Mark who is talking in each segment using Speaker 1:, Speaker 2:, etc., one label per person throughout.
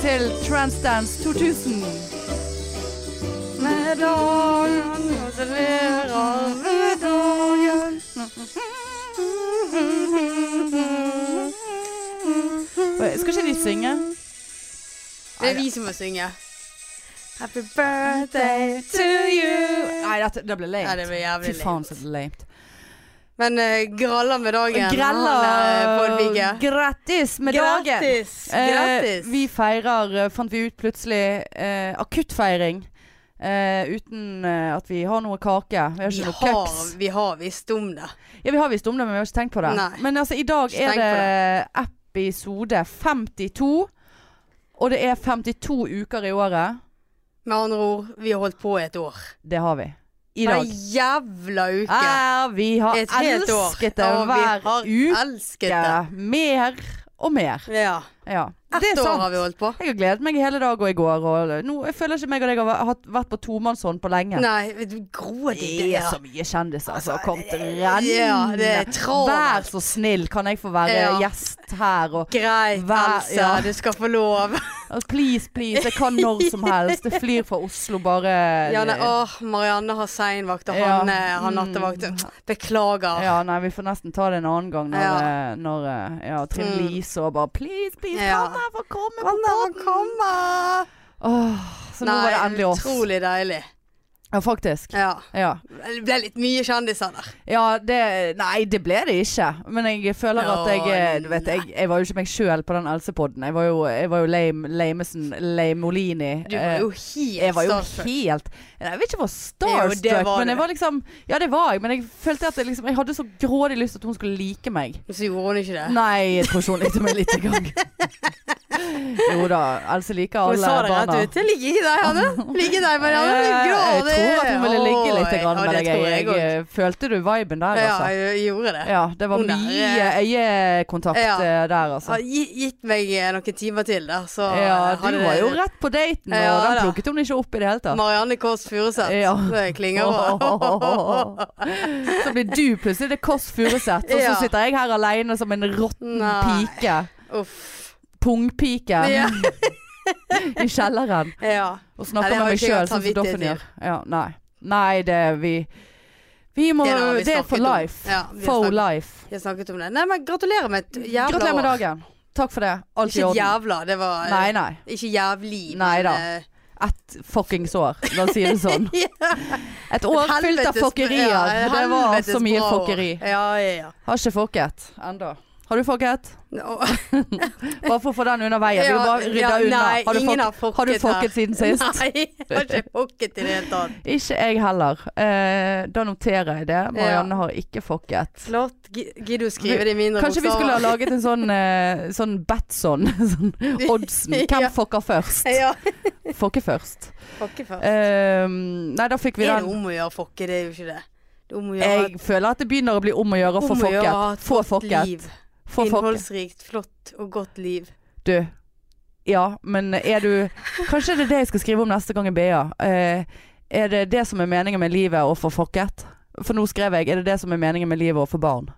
Speaker 1: til Transdance 2000. Med dagen gratulerer med dagen. Oi, Skal ikke de synge?
Speaker 2: Det er vi som må synge.
Speaker 1: Happy birthday to you Nei, dette, det ble
Speaker 2: Ja, det
Speaker 1: lame.
Speaker 2: blir
Speaker 1: Fy
Speaker 2: jævlig
Speaker 1: faen,
Speaker 2: late.
Speaker 1: så lame.
Speaker 2: Men eh, graller med dagen. eh,
Speaker 1: Grella!
Speaker 2: Grella.
Speaker 1: Grattis med dagen!
Speaker 2: Grattis.
Speaker 1: Eh,
Speaker 2: Grattis.
Speaker 1: vi feirer, eh, fant vi ut plutselig, eh, akuttfeiring. Eh, uten eh, at vi har noe kake. Vi har
Speaker 2: Vi
Speaker 1: ikke noe
Speaker 2: har,
Speaker 1: kjeks.
Speaker 2: vi har visst om det.
Speaker 1: Ja, vi har visst om det, men vi har ikke tenkt på det.
Speaker 2: Nei.
Speaker 1: Men altså, i dag
Speaker 2: Ikke
Speaker 1: er
Speaker 2: tenkt på
Speaker 1: det episode 52. Og det er 52 uker i året.
Speaker 2: Med andre ord, vi har holdt på et år.
Speaker 1: Det har vi. I
Speaker 2: Hver
Speaker 1: dag.
Speaker 2: jævla uke.
Speaker 1: Ja, vi har
Speaker 2: Et helt år.
Speaker 1: elsket det
Speaker 2: Og vi
Speaker 1: hver
Speaker 2: har
Speaker 1: uke.
Speaker 2: Elsket det.
Speaker 1: Mer og mer.
Speaker 2: Ja.
Speaker 1: Ja. Det
Speaker 2: Ett
Speaker 1: er
Speaker 2: år
Speaker 1: sant.
Speaker 2: har vi holdt på.
Speaker 1: Jeg har gledet meg i hele dag og i går. Og nå, jeg føler ikke meg og deg har væ- hatt- vært på tomannshånd på lenge.
Speaker 2: Nei, vet du, grådig
Speaker 1: Det
Speaker 2: det
Speaker 1: er så mye kjendiser som har kommet
Speaker 2: Ja, det er
Speaker 1: rennende.
Speaker 2: travelt.
Speaker 1: Vær så snill, kan jeg få være
Speaker 2: Ja.
Speaker 1: gjest her? Og
Speaker 2: Greit,
Speaker 1: Hver-
Speaker 2: Else.
Speaker 1: ja.
Speaker 2: Du skal få lov.
Speaker 1: Altså, please, please. Jeg kan når som helst. Jeg flyr fra Oslo bare
Speaker 2: Ja, nei, åh, Marianne har seinvakt, og
Speaker 1: Ja. Mm.
Speaker 2: Hanne har nattevakt. Beklager.
Speaker 1: Ja, nei, vi får nesten ta det en annen gang når,
Speaker 2: Ja.
Speaker 1: eh, når eh, ja, Trine
Speaker 2: Mm.
Speaker 1: Lise og bare Please, please,
Speaker 2: Ja.
Speaker 1: kan jeg få komme på
Speaker 2: Hanne må
Speaker 1: podden?
Speaker 2: komme!
Speaker 1: Åh, så nå var det endelig oss.
Speaker 2: Utrolig deilig.
Speaker 1: Ja, faktisk.
Speaker 2: Ja.
Speaker 1: Ja.
Speaker 2: Det ble litt mye kjendiser der.
Speaker 1: ja, det Nei, det ble det ikke. Men jeg føler at jeg eh,
Speaker 2: Å,
Speaker 1: Du vet, jeg, jeg var jo ikke meg sjøl på den Else-podden. Jeg var jo, jeg var jo lame, lamesen, lameolini.
Speaker 2: Du var jo
Speaker 1: Eh, Jeg
Speaker 2: helt
Speaker 1: var jo
Speaker 2: starstruck.
Speaker 1: helt Jeg vet ikke om jeg var
Speaker 2: Jo, det
Speaker 1: starstruck,
Speaker 2: var
Speaker 1: men jeg
Speaker 2: du.
Speaker 1: var liksom Ja, det var jeg, men jeg følte at jeg, liksom, jeg hadde så grådig lyst til at hun skulle like meg.
Speaker 2: Så gjorde hun ikke det.
Speaker 1: Nei, jeg tror ikke hun likte meg litt engang. Jo da, Else liker
Speaker 2: Hun
Speaker 1: alle
Speaker 2: sa det rett
Speaker 1: barna. Eh,
Speaker 2: ut. Jeg ligger i deg, Hanne. Ligger i deg, Marianne. Ligger
Speaker 1: jeg
Speaker 2: over.
Speaker 1: tror at hun ville ligge litt
Speaker 2: Oi,
Speaker 1: grann
Speaker 2: ja,
Speaker 1: med
Speaker 2: det
Speaker 1: deg.
Speaker 2: tror
Speaker 1: Jeg,
Speaker 2: også.
Speaker 1: eh, følte du viben der,
Speaker 2: Ja,
Speaker 1: altså?
Speaker 2: jeg gjorde det.
Speaker 1: Ja, det var
Speaker 2: Hun der,
Speaker 1: mye øyekontakt
Speaker 2: Ja.
Speaker 1: eh, der, altså.
Speaker 2: Har gi- gitt meg eh, noen timer til der, så eh,
Speaker 1: Ja, du
Speaker 2: hadde-
Speaker 1: var jo rett på daten, og
Speaker 2: Ja,
Speaker 1: den
Speaker 2: da.
Speaker 1: plukket hun ikke opp i det hele tatt.
Speaker 2: Marianne Kåss Furuseth.
Speaker 1: Ja.
Speaker 2: Det klinger bra.
Speaker 1: Så blir du plutselig det Kåss Furuseth, og så
Speaker 2: Ja.
Speaker 1: sitter jeg her aleine som en råtten
Speaker 2: Nei.
Speaker 1: pike.
Speaker 2: Uff.
Speaker 1: Pungpike
Speaker 2: Ja.
Speaker 1: i kjelleren.
Speaker 2: ja.
Speaker 1: Og
Speaker 2: Nei,
Speaker 1: snakker
Speaker 2: det
Speaker 1: med
Speaker 2: har
Speaker 1: meg
Speaker 2: ikke jeg
Speaker 1: sjøl,
Speaker 2: hatt
Speaker 1: sånn som Doffen
Speaker 2: samvittighet
Speaker 1: gjør. Ja, nei. nei, det er vi Vi må
Speaker 2: Det har vi
Speaker 1: Det er
Speaker 2: snakket
Speaker 1: for
Speaker 2: om.
Speaker 1: life.
Speaker 2: Ja, vi har
Speaker 1: for
Speaker 2: snakket-
Speaker 1: life.
Speaker 2: Jeg snakket om det. Nei, men gratulerer med et jævla
Speaker 1: Gratulerer med
Speaker 2: år.
Speaker 1: dagen. Takk for det. Alt i
Speaker 2: Ikke et
Speaker 1: orden.
Speaker 2: jævla, det var eh,
Speaker 1: Nei, nei.
Speaker 2: Ikke jævlig,
Speaker 1: Nei da.
Speaker 2: eh,
Speaker 1: Ett fuckings år, la oss si det sånn. Et år
Speaker 2: helvetes-
Speaker 1: fylt av fokkerier.
Speaker 2: ja, et
Speaker 1: det var
Speaker 2: helvetes
Speaker 1: så mye
Speaker 2: bra år.
Speaker 1: fokkeri.
Speaker 2: Ja, ja, ja.
Speaker 1: Har ikke fokket enda. Har du fokket?
Speaker 2: Nå-
Speaker 1: Bare for å få den under veien. Vi må bare rydde
Speaker 2: ja,
Speaker 1: unna.
Speaker 2: Nei,
Speaker 1: Har du
Speaker 2: ingen
Speaker 1: fokket?
Speaker 2: har fokket,
Speaker 1: Har du
Speaker 2: her.
Speaker 1: fokket siden sist?
Speaker 2: Nei, jeg har ikke fokket i det hele tatt.
Speaker 1: Ikke jeg heller. Eh, da noterer jeg det. Marianne har ikke fokket.
Speaker 2: Flott. Gi- Gidder du skrive det i mindre
Speaker 1: Kanskje vi skulle ha
Speaker 2: bokstaver?
Speaker 1: laget en sånn, eh, sånn Batson, sånn oddsen. Hvem
Speaker 2: Ja.
Speaker 1: fokker først?
Speaker 2: Ja.
Speaker 1: Fokker først.
Speaker 2: Fokke først.
Speaker 1: Eh, nei, da fikk vi
Speaker 2: er det
Speaker 1: den.
Speaker 2: om å gjøre å fokke? Det er jo ikke det. Det er om å gjøre
Speaker 1: Jeg føler at det begynner å bli om å gjøre å få
Speaker 2: om å gjøre å ha
Speaker 1: fokket.
Speaker 2: et
Speaker 1: Få
Speaker 2: godt
Speaker 1: fokket.
Speaker 2: Liv.
Speaker 1: Få fokket.
Speaker 2: Innholdsrikt, flott og godt liv.
Speaker 1: Du. Ja, men er du Kanskje det er det jeg skal skrive om neste gang i BA. Eh, er det det som er meningen med livet å få fokket? For nå skrev jeg Er det det som er meningen med livet å få barn?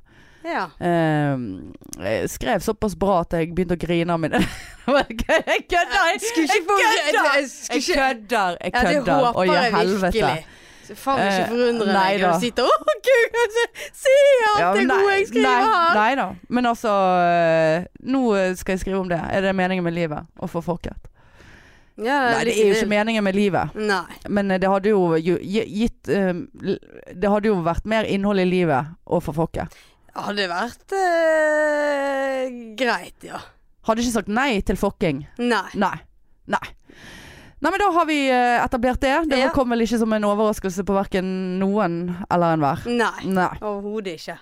Speaker 2: Ja.
Speaker 1: Ehm, jeg skrev såpass bra at jeg begynte å grine av mine Jeg kødder! Jeg
Speaker 2: Skulle ikke få-
Speaker 1: kødder!
Speaker 2: jeg- jeg skulle
Speaker 1: Jeg
Speaker 2: ikke-
Speaker 1: kødder! Jeg
Speaker 2: Ja, det
Speaker 1: kødder!
Speaker 2: håper
Speaker 1: Å, ja,
Speaker 2: jeg
Speaker 1: helvete.
Speaker 2: virkelig. Så faen meg ikke
Speaker 1: Eh,
Speaker 2: forundre
Speaker 1: nei
Speaker 2: deg når
Speaker 1: da.
Speaker 2: du sitter Å, gud, kanskje Se alt
Speaker 1: Ja,
Speaker 2: det
Speaker 1: nei-
Speaker 2: gode jeg skriver
Speaker 1: Nei,
Speaker 2: her!
Speaker 1: nei da. Men altså eh, Nå eh, skal jeg skrive om det. Er det meningen med livet å få folket?
Speaker 2: Ja,
Speaker 1: Nei, det er jo ikke meningen med livet.
Speaker 2: Nei.
Speaker 1: Men eh, det hadde jo ju- gi- gitt eh, l- Det hadde jo vært mer innhold i livet å få folket.
Speaker 2: Hadde vært eh, greit, ja.
Speaker 1: Hadde ikke sagt nei til fokking.
Speaker 2: Nei.
Speaker 1: Nei. Nei. Nei, men da har vi eh, etablert det. Det
Speaker 2: Ja.
Speaker 1: kom vel ikke som en overraskelse på verken noen eller enhver.
Speaker 2: Nei.
Speaker 1: Nei.
Speaker 2: Overhodet ikke.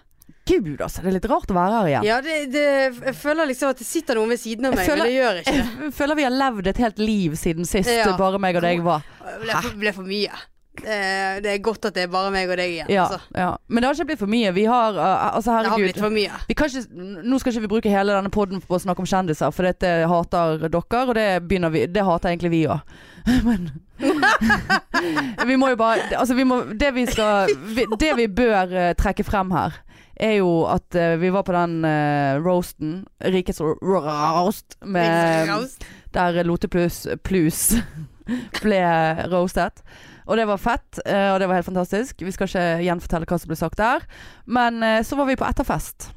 Speaker 1: Gud, altså. Det er litt rart å være her igjen.
Speaker 2: Ja, det, det, jeg føler liksom at det sitter noen ved siden av
Speaker 1: Jeg
Speaker 2: meg,
Speaker 1: føler-
Speaker 2: men det gjør ikke det.
Speaker 1: Jeg føler vi har levd et helt liv siden sist
Speaker 2: Ja.
Speaker 1: bare meg og deg var.
Speaker 2: Det ble, for- ble for mye. Eh, Det er godt at det er bare meg og deg igjen.
Speaker 1: Ja,
Speaker 2: altså.
Speaker 1: ja. Men det har ikke blitt for mye. Vi har eh, Altså,
Speaker 2: Det har blitt
Speaker 1: herregud.
Speaker 2: for mye.
Speaker 1: Vi kan ikke, nå skal ikke vi bruke hele denne poden på å snakke om kjendiser, for dette hater dere, og det, begynner vi, det hater egentlig vi òg. Men vi må jo bare altså vi må, det, vi skal, vi, det vi bør eh, trekke frem her, er jo at eh, vi var på den eh, roasten, Rikets ro- roast, med
Speaker 2: Raust.
Speaker 1: der Loteplus Plus ble eh, roastet. Og det var fett, eh, og det var helt fantastisk. Vi skal ikke gjenfortelle hva som ble sagt der. Men eh, så var vi på etterfest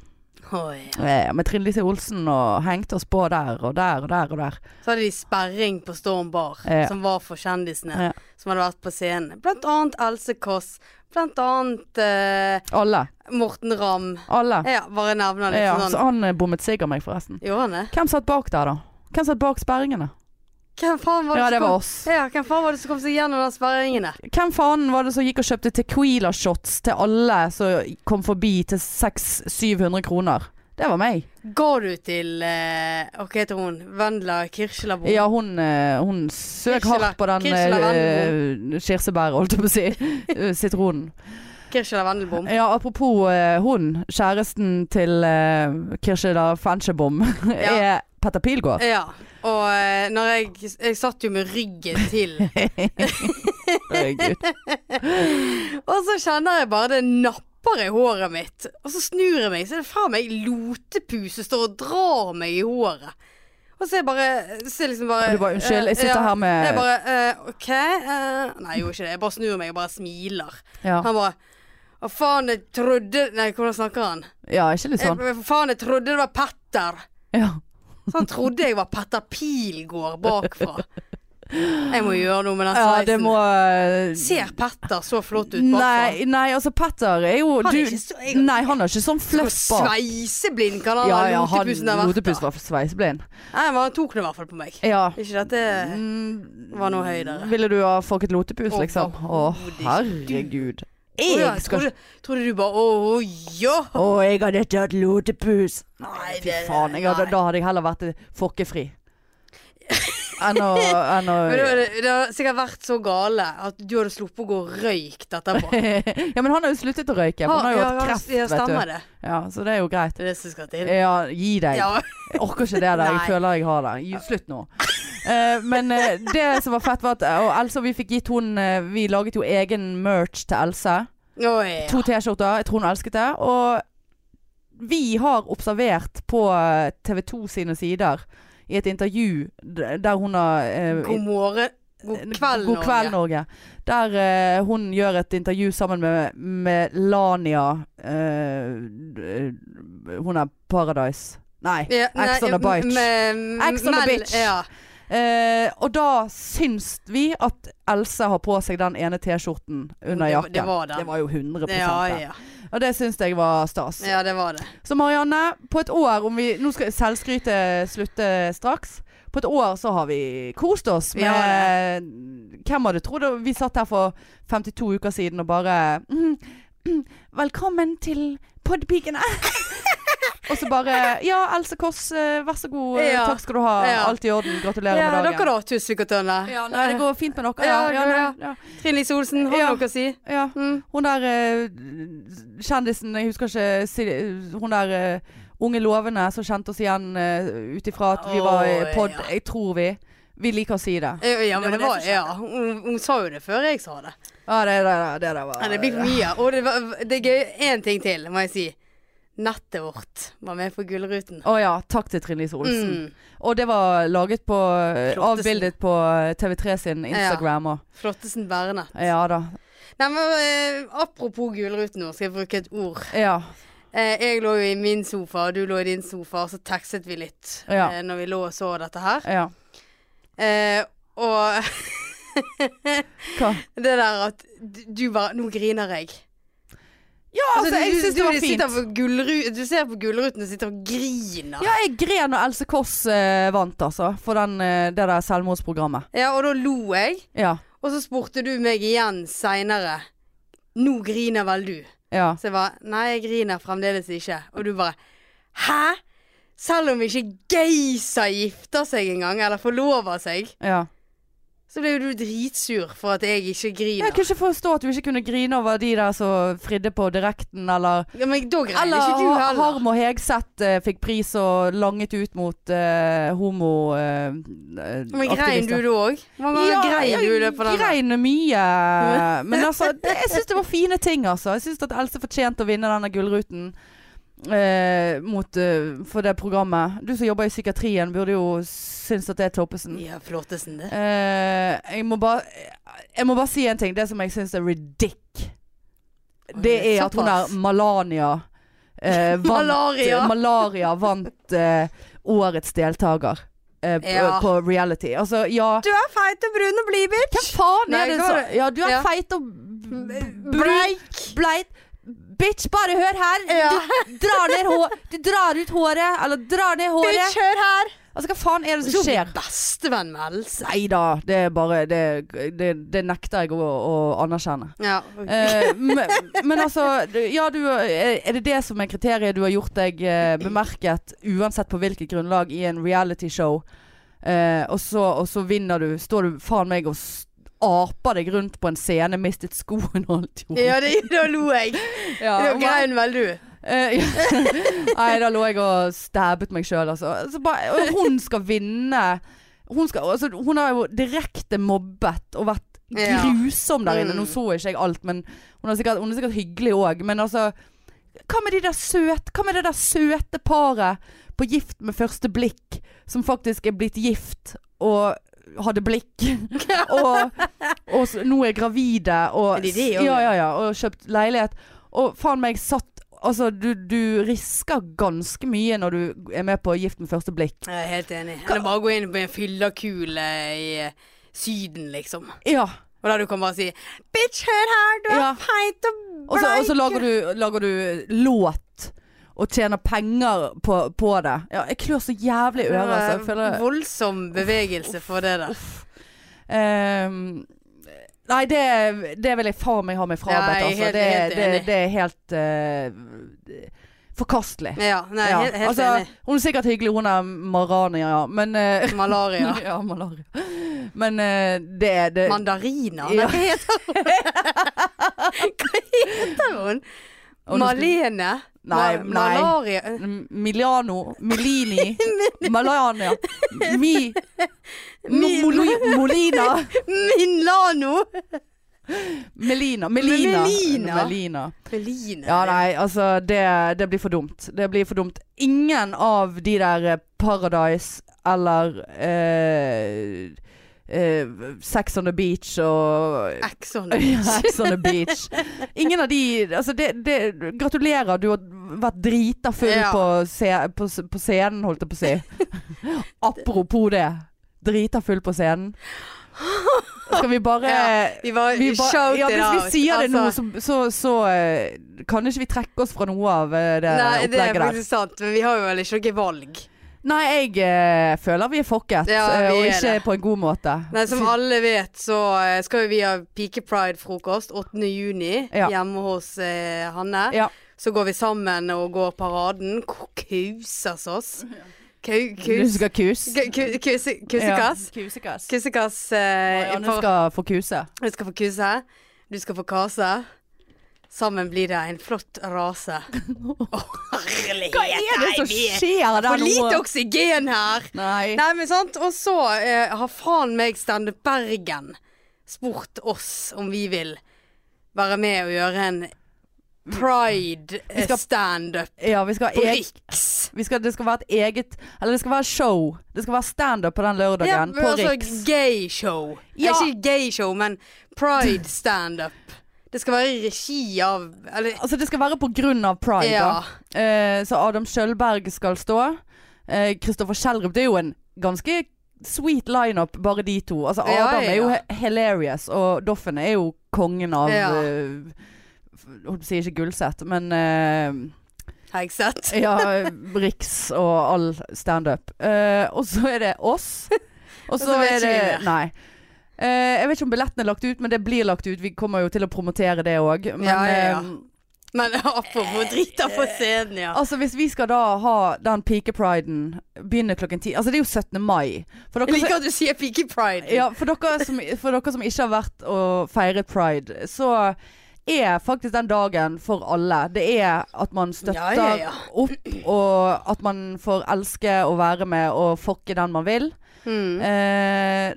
Speaker 2: Oi.
Speaker 1: eh, med Trine Lise Olsen og hengte oss på der og der og der og der.
Speaker 2: Så hadde de sperring på Storm Bar,
Speaker 1: Ja.
Speaker 2: som var for kjendisene
Speaker 1: Ja.
Speaker 2: som hadde vært på scenen. Blant annet Else Kåss. Blant annet eh,
Speaker 1: Alle.
Speaker 2: Morten Ramm.
Speaker 1: Alle.
Speaker 2: Ja, bare nevner litt
Speaker 1: Ja, så
Speaker 2: sånn.
Speaker 1: han eh, bommet sigg av meg, forresten.
Speaker 2: Gjorde han det?
Speaker 1: Hvem satt bak der, da? Hvem satt bak sperringene?
Speaker 2: Hvem faen var det,
Speaker 1: Ja, det
Speaker 2: som
Speaker 1: var
Speaker 2: kom-
Speaker 1: oss.
Speaker 2: Ja, hvem faen var det som kom seg gjennom den sperringen der?
Speaker 1: Hvem faen var det som gikk og kjøpte Tequila-shots til alle som kom forbi til 600-700 kroner? Det var meg.
Speaker 2: Går du til eh, Hva heter hun? Vendela Kirselabo?
Speaker 1: Ja, hun, eh, hun søk
Speaker 2: Kirsebær-
Speaker 1: hardt på den eh, kirsebæret, holdt jeg på å si. Eh, Sitronen.
Speaker 2: Kirsela Vendelbom.
Speaker 1: Ja, apropos eh, hun. Kjæresten til eh, Kirsela Fenchebom er Petter Pilgaard.
Speaker 2: Ja. Og eh, når jeg Jeg satt jo med ryggen til,
Speaker 1: Herregud.
Speaker 2: og så kjenner jeg bare det napper i håret mitt. Og så snur jeg meg, så er det faen meg lotepus som står og drar meg i håret. Og så er jeg bare Så er jeg liksom bare
Speaker 1: Og du bare, «Unnskyld, jeg sitter
Speaker 2: ja,
Speaker 1: her med-
Speaker 2: Jeg bare eh, OK eh, Nei, jeg gjorde ikke det. Jeg bare snur meg og bare smiler.
Speaker 1: Ja.
Speaker 2: Han bare Hva faen, jeg trodde Nei, hvordan snakker han?
Speaker 1: ja, ikke litt sånn.
Speaker 2: Jeg, faen, jeg trodde det var Petter.
Speaker 1: Ja.
Speaker 2: Så han trodde jeg var Petter Pilgaard bakfra. Jeg må gjøre noe med den
Speaker 1: ja,
Speaker 2: sveisen.
Speaker 1: det må eh,
Speaker 2: Ser Petter så flott ut bakfra?
Speaker 1: Nei, nei, altså Petter er jo
Speaker 2: Han er
Speaker 1: du,
Speaker 2: ikke så- jeg-
Speaker 1: Nei, han har ikke sånn
Speaker 2: Hvor
Speaker 1: fløff bak.
Speaker 2: Sveiseblind kan han
Speaker 1: Ja,
Speaker 2: ha
Speaker 1: ja, han
Speaker 2: lotepusen der vært.
Speaker 1: lotepus
Speaker 2: da.
Speaker 1: var sveiseblind.
Speaker 2: Nei, men han tok det i hvert fall på meg.
Speaker 1: Ja.
Speaker 2: Ikke dette
Speaker 1: Mm,
Speaker 2: var noe høydere.
Speaker 1: Ville du ha fucket lotepus, liksom? Å,
Speaker 2: Overhodet ikke.
Speaker 1: herregud.
Speaker 2: Å ja,
Speaker 1: Jeg skal
Speaker 2: trodde, trodde du bare Å, ja!
Speaker 1: Å, jeg hadde ikke hatt lotepus. Nei,
Speaker 2: Nei,
Speaker 1: fy
Speaker 2: det-
Speaker 1: faen. Jeg hadde,
Speaker 2: nei.
Speaker 1: da hadde jeg heller vært fokkefri. Enn å, enn å
Speaker 2: Men det, var- det har sikkert vært så gale at du hadde sluppet å gå røykt etterpå.
Speaker 1: Ja, men han har jo sluttet å røyke. Han har jo
Speaker 2: Ja,
Speaker 1: hatt
Speaker 2: ja,
Speaker 1: kreft,
Speaker 2: ja,
Speaker 1: vet du.
Speaker 2: Stemmer det.
Speaker 1: Ja, så det er jo greit.
Speaker 2: Det er det som skal til.
Speaker 1: Ja, gi deg.
Speaker 2: Ja.
Speaker 1: Jeg orker ikke det der. Jeg
Speaker 2: Nei.
Speaker 1: føler jeg har det. Gi- Slutt nå. Eh, men eh, det som var fett, var at eh, Og Else, vi fikk gitt hun eh, Vi laget jo egen merch til Else.
Speaker 2: Oi, ja.
Speaker 1: To T-skjorter. Jeg tror hun elsket det. Og vi har observert på eh, TV 2 sine sider i et intervju d- der hun har eh,
Speaker 2: God morgen God kveld,
Speaker 1: God kveld, Norge. Der eh, hun gjør et intervju sammen med, med Lania eh, d- Hun er Paradise. Nei.
Speaker 2: Ja, nei,
Speaker 1: Ex on the
Speaker 2: m-
Speaker 1: beach.
Speaker 2: m- m-
Speaker 1: Ex on the
Speaker 2: mel-
Speaker 1: beach.
Speaker 2: Ja.
Speaker 1: Eh, og da syns vi at Else har på seg den ene T-skjorten under
Speaker 2: Det var-
Speaker 1: jakken.
Speaker 2: det var den.
Speaker 1: jo 100 det.
Speaker 2: Ja, ja.
Speaker 1: Og det syns jeg var stas.
Speaker 2: ja, det var det.
Speaker 1: Så Marianne, på et år om vi, Nå skal selvskrytet slutte straks. På et år så har vi kost oss med
Speaker 2: Vi har
Speaker 1: Hvem hadde trodd det? Vi satt her for 52 uker siden og bare mm, mm, Velkommen til Podpikene. og så bare Ja, Else Kåss, eh, vær så god. eh,
Speaker 2: Ja.
Speaker 1: Takk skal du ha.
Speaker 2: Ja.
Speaker 1: Alt i orden. Gratulerer
Speaker 2: Ja,
Speaker 1: med dagen.
Speaker 2: dere da, Tusvik og Tønne.
Speaker 1: Ja, nei, det går fint med dere. Ja,
Speaker 2: Ja,
Speaker 1: ja,
Speaker 2: ja,
Speaker 1: nei, ja.
Speaker 2: Trine Lise Olsen, har
Speaker 1: Ja.
Speaker 2: du noe å si?
Speaker 1: ja.
Speaker 2: Mm.
Speaker 1: Hun der eh, kjendisen, jeg husker ikke si- Hun der eh, unge lovende som kjente oss igjen uh, ut ifra at vi var i
Speaker 2: Å,
Speaker 1: pod,
Speaker 2: ja.
Speaker 1: jeg tror vi. Vi liker å si det.
Speaker 2: Ja, Ja, men
Speaker 1: Det
Speaker 2: det
Speaker 1: var
Speaker 2: var,
Speaker 1: det som
Speaker 2: ja. Hun, hun sa jo det før jeg sa det.
Speaker 1: Ja, det, det, det, det var
Speaker 2: Nei, det blir for mye. Og det, var, det er gøy. Én ting til, må jeg si. Nettet vårt var med på Gullruten.
Speaker 1: Å ja. Takk til Trine Lise Olsen.
Speaker 2: Mm.
Speaker 1: Og det var laget på eh,
Speaker 2: Flottesen.
Speaker 1: Avbildet på eh, TV3 sin Instagram òg.
Speaker 2: Flottesen Bernet.
Speaker 1: Ja. da.
Speaker 2: Nei, men eh, apropos Gullruten, nå skal jeg bruke et ord.
Speaker 1: Ja.
Speaker 2: Eh, jeg lå jo i min sofa, og du lå i din sofa, og så tekstet vi litt
Speaker 1: Ja.
Speaker 2: eh, når vi lå og så dette her.
Speaker 1: ja.
Speaker 2: Eh, og
Speaker 1: Hva?
Speaker 2: det der at d- du bare Nå griner jeg.
Speaker 1: Ja, altså, jeg syns det var fint.
Speaker 2: fint. Du ser på Gullruten og sitter og griner. Ja.
Speaker 1: Ja, jeg gren når Else Kåss eh, vant, altså. For den, eh, det der selvmordsprogrammet.
Speaker 2: og da lo jeg.
Speaker 1: Ja.
Speaker 2: Og så spurte du meg igjen seinere. Nå griner vel du?
Speaker 1: ja.
Speaker 2: Så jeg bare Nei, jeg griner fremdeles ikke. Og du bare Hæ? Selv om ikke Geisa gifter seg engang, eller forlover seg,
Speaker 1: Ja.
Speaker 2: så ble jo du dritsur for at jeg ikke griner.
Speaker 1: Jeg kunne ikke forstå at du ikke kunne grine over de der som fridde på direkten, eller
Speaker 2: Ja, men da greide
Speaker 1: Eller
Speaker 2: ikke du
Speaker 1: Har-
Speaker 2: heller.
Speaker 1: Harm og Hegseth eh, fikk pris og langet ut mot eh, homo eh, eh,
Speaker 2: men grein du
Speaker 1: aktivister.
Speaker 2: da òg? Hvor mange
Speaker 1: Ja,
Speaker 2: ganger grein du det
Speaker 1: jeg
Speaker 2: på den? der?
Speaker 1: grein mye. Men altså, det, jeg syns det var fine ting, altså. Jeg syns at Else fortjente å vinne denne gullruten. eh, mot, eh, for det programmet. Du som jobber i psykiatrien, burde jo synes at det er Toppesen.
Speaker 2: Ja, flåtesen det.
Speaker 1: Eh, jeg, må bare, jeg må bare si en ting. Det som jeg syns er ridic, det
Speaker 2: Oi,
Speaker 1: er at hun der
Speaker 2: såpass.
Speaker 1: Malania eh, vant,
Speaker 2: Malaria.
Speaker 1: Malaria vant eh, årets deltaker eh, på,
Speaker 2: Ja.
Speaker 1: på reality. Altså, ja
Speaker 2: Du er feit og brun og blid, bitch.
Speaker 1: Hvem faen
Speaker 2: Nei,
Speaker 1: er det
Speaker 2: hva
Speaker 1: som
Speaker 2: var det?
Speaker 1: Ja, du er
Speaker 2: Ja.
Speaker 1: feit og brun,
Speaker 2: Bleik.
Speaker 1: bleit. Bitch, bare hør her!
Speaker 2: Ja.
Speaker 1: Du, drar ned hår, du drar ut håret, eller drar ned håret.
Speaker 2: Bitch, hør her.
Speaker 1: Altså, hva faen er det som skjer?
Speaker 2: Bestevenn med Else.
Speaker 1: Nei da, det er bare Det, det, det nekter jeg å, å anerkjenne.
Speaker 2: Ja.
Speaker 1: Eh, men, men altså du- Ja, du eh, Er det det som er kriteriet du har gjort deg eh, bemerket, uansett på hvilket grunnlag, i en realityshow, eh, og, så, og så vinner du Står du faen meg og s- aper deg rundt på en scene, mistet skoen og alt jo.
Speaker 2: ja, det, da lo jeg.
Speaker 1: Ja,
Speaker 2: Da
Speaker 1: og man-
Speaker 2: grein vel du.
Speaker 1: eh, ja. Nei, da lå jeg og stabbet meg sjøl, altså. Så bare- og hun skal vinne. Hun, skal, altså, hun har jo direkte mobbet og vært
Speaker 2: Ja.
Speaker 1: grusom der inne.
Speaker 2: Mm.
Speaker 1: Nå så ikke jeg alt, men hun er sikkert, hun er sikkert hyggelig òg. Men altså Hva med de der søte Hva med det der søte paret på gift med første blikk, som faktisk er blitt gift og hadde blikk, og, og s- nå er gravide og,
Speaker 2: Er de de også?
Speaker 1: ja, ja, ja, og kjøpt leilighet. Og faen meg satt Altså, du, du risker ganske mye når du er med på Gift med første blikk.
Speaker 2: Jeg er helt enig. Eller bare gå inn på en fyllakule i eh, Syden, liksom.
Speaker 1: Ja.
Speaker 2: Og da du kan bare si Bitch, hør her, du er
Speaker 1: Ja.
Speaker 2: feit og bleik.
Speaker 1: Og så, og så lager, du, lager du låt og tjener penger på, på det. Ja, jeg klør så jævlig i øret, altså. Jeg føler
Speaker 2: Voldsom bevegelse for det der.
Speaker 1: Ehm, Nei, det, det vil jeg faen meg ha meg
Speaker 2: Nei,
Speaker 1: frabedt, altså.
Speaker 2: helt-
Speaker 1: Det,
Speaker 2: helt
Speaker 1: det,
Speaker 2: enig.
Speaker 1: det er helt eh, forkastelig.
Speaker 2: Ja, nei,
Speaker 1: Ja.
Speaker 2: helt, helt
Speaker 1: altså, Hun er sikkert hyggelig, hun er Marania, ja. Men eh,
Speaker 2: enig. Malaria.
Speaker 1: ja. malaria. Men eh, det, det
Speaker 2: Mandariner?
Speaker 1: Ja.
Speaker 2: Nei, Hva heter hun? Hva heter hun?
Speaker 1: Og nå skal-
Speaker 2: Malene?
Speaker 1: Nei,
Speaker 2: Ma-
Speaker 1: nei.
Speaker 2: Malaria?
Speaker 1: M- Miliano, Milini, Malania, Mi,
Speaker 2: Mi-
Speaker 1: Mo- Moli- Molina,
Speaker 2: Minlano?
Speaker 1: Melina, Melina.
Speaker 2: Melina.
Speaker 1: Melina.
Speaker 2: Meline?
Speaker 1: Ja, nei, altså det, det blir for dumt. Det blir for dumt. Ingen av de der eh, Paradise eller eh, eh, Sex on the Beach og
Speaker 2: Ex on the
Speaker 1: Ja,
Speaker 2: beach.
Speaker 1: Sex on the Beach. Ingen av de altså det, det, Gratulerer, du har vært drita full
Speaker 2: Ja.
Speaker 1: på, se, på, s- på scenen, holdt jeg på å si. Apropos det. Drita full på scenen. Skal vi bare
Speaker 2: Ja, Vi var
Speaker 1: vi ba,
Speaker 2: shout
Speaker 1: ja,
Speaker 2: it
Speaker 1: hvis vi
Speaker 2: out.
Speaker 1: sier det nå,
Speaker 2: Altså,
Speaker 1: så, så, så eh, kan ikke vi trekke oss fra noe av eh, det
Speaker 2: Nei, det er
Speaker 1: opplegget der.
Speaker 2: faktisk sant, men vi har jo vel ikke noe valg.
Speaker 1: Nei, jeg eh, føler vi er fucket,
Speaker 2: Ja,
Speaker 1: eh,
Speaker 2: vi
Speaker 1: og
Speaker 2: er
Speaker 1: ikke
Speaker 2: det.
Speaker 1: på en god måte.
Speaker 2: Nei, Som alle vet, så eh, skal jo vi ha pikepride-frokost 8. juni
Speaker 1: Ja.
Speaker 2: hjemme hos eh, Hanne.
Speaker 1: Ja.
Speaker 2: Så går vi sammen og går paraden. K- Kuses oss. Kau-
Speaker 1: Du
Speaker 2: Kus...
Speaker 1: skal kus.
Speaker 2: Ku- ku- kuse- Kusekass.
Speaker 1: Ja. Kusekass.
Speaker 2: Kusekass. eh, i
Speaker 1: Marianne
Speaker 2: par-
Speaker 1: skal få kuse.
Speaker 2: Du skal få kuse. Du skal få kase. Sammen blir det en flott rase. Åh, herlighet!
Speaker 1: Hva er det som
Speaker 2: Nei, vi er
Speaker 1: skjer der
Speaker 2: For
Speaker 1: nå?
Speaker 2: lite oksygen her!
Speaker 1: Nei.
Speaker 2: Nei, men sant. Og så eh, har faen meg Standup Bergen spurt oss om vi vil være med og gjøre en
Speaker 1: Mm. Vi skal-
Speaker 2: pride-standup
Speaker 1: Ja, vi skal
Speaker 2: på
Speaker 1: ha eg-
Speaker 2: Riks.
Speaker 1: vi skal, det skal være et eget Eller det skal være show. Det skal være standup på den lørdagen
Speaker 2: Ja,
Speaker 1: på
Speaker 2: men altså
Speaker 1: Riks.
Speaker 2: gayshow.
Speaker 1: Ja.
Speaker 2: Ikke gayshow, men pride-standup. Det skal være i regi av Eller
Speaker 1: Altså, det skal være på grunn av pride.
Speaker 2: Ja.
Speaker 1: Da. Eh, så Adam Sjølberg skal stå. Eh, Kristoffer Schjelderup. Det er jo en ganske sweet lineup, bare de to. Altså,
Speaker 2: Ja,
Speaker 1: Adam er jo
Speaker 2: ja.
Speaker 1: he- hilarious, og Doffen er jo kongen av
Speaker 2: Ja.
Speaker 1: eh, Holdt på å si ikke Gullset, men eh,
Speaker 2: har jeg sett.
Speaker 1: Ja, Riks og all standup. Eh, og så er det oss. Og så
Speaker 2: vet
Speaker 1: er
Speaker 2: ikke vi
Speaker 1: det Nei. Eh, jeg vet ikke om billetten er lagt ut, men det blir lagt ut. Vi kommer jo til å promotere det òg. Men
Speaker 2: Ja, ja, ja.
Speaker 1: eh,
Speaker 2: Men apropos drita på scenen, ja.
Speaker 1: altså, hvis vi skal da ha den pikepriden begynne klokken ti Altså, det er jo 17. mai. For
Speaker 2: Jeg
Speaker 1: dere,
Speaker 2: liker at du sier Piki Pride.
Speaker 1: ja, for dere, som, for dere som ikke har vært og feiret pride, så er faktisk den dagen for alle. Det er at man støtter
Speaker 2: Ja, ja, ja.
Speaker 1: opp, og at man får
Speaker 2: Hmm.
Speaker 1: elske å være med og fucke den man vil.
Speaker 2: Mm.
Speaker 1: Eh,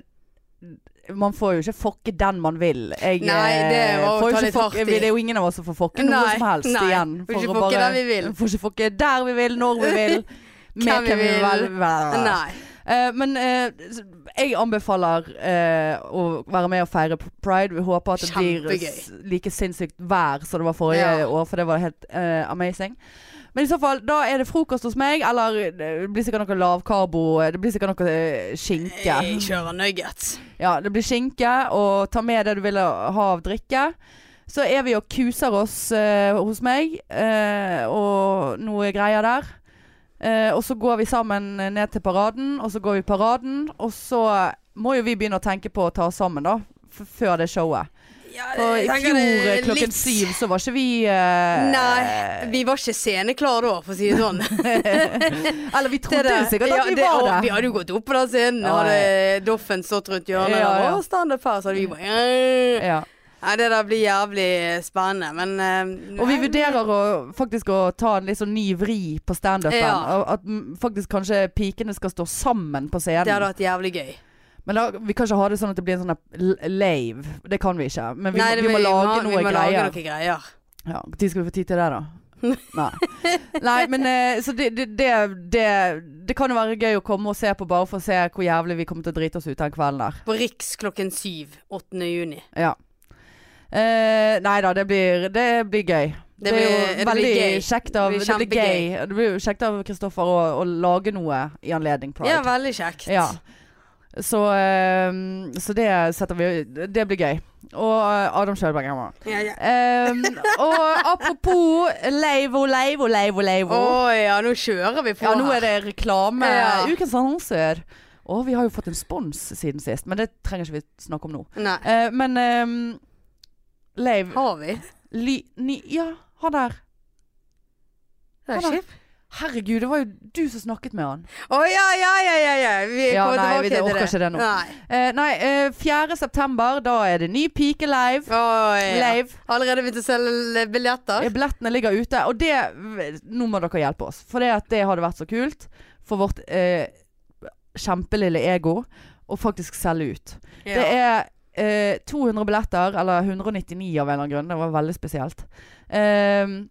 Speaker 1: Man får jo ikke fokke den man vil. Jeg,
Speaker 2: Nei, det
Speaker 1: eh,
Speaker 2: var å
Speaker 1: får jo
Speaker 2: ta
Speaker 1: ikke
Speaker 2: litt
Speaker 1: fokke-
Speaker 2: hardt i.
Speaker 1: Det er jo ingen av oss som får fokke noe
Speaker 2: Nei,
Speaker 1: som helst
Speaker 2: nei.
Speaker 1: igjen.
Speaker 2: Får ikke
Speaker 1: å
Speaker 2: fokke der vi vil.
Speaker 1: Får ikke fokke der vi vil, når vi vil. Med hvem vi vil.
Speaker 2: Nei.
Speaker 1: Eh, men eh, s- jeg anbefaler eh, å være med og feire p- pride. Vi håper at det blir
Speaker 2: Kjempegøy.
Speaker 1: s- like sinnssykt vær som det var forrige
Speaker 2: Ja.
Speaker 1: år, for det var helt eh, amazing. Men i så fall, da er det frokost hos meg, eller eh, det blir sikkert noe lavkarbo. Det blir sikkert noe eh, skinke.
Speaker 2: Jeg kjører nuggets.
Speaker 1: Ja, det blir skinke, og ta med det du vil ha av drikke. Så er vi og kuser oss eh, hos meg, eh, og noe greier der. Eh, og så går vi sammen ned til paraden, og så går vi i paraden. Og så må jo vi begynne å tenke på å ta oss sammen, da. f- Før det showet.
Speaker 2: Ja,
Speaker 1: For i
Speaker 2: jeg tenker
Speaker 1: fjor eh,
Speaker 2: det er
Speaker 1: klokken
Speaker 2: litt-
Speaker 1: syv så var ikke vi eh,
Speaker 2: Nei, vi var ikke sceneklare da, for å si det sånn.
Speaker 1: Eller vi trodde jo
Speaker 2: det-
Speaker 1: sikkert at
Speaker 2: ja,
Speaker 1: vi
Speaker 2: det-
Speaker 1: var
Speaker 2: og Vi
Speaker 1: der.
Speaker 2: hadde jo gått opp på den scenen,
Speaker 1: Ja,
Speaker 2: hadde Doffen stått rundt hjørnet
Speaker 1: Ja, ja. Mm.
Speaker 2: og standup her, så hadde vi bare
Speaker 1: Ja.
Speaker 2: Nei, det der blir jævlig spennende, men eh,
Speaker 1: Og vi
Speaker 2: nei,
Speaker 1: vurderer å, faktisk å ta en litt sånn ny vri på standupen.
Speaker 2: Ja.
Speaker 1: og At mm, faktisk kanskje pikene skal stå sammen på
Speaker 2: Det hadde
Speaker 1: scenen.
Speaker 2: vært jævlig gøy.
Speaker 1: Men da, vi kan ikke ha det sånn at det blir en sånn der l- lave. Det kan vi ikke. Men vi,
Speaker 2: Nei,
Speaker 1: må-
Speaker 2: det-
Speaker 1: vi må lage
Speaker 2: vi
Speaker 1: noe
Speaker 2: må lage
Speaker 1: greier.
Speaker 2: noen greier.
Speaker 1: Ja, Når skal vi få tid til det, da? Nei. Nei, men eh, så det, det, det, det, det kan jo være gøy å komme og se på, bare for å se hvor jævlig vi kommer til å drite oss ut den kvelden der.
Speaker 2: På Riks klokken syv 8. juni.
Speaker 1: Ja. Eh, nei da, det blir, det blir gøy. Det,
Speaker 2: Det blir-
Speaker 1: er jo
Speaker 2: det blir
Speaker 1: veldig
Speaker 2: gøy.
Speaker 1: kjekt av
Speaker 2: Det
Speaker 1: Det
Speaker 2: blir
Speaker 1: blir, gøy. Det blir jo kjekt av Kristoffer å, å lage noe i anledning pride.
Speaker 2: Ja, veldig kjekt.
Speaker 1: Ja. Så, eh, så det setter vi Det blir gøy. Og eh, Adam Sjølberg er med.
Speaker 2: Ja, ja.
Speaker 1: Em, og apropos Leivo, Leivo, Leivo, Leivo.
Speaker 2: Å ja, nå kjører vi på.
Speaker 1: ja, nå er
Speaker 2: her.
Speaker 1: det reklame.
Speaker 2: Ja.
Speaker 1: Ukens annonsør. Å, vi har jo fått en spons siden sist, men det trenger ikke vi snakke om nå.
Speaker 2: Nei.
Speaker 1: Eh, men um, Leiv
Speaker 2: Har vi?
Speaker 1: Ly... Ni, ja, han der.
Speaker 2: Det er
Speaker 1: Ha det.
Speaker 2: kjipt.
Speaker 1: Herregud, det var jo du som snakket med han.
Speaker 2: Å ja, ja, ja, ja, ja. Vi
Speaker 1: Ja,
Speaker 2: kommer
Speaker 1: nei,
Speaker 2: tilbake
Speaker 1: vi
Speaker 2: til det.
Speaker 1: orker ikke det nå.
Speaker 2: Nei.
Speaker 1: Eh, nei, eh, 4. september, da er det ny pike live.
Speaker 2: Å, ja.
Speaker 1: Live.
Speaker 2: Allerede begynt å selge billetter?
Speaker 1: Eh, Billettene ligger ute. Og det Nå må dere hjelpe oss. For det, at det hadde vært så kult for vårt eh, kjempelille ego å faktisk selge ut. Det er eh, 200 billetter, eller 199 av en eller annen grunn. Det var veldig spesielt. Ehm,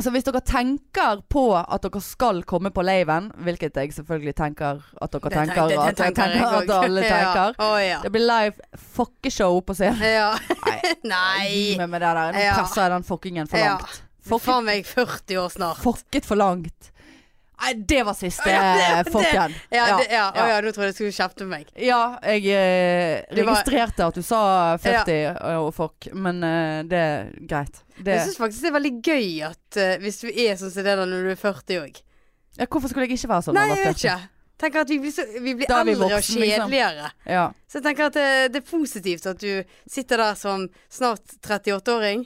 Speaker 1: så hvis dere tenker på at dere skal komme på laven, hvilket jeg selvfølgelig tenker at dere tenker,
Speaker 2: det- det
Speaker 1: at, jeg tenker
Speaker 2: jeg
Speaker 1: at alle
Speaker 2: også.
Speaker 1: tenker
Speaker 2: Ja. Å, ja.
Speaker 1: Det blir live fuckeshow på scenen.
Speaker 2: ja.
Speaker 1: Gi
Speaker 2: Nei!
Speaker 1: meg med det der. Nå
Speaker 2: Ja.
Speaker 1: presser jeg den fuckingen for
Speaker 2: Ja.
Speaker 1: langt. Fucket,
Speaker 2: Faen meg 40 år snart.
Speaker 1: fucket for langt. Nei, det var siste
Speaker 2: Ja, det- det-
Speaker 1: fucken.
Speaker 2: Ja,
Speaker 1: Ja,
Speaker 2: det, ja. Å,
Speaker 1: ja.
Speaker 2: ja, nå trodde jeg du skulle kjefte på meg.
Speaker 1: Ja, jeg eh,
Speaker 2: Det var-
Speaker 1: registrerte at du sa 40 og fuck, men eh, det er greit. Det,
Speaker 2: Jeg syns faktisk det er veldig gøy at eh, hvis du er sånn som det der når du er 40 òg.
Speaker 1: ja, hvorfor skulle jeg ikke være sånn?
Speaker 2: Nei,
Speaker 1: når
Speaker 2: jeg
Speaker 1: var
Speaker 2: vet
Speaker 1: 40?
Speaker 2: ikke. Tenker at vi blir, så, vi blir
Speaker 1: Da er vi
Speaker 2: eldre og
Speaker 1: voksne, liksom.
Speaker 2: kjedeligere.
Speaker 1: Ja.
Speaker 2: Så jeg tenker at det, det er positivt at du sitter der som snart 38-åring.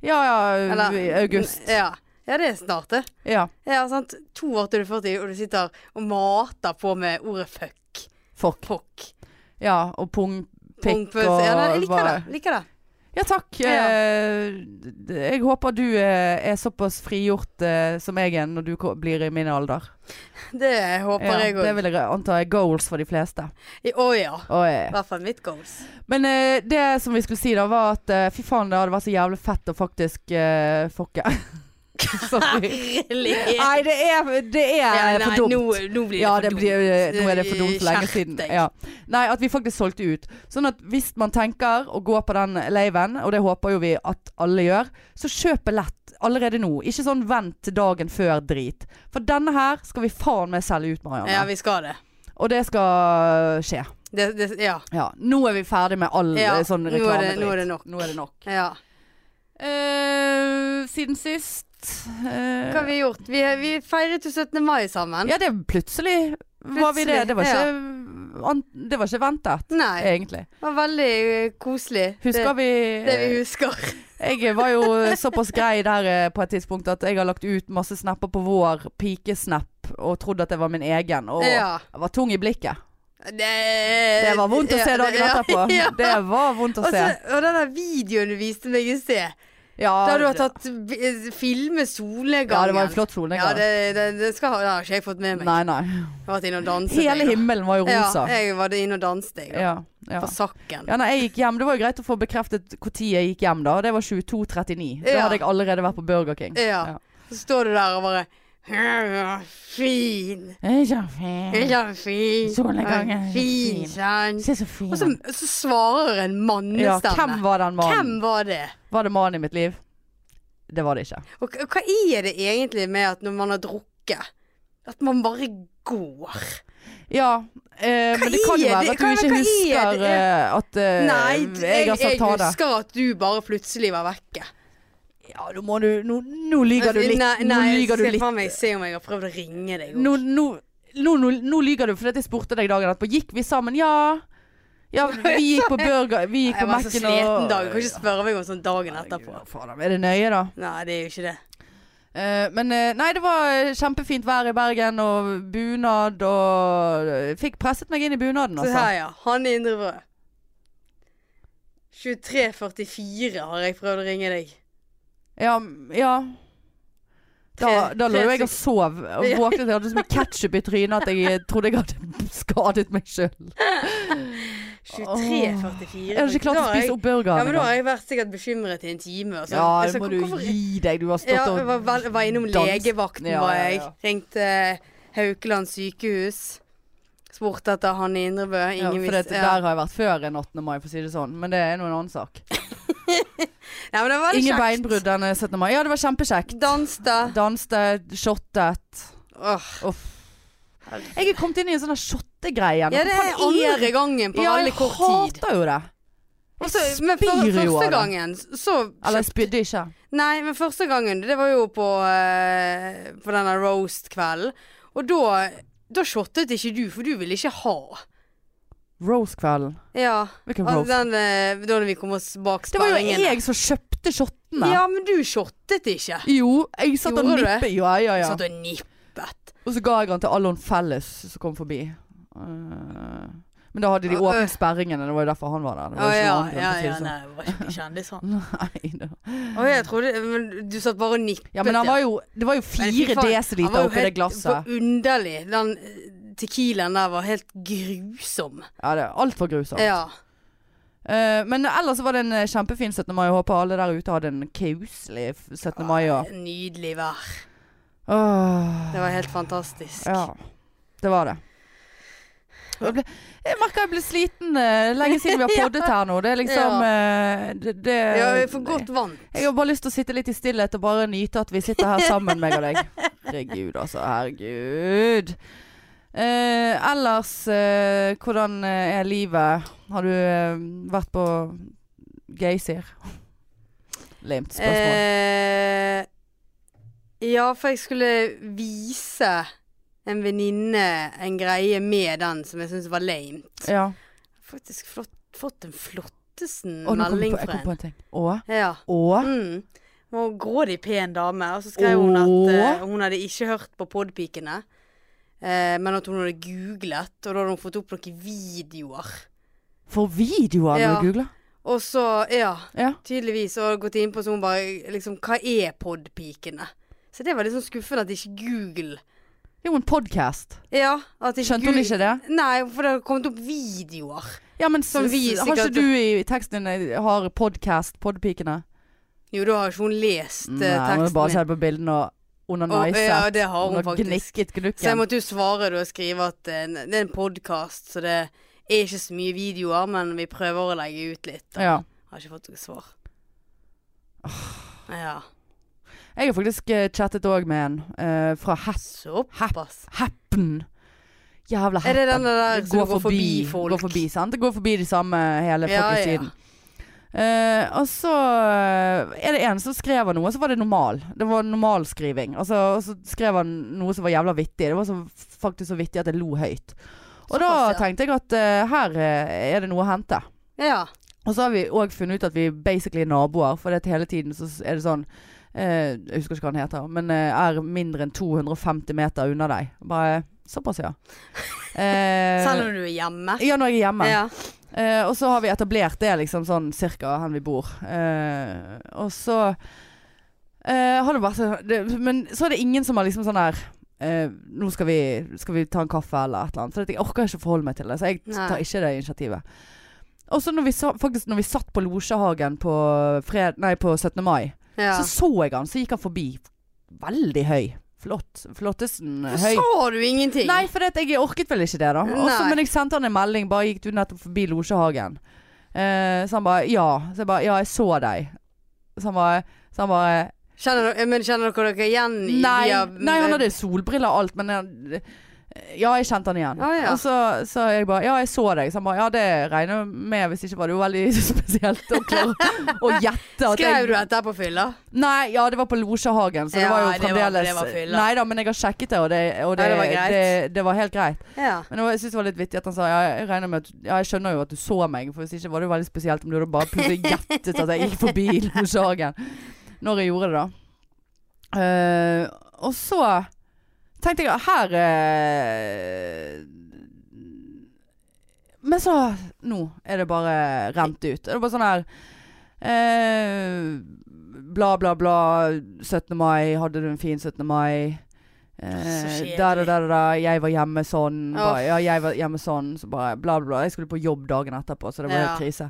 Speaker 1: ja, ja,
Speaker 2: Eller-
Speaker 1: Mm, i august.
Speaker 2: Ja. ja, det er snart, det.
Speaker 1: Ja.
Speaker 2: Ja, sant. To år til du er 40, og du sitter og mater på med ordet fuck.
Speaker 1: Fuck.
Speaker 2: Fuck.
Speaker 1: Ja, og pung, pikk
Speaker 2: Pumpe-
Speaker 1: og
Speaker 2: ja, nei, Jeg liker
Speaker 1: bare-
Speaker 2: det. Liker det.
Speaker 1: Ja, takk.
Speaker 2: Ja.
Speaker 1: Eh, d- jeg håper du eh, er såpass frigjort eh, som jeg er når du ko- blir i min alder.
Speaker 2: Det håper
Speaker 1: Ja,
Speaker 2: jeg
Speaker 1: det
Speaker 2: òg.
Speaker 1: vil jeg anta er goals for de fleste. eh,
Speaker 2: Å ja.
Speaker 1: Oi. ja.
Speaker 2: I hvert fall mitt goals.
Speaker 1: Men eh, det som vi skulle si da var at eh, fy faen det hadde vært så jævlig fett å faktisk eh, fucke. Sorry.
Speaker 2: Herlig.
Speaker 1: Nei, det er, det er
Speaker 2: Ja, nei,
Speaker 1: for dumt.
Speaker 2: Nå, nå blir det
Speaker 1: ja,
Speaker 2: for
Speaker 1: det
Speaker 2: dumt.
Speaker 1: blir, eh, nå er det for dumt for lenge
Speaker 2: Skjerp
Speaker 1: siden.
Speaker 2: deg.
Speaker 1: Ja. Nei, at vi faktisk solgte ut. Sånn at hvis man tenker å gå på den laven, og det håper jo vi at alle gjør, så kjøp billett allerede nå. Ikke sånn vent til dagen før drit. For denne her skal vi faen meg selge ut, Marianne.
Speaker 2: Ja, vi skal det.
Speaker 1: Og det skal skje.
Speaker 2: det, det ja.
Speaker 1: Ja. Nå er vi ferdig med all
Speaker 2: Ja,
Speaker 1: eh, sånn
Speaker 2: nå er det-
Speaker 1: reklamedritt.
Speaker 2: nå er det nok.
Speaker 1: Nå er det nok.
Speaker 2: ja.
Speaker 1: Eh, siden sist eh,
Speaker 2: Hva har vi gjort? Vi, vi feiret jo 17. mai sammen.
Speaker 1: Ja, det er plutselig, var vi det.
Speaker 2: Plutselig,
Speaker 1: Det var ikke, an, det var ikke ventet,
Speaker 2: Nei.
Speaker 1: egentlig.
Speaker 2: Det var veldig eh, koselig.
Speaker 1: Husker
Speaker 2: det,
Speaker 1: vi,
Speaker 2: det vi husker.
Speaker 1: Jeg var jo såpass grei der eh, på et tidspunkt at jeg har lagt ut masse snapper på vår pikesnap og trodd at det var min egen. Og
Speaker 2: Ja.
Speaker 1: jeg var tung i blikket.
Speaker 2: Det,
Speaker 1: Det var vondt å se
Speaker 2: ja,
Speaker 1: dagen
Speaker 2: ja,
Speaker 1: etterpå.
Speaker 2: ja.
Speaker 1: Det var vondt å
Speaker 2: Og,
Speaker 1: se.
Speaker 2: så, og den der videoen du viste meg i sted.
Speaker 1: Ja,
Speaker 2: Da du har
Speaker 1: det-
Speaker 2: tatt vi- filme solgangen.
Speaker 1: Ja, det var en flott solnedgang.
Speaker 2: Ja, det, det, det, skal, ha- det har ikke jeg fått med meg.
Speaker 1: Nei, nei.
Speaker 2: Jeg har vært inne og danset.
Speaker 1: Hele
Speaker 2: jeg, da.
Speaker 1: himmelen var jo rosa.
Speaker 2: Ja, jeg var inne og danset, jeg. da.
Speaker 1: Ja, ja.
Speaker 2: På Sakken.
Speaker 1: Ja, nei, jeg gikk hjem. Det var jo greit å få bekreftet når jeg gikk hjem, da. og Det var 22.39. Da
Speaker 2: Ja.
Speaker 1: hadde jeg allerede vært på Burger King.
Speaker 2: Ja. Så står du der og bare «Ja, Fin.
Speaker 1: Ja.
Speaker 2: Ja, fin.
Speaker 1: Solnedgangen er
Speaker 2: Fin,
Speaker 1: fin.
Speaker 2: sant.
Speaker 1: Se så fin
Speaker 2: Og så, så svarer en
Speaker 1: Ja,
Speaker 2: mannestemme.
Speaker 1: hvem var den mannen?
Speaker 2: Hvem var det?
Speaker 1: Var det mannen i mitt liv? Det var det ikke.
Speaker 2: Og k- hva er det egentlig med at når man har drukket, at man bare går?
Speaker 1: Ja, eh, men det kan jo
Speaker 2: er
Speaker 1: være
Speaker 2: det?
Speaker 1: at du ikke
Speaker 2: Hva- hva er
Speaker 1: husker
Speaker 2: det?
Speaker 1: eh, at eh,
Speaker 2: Nei,
Speaker 1: jeg har sagt ha det.
Speaker 2: husker at du bare plutselig var vekke.
Speaker 1: Ja, nå må du Nå, nå lyver du litt.
Speaker 2: Nei,
Speaker 1: nå
Speaker 2: nei,
Speaker 1: lyver du
Speaker 2: se
Speaker 1: litt.
Speaker 2: faen meg se om jeg har prøvd å ringe deg.
Speaker 1: Nå, nå, nå, nå, nå lyver du, fordi at jeg spurte deg dagen etterpå. Gikk vi sammen? Ja. Ja, vi gikk på burger Vi gikk
Speaker 2: jeg
Speaker 1: på
Speaker 2: var så
Speaker 1: Mac-en og
Speaker 2: sliten dag. Du kan ikke spørre meg om sånn dagen etterpå.
Speaker 1: Ja, faen, Er det nøye, da?
Speaker 2: Nei, det er jo ikke det.
Speaker 1: Eh, men eh, nei, det var eh, kjempefint vær i Bergen, og bunad og eh, Fikk presset meg inn i bunaden,
Speaker 2: Se
Speaker 1: altså.
Speaker 2: her, ja. Han i Indre Vrø. 23.44 har jeg prøvd å ringe deg.
Speaker 1: Ja. ja. Da,
Speaker 2: Tre-
Speaker 1: da lå
Speaker 2: tre
Speaker 1: jo jeg og
Speaker 2: stykker.
Speaker 1: sov, og våknet jeg hadde så mye ketsjup i trynet at jeg eh, trodde jeg hadde skadet meg sjøl.
Speaker 2: 23.44.
Speaker 1: Jeg hadde ikke klart å spise opp
Speaker 2: Ja, men
Speaker 1: burgeren.
Speaker 2: da
Speaker 1: engang.
Speaker 2: har jeg vært sikkert bekymret i en time. Og så.
Speaker 1: Ja,
Speaker 2: jeg
Speaker 1: det
Speaker 2: sa,
Speaker 1: må du
Speaker 2: hvorfor-
Speaker 1: gi deg. Du har stått
Speaker 2: Ja,
Speaker 1: og
Speaker 2: jeg var, vel- var innom
Speaker 1: dans-
Speaker 2: legevakten,
Speaker 1: Ja, ja,
Speaker 2: var jeg.
Speaker 1: ja.
Speaker 2: Ringte eh, Haukeland sykehus. Spurte etter han i Indrebø.
Speaker 1: Ja,
Speaker 2: Ingen
Speaker 1: for det,
Speaker 2: visste. Ja.
Speaker 1: der har jeg vært før en 18. mai, for å si det sånn. Men det er nå en annen sak.
Speaker 2: Nei, men det var
Speaker 1: Ingen
Speaker 2: kjekt.
Speaker 1: beinbrudd den 17. mai. Ja, det var kjempekjekt.
Speaker 2: Danste.
Speaker 1: Danset, shottet.
Speaker 2: Åh.
Speaker 1: Uff. Jeg er kommet inn i en sånn der shottegreie igjen.
Speaker 2: Ja, det er andre gangen på
Speaker 1: Ja,
Speaker 2: veldig
Speaker 1: jeg
Speaker 2: kort tid.
Speaker 1: hater jo det.
Speaker 2: Altså,
Speaker 1: Jeg
Speaker 2: men for,
Speaker 1: spyr jo av
Speaker 2: første
Speaker 1: det.
Speaker 2: gangen så
Speaker 1: Eller jeg spydde ikke.
Speaker 2: Nei, men første gangen, det var jo på, eh, på denne roast-kvelden. Og da, da shottet ikke du, for du ville ikke ha.
Speaker 1: Rose-kvelden.
Speaker 2: Ja.
Speaker 1: Hvilken
Speaker 2: Altså,
Speaker 1: rose?
Speaker 2: den, eh, da når vi kom oss bak
Speaker 1: Det var jo
Speaker 2: sperringen.
Speaker 1: jeg som kjøpte shottene.
Speaker 2: Ja, men du shottet ikke.
Speaker 1: Jo, jeg satt og
Speaker 2: Gjorde du det?
Speaker 1: nippet. Ja, ja, ja.
Speaker 2: Satt og nippet.
Speaker 1: Og så ga jeg den til Allon Felles som kom forbi. Eh, Men da hadde de
Speaker 2: Ja, øh.
Speaker 1: åpnet sperringene. Det var jo derfor han var der. Det
Speaker 2: Å
Speaker 1: var jo ikke
Speaker 2: ja,
Speaker 1: noe annet grunn,
Speaker 2: ja,
Speaker 1: for å si
Speaker 2: ja.
Speaker 1: det sånn.
Speaker 2: Nei, jeg var ikke kjendis han.
Speaker 1: Nei, det var-
Speaker 2: Å, jeg trodde Men du satt bare og nippet.
Speaker 1: ja, men han var jo, det var jo
Speaker 2: Men fy
Speaker 1: fire
Speaker 2: faen, han var
Speaker 1: desiliter
Speaker 2: jo
Speaker 1: oppi det
Speaker 2: helt
Speaker 1: glasset.
Speaker 2: Underlig. Den eh, tequilaen der var helt grusom.
Speaker 1: Ja, det er altfor grusomt.
Speaker 2: Ja.
Speaker 1: Eh, men ellers var det en eh, kjempefin 17. mai. Jeg håper alle der ute hadde en kauselig f- 17. mai. Og.
Speaker 2: Nydelig vær.
Speaker 1: Åh,
Speaker 2: Det var helt fantastisk.
Speaker 1: ja, det var det. Jeg, ble, jeg merker jeg ble sliten. eh, Lenge siden vi har poddet her nå. Det er liksom eh, det, det,
Speaker 2: Ja, vi får godt vann.
Speaker 1: Jeg har bare lyst til å sitte litt i stillhet og bare nyte at vi sitter her sammen, meg og deg. Herregud, altså. Herregud. Eh, ellers, eh, hvordan eh, er livet? Har du eh, vært på Geysir? Lamt spørsmål.
Speaker 2: Eh, ja, for jeg skulle vise en venninne en greie med den som jeg syntes var lame.
Speaker 1: ja.
Speaker 2: Faktisk flott, fått en flottesen
Speaker 1: Og nå kom jeg
Speaker 2: melding
Speaker 1: på, jeg
Speaker 2: fra
Speaker 1: kom
Speaker 2: en.
Speaker 1: på en ting. Å?
Speaker 2: Ja.
Speaker 1: Å?
Speaker 2: Mm. Hun var grådig pen dame, og så skrev hun at
Speaker 1: Åh.
Speaker 2: eh, hun hadde ikke hørt på Podpikene, eh, men at hun hadde googlet, og da hadde hun fått opp noen videoer.
Speaker 1: For videoer
Speaker 2: Ja.
Speaker 1: når du googler?
Speaker 2: Og så, ja,
Speaker 1: Ja.
Speaker 2: tydeligvis, og gått inn på så hun bare liksom Hva er Podpikene? Så det var litt sånn skuffende at ikke Google
Speaker 1: Det er jo en podkast.
Speaker 2: Ja, at ikke
Speaker 1: Skjønte hun
Speaker 2: Google-
Speaker 1: ikke det?
Speaker 2: Nei, for det har kommet opp videoer.
Speaker 1: Ja, men så,
Speaker 2: Som vi
Speaker 1: har ikke
Speaker 2: sikkert-
Speaker 1: du i teksten din eh, har podkast, Podpikene?
Speaker 2: Jo, da har ikke hun lest eh,
Speaker 1: Nei, men
Speaker 2: teksten
Speaker 1: bare
Speaker 2: min.
Speaker 1: se på bildene og hun har
Speaker 2: Og-
Speaker 1: niset.
Speaker 2: ja, det har hun
Speaker 1: Hun har
Speaker 2: faktisk.
Speaker 1: gnikket
Speaker 2: Så jeg
Speaker 1: gnukken.
Speaker 2: måtte jo svare da og skrive at eh, ne- det er en podkast, så det er ikke så mye videoer, men vi prøver å legge ut litt. da.
Speaker 1: Ja.
Speaker 2: Har ikke fått noe svar. Ja.
Speaker 1: Jeg har faktisk eh, chattet òg med en eh, fra Hap-
Speaker 2: Såpass.
Speaker 1: Happen. Jævla
Speaker 2: Er
Speaker 1: Happen.
Speaker 2: det den der som går forbi folk?
Speaker 1: Går forbi, sant? Det går forbi de samme hele
Speaker 2: Ja,
Speaker 1: fuckings
Speaker 2: ja.
Speaker 1: tiden. Eh, og så eh, er det en som skrev noe, så var det normal. Det var normalskriving. Altså, og så skrev han noe som var jævla vittig. Det var så, faktisk så vittig at jeg lo høyt. Og da
Speaker 2: Såpass, ja.
Speaker 1: tenkte jeg at eh, her eh, er det noe å hente.
Speaker 2: Ja.
Speaker 1: Og så har vi òg funnet ut at vi basically er naboer, for det at hele tiden så er det sånn eh, Jeg husker ikke hva han heter, men eh, er mindre enn 250 meter unna deg. Bare såpass, ja. Eh,
Speaker 2: Selv om du er hjemme.
Speaker 1: ja, når jeg er hjemme.
Speaker 2: Ja.
Speaker 1: Eh, og så har vi etablert det liksom sånn cirka hvor vi bor. Eh, og så eh, har det vært sånn det, Men så er det ingen som har liksom sånn her eh, Nå skal vi, skal vi ta en kaffe eller et eller annet. For at jeg orker ikke forholde meg til det. Så jeg
Speaker 2: Nei.
Speaker 1: tar ikke det initiativet. Og så når vi, sa, faktisk, når vi satt på Losjehagen på, fred, nei, på 17. mai,
Speaker 2: Ja.
Speaker 1: så så jeg han, så gikk han forbi. Veldig høy. Flott. Flottesen
Speaker 2: Så
Speaker 1: høy.
Speaker 2: sa du ingenting.
Speaker 1: Nei, for det, at jeg orket vel ikke det, da. Også,
Speaker 2: Nei.
Speaker 1: men jeg sendte han en melding. Bare gikk du nettopp forbi Losjehagen? Eh, så han bare ja. Så jeg bare ja, jeg så deg. Så han bare, så han bare
Speaker 2: Kjenner dere, men kjenner dere dere igjen i
Speaker 1: nei,
Speaker 2: de av-
Speaker 1: nei, han hadde solbriller og alt, men han, eh, ja, jeg kjente han igjen.
Speaker 2: Ah, ja.
Speaker 1: Og så sa jeg bare ja, jeg så deg. Så han bare ja, det regner jeg med, hvis ikke var det jo veldig spesielt å klare å gjette at
Speaker 2: Skrev
Speaker 1: jeg
Speaker 2: du dette på fylla?
Speaker 1: Nei, ja, det var på Losjehagen, så det
Speaker 2: Ja,
Speaker 1: var jo
Speaker 2: det var-
Speaker 1: fremdeles
Speaker 2: det var fylla.
Speaker 1: Nei da, men jeg har sjekket det, og det, og det,
Speaker 2: Ja, det var
Speaker 1: det,
Speaker 2: greit.
Speaker 1: det, var helt greit.
Speaker 2: Ja.
Speaker 1: Men det var- jeg synes det var litt vittig at han sa ja, jeg, regner med at, ja, jeg skjønner jo at du så meg, for hvis ikke var det jo veldig spesielt om du hadde bare plutselig gjettet at jeg gikk forbi Losjehagen. Når jeg gjorde det, da. Eh, og så tenkte jeg her eh, Men så Nå er det bare rent ut. Det er bare sånn her eh, Bla, bla, bla. 17. mai. Hadde du en fin 17. mai?
Speaker 2: Så
Speaker 1: Eh,
Speaker 2: kjedelig.
Speaker 1: da, da, da, da, da. Jeg var hjemme sånn.
Speaker 2: Åh.
Speaker 1: Bare, ja, jeg var hjemme sånn. Så bare bla, bla, bla. Jeg skulle på jobb dagen etterpå, så det var
Speaker 2: Ja.
Speaker 1: helt krise.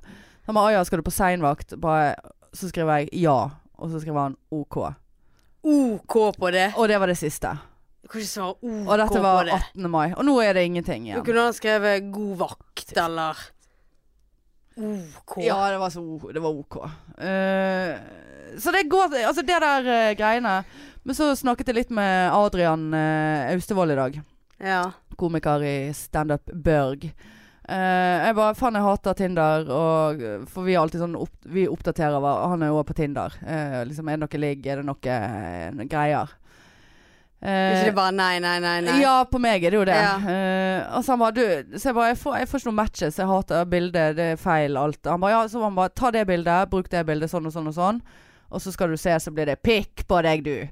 Speaker 1: Han bare 'Å ja, skal du på seinvakt?' Bare, så skriver jeg 'ja', og så skriver han 'OK'.
Speaker 2: OK på det.
Speaker 1: Og det var det siste.
Speaker 2: Du kan ikke svare OK
Speaker 1: Og dette
Speaker 2: på
Speaker 1: var
Speaker 2: det.
Speaker 1: 18. mai. Og nå er det ingenting
Speaker 2: Du
Speaker 1: igjen.
Speaker 2: kunne ha skrevet 'god vakt' eller OK.
Speaker 1: Ja, det var, så, det var OK. Eh, så det går Altså, det der eh, greiene. Men så snakket jeg litt med Adrian eh, Austevoll i dag.
Speaker 2: Ja.
Speaker 1: Komiker i standup Børg. Eh, jeg bare Faen, jeg hater Tinder, og For vi er alltid sånn opp, Vi oppdaterer hva Han er jo også på Tinder. Eh, liksom, er det noe ligg? Er det noe eh, greier?
Speaker 2: Er
Speaker 1: Uh,
Speaker 2: Ikke det bare nei, nei, nei, nei.
Speaker 1: Ja, på meg er det jo det.
Speaker 2: Ja.
Speaker 1: Eh, og så han bare du, så jeg bare jeg får, jeg får ikke noen matches, jeg hater bildet, det er feil alt. Han bare ja, så han bare ta det bildet, bruk det bildet, sånn og sånn og sånn. Og så skal du se, så blir det pikk på deg, du.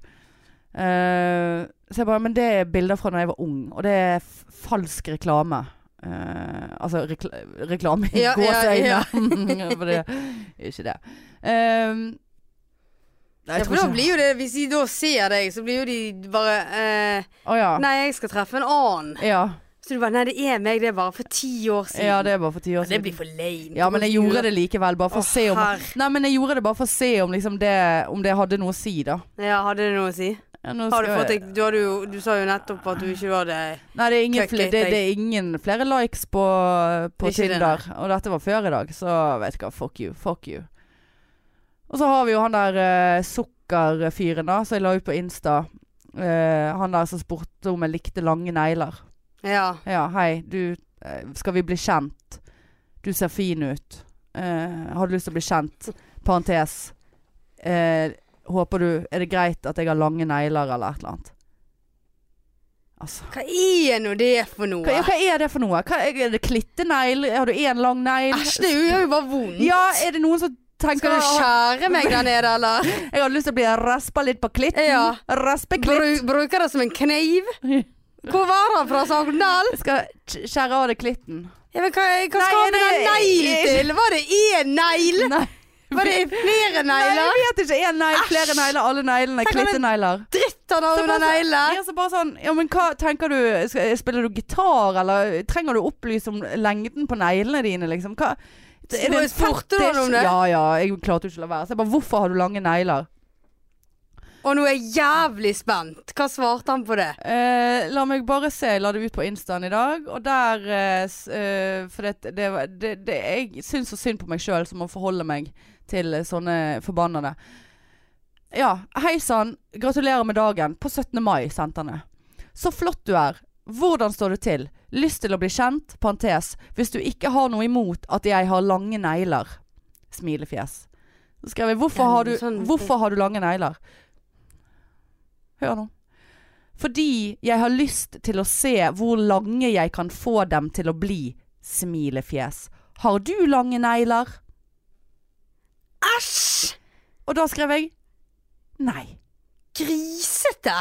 Speaker 1: Eh, så jeg bare Men det er bilder fra da jeg var ung, og det er f falsk reklame. Eh, altså rekl reklame i
Speaker 2: Ja, ja, ja.
Speaker 1: gåseøyne. For det er ikke det. Eh, nei,
Speaker 2: Ja,
Speaker 1: jeg tror
Speaker 2: for da
Speaker 1: ikke
Speaker 2: blir jo det, Hvis de da ser deg, så blir jo de bare eh,
Speaker 1: Å ja.
Speaker 2: Nei, jeg skal treffe en annen.
Speaker 1: ja.
Speaker 2: Så du bare Nei, det er meg, det er bare for ti år siden.
Speaker 1: Ja, det er bare for ti år
Speaker 2: Ja, det
Speaker 1: siden.
Speaker 2: blir for lame.
Speaker 1: Ja, men jeg gjorde det likevel, bare for å
Speaker 2: Åh,
Speaker 1: se om
Speaker 2: herre.
Speaker 1: Nei, men jeg gjorde det bare for å se om liksom det, om det hadde noe å si, da.
Speaker 2: Ja, hadde det noe å si?
Speaker 1: Ja, nå
Speaker 2: Har du
Speaker 1: skal
Speaker 2: fått
Speaker 1: jeg-
Speaker 2: deg Du, hadde jo, du sa jo nettopp at du ikke var det
Speaker 1: Nei, det er, ingen
Speaker 2: Clickbait,
Speaker 1: fle- det, det er ingen flere likes på, på
Speaker 2: Ikke det,
Speaker 1: Tinder. Og dette var før i dag, så vet du hva. Fuck you. Fuck you. Og så har vi jo han der eh, sukkerfyren, da, som jeg la ut på Insta. Eh, han der som spurte om jeg likte lange negler.
Speaker 2: Ja.
Speaker 1: Ja, hei, du eh, Skal vi bli kjent? Du ser fin ut. Eh, har du lyst til å bli kjent? Parentes. Eh, håper du Er det greit at jeg har lange negler, eller et eller annet? Altså
Speaker 2: Hva er nå det for noe?
Speaker 1: hva, ja, hva er det for noe? Hva, er det klittenegl? Har du én lang negl?
Speaker 2: Æsj, det gjør jo bare vondt.
Speaker 1: Ja, er det noen som tenker
Speaker 2: Skal du skjære meg der nede, eller?
Speaker 1: Jeg har lyst til å bli raspa litt på klitten.
Speaker 2: Ja.
Speaker 1: Raspe klitt.
Speaker 2: Bru, bruker det som en kniv? Hvor var det fra Sogndal?
Speaker 1: Jeg skal sk- skjære av deg klitten.
Speaker 2: Ja, men hva, hva
Speaker 1: Nei,
Speaker 2: skal
Speaker 1: er
Speaker 2: man ha
Speaker 1: det-
Speaker 2: negl til? Var det én negl?
Speaker 1: Nei.
Speaker 2: Var det flere
Speaker 1: Nei,
Speaker 2: negler?
Speaker 1: jeg vet ikke. Én negl, flere
Speaker 2: Æsj.
Speaker 1: negler, alle neglene.
Speaker 2: Tenk om det-
Speaker 1: Klittenegler.
Speaker 2: Dritt han har
Speaker 1: Så bare
Speaker 2: under
Speaker 1: så-
Speaker 2: neglene.
Speaker 1: Ja, så bare sånn, ja, men hva tenker du skal, Spiller du gitar, eller trenger du å opplyse om lengden på neglene dine, liksom? Hva,
Speaker 2: Så bare spurte du han om det?
Speaker 1: Ja, ja, jeg klarte jo ikke å la være. Så jeg bare, hvorfor har du lange negler?
Speaker 2: Og nå er jeg jævlig spent. Hva svarte han på det?
Speaker 1: Eh, la meg bare se, jeg la det ut på Instaen i dag, og der eh, s- eh, For det, det, var- det, det Jeg syns så synd på meg sjøl som må forholde meg til eh, sånne forbannede. Ja, hei sann, gratulerer med dagen. På 17. mai sendte han det. Så flott du er. Hvordan står det til? Lyst til å bli kjent? Parentes. Hvis du ikke har noe imot at jeg har lange negler. Smilefjes. Så skrev jeg hvorfor
Speaker 2: Ja,
Speaker 1: har du,
Speaker 2: sånn-
Speaker 1: hvorfor har du lange negler? Hør nå. Fordi jeg har lyst til å se hvor lange jeg kan få dem til å bli. Smilefjes. Har du lange negler?
Speaker 2: Æsj!
Speaker 1: Og da skrev jeg Nei.
Speaker 2: Grisete!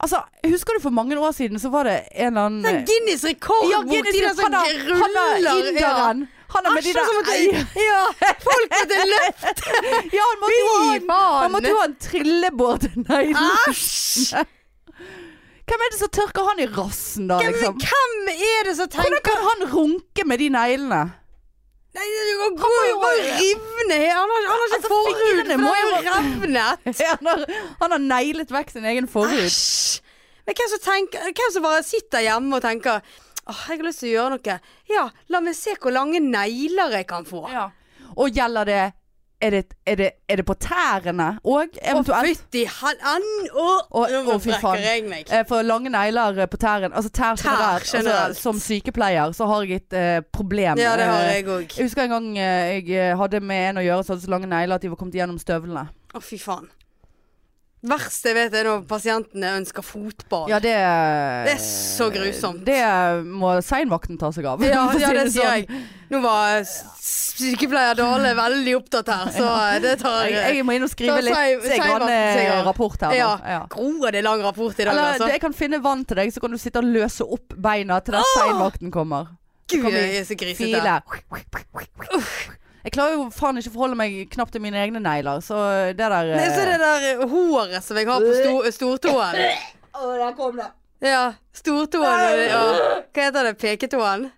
Speaker 1: Altså, husker du for mange år siden så var det en eller annen eh,
Speaker 2: Den Guinness rekord
Speaker 1: Ja,
Speaker 2: bort
Speaker 1: Guinness,
Speaker 2: i den som
Speaker 1: han er, han er
Speaker 2: ruller, ja.
Speaker 1: inderen. Han er med de
Speaker 2: Æsj,
Speaker 1: der
Speaker 2: som måtte, ja, folk måtte løfte
Speaker 1: Ja, han måtte jo ha
Speaker 2: Fy
Speaker 1: en, han måtte
Speaker 2: faen!
Speaker 1: jo ha en trillebår til
Speaker 2: Ah.
Speaker 1: neglen.
Speaker 2: Æsj!
Speaker 1: Hvem er det som tørker han i rassen, da,
Speaker 2: Hvem,
Speaker 1: liksom?
Speaker 2: hvem er det som
Speaker 1: Hvordan
Speaker 2: tenker
Speaker 1: kan han runke med de neglene?
Speaker 2: Nei, Han må jo bare rivne her. Han har, han har ikke
Speaker 1: Altså,
Speaker 2: forhud,
Speaker 1: fingrene
Speaker 2: for
Speaker 1: må
Speaker 2: han
Speaker 1: jo
Speaker 2: har jo revnet.
Speaker 1: Han har, han har neglet vekk sin egen forhud.
Speaker 2: Æsj! Men hvem som, tenker, hvem som bare sitter hjemme og tenker Åh, jeg har lyst til å gjøre noe. Ja, la meg se hvor lange negler jeg kan få.
Speaker 1: Ja. Og gjelder det er det, er, det, er det på tærne òg,
Speaker 2: Og
Speaker 1: eventuelt?
Speaker 2: fytti han og,
Speaker 1: Og-
Speaker 2: Nå
Speaker 1: og fy faen.
Speaker 2: brekker jeg meg.
Speaker 1: Eh, For lange negler eh, på tæren. Altså tær generelt.
Speaker 2: generelt.
Speaker 1: Altså, som sykepleier så har jeg et eh, problem.
Speaker 2: Ja, det har
Speaker 1: Eh,
Speaker 2: jeg òg.
Speaker 1: Jeg husker en gang eh, jeg eh, hadde med en å gjøre som hadde så lange negler at de var kommet gjennom støvlene.
Speaker 2: Å, fy faen. Verst jeg vet er når pasientene ønsker fotbad.
Speaker 1: Ja, det eh,
Speaker 2: Det er så grusomt.
Speaker 1: Det må seinvakten ta seg av.
Speaker 2: Ja,
Speaker 1: for å si
Speaker 2: ja, det sier
Speaker 1: sånn.
Speaker 2: jeg. Nå var s- sykepleier Dale veldig opptatt her, så eh, det tar
Speaker 1: Jeg, jeg må inn og skrive
Speaker 2: Ta
Speaker 1: litt
Speaker 2: sein-
Speaker 1: så jeg kan,
Speaker 2: seinvakten
Speaker 1: eh,
Speaker 2: seg av.
Speaker 1: rapport her.
Speaker 2: Ja.
Speaker 1: nå. Ja.
Speaker 2: Gro er det lang rapport i dag,
Speaker 1: Eller
Speaker 2: altså.
Speaker 1: det- jeg kan finne vann til deg, så kan du sitte og løse opp beina til den seinvakten kommer. kan
Speaker 2: Gud,
Speaker 1: vi
Speaker 2: jeg er så grisete.
Speaker 1: File. Jeg klarer jo faen ikke å forholde meg knapt til mine egne negler, så det der
Speaker 2: Nei, så
Speaker 1: eh,
Speaker 2: det der håret som jeg har på sto stortåen.
Speaker 1: Å, der kom det.
Speaker 2: Ja, stortåen og, og hva heter det, peketåen.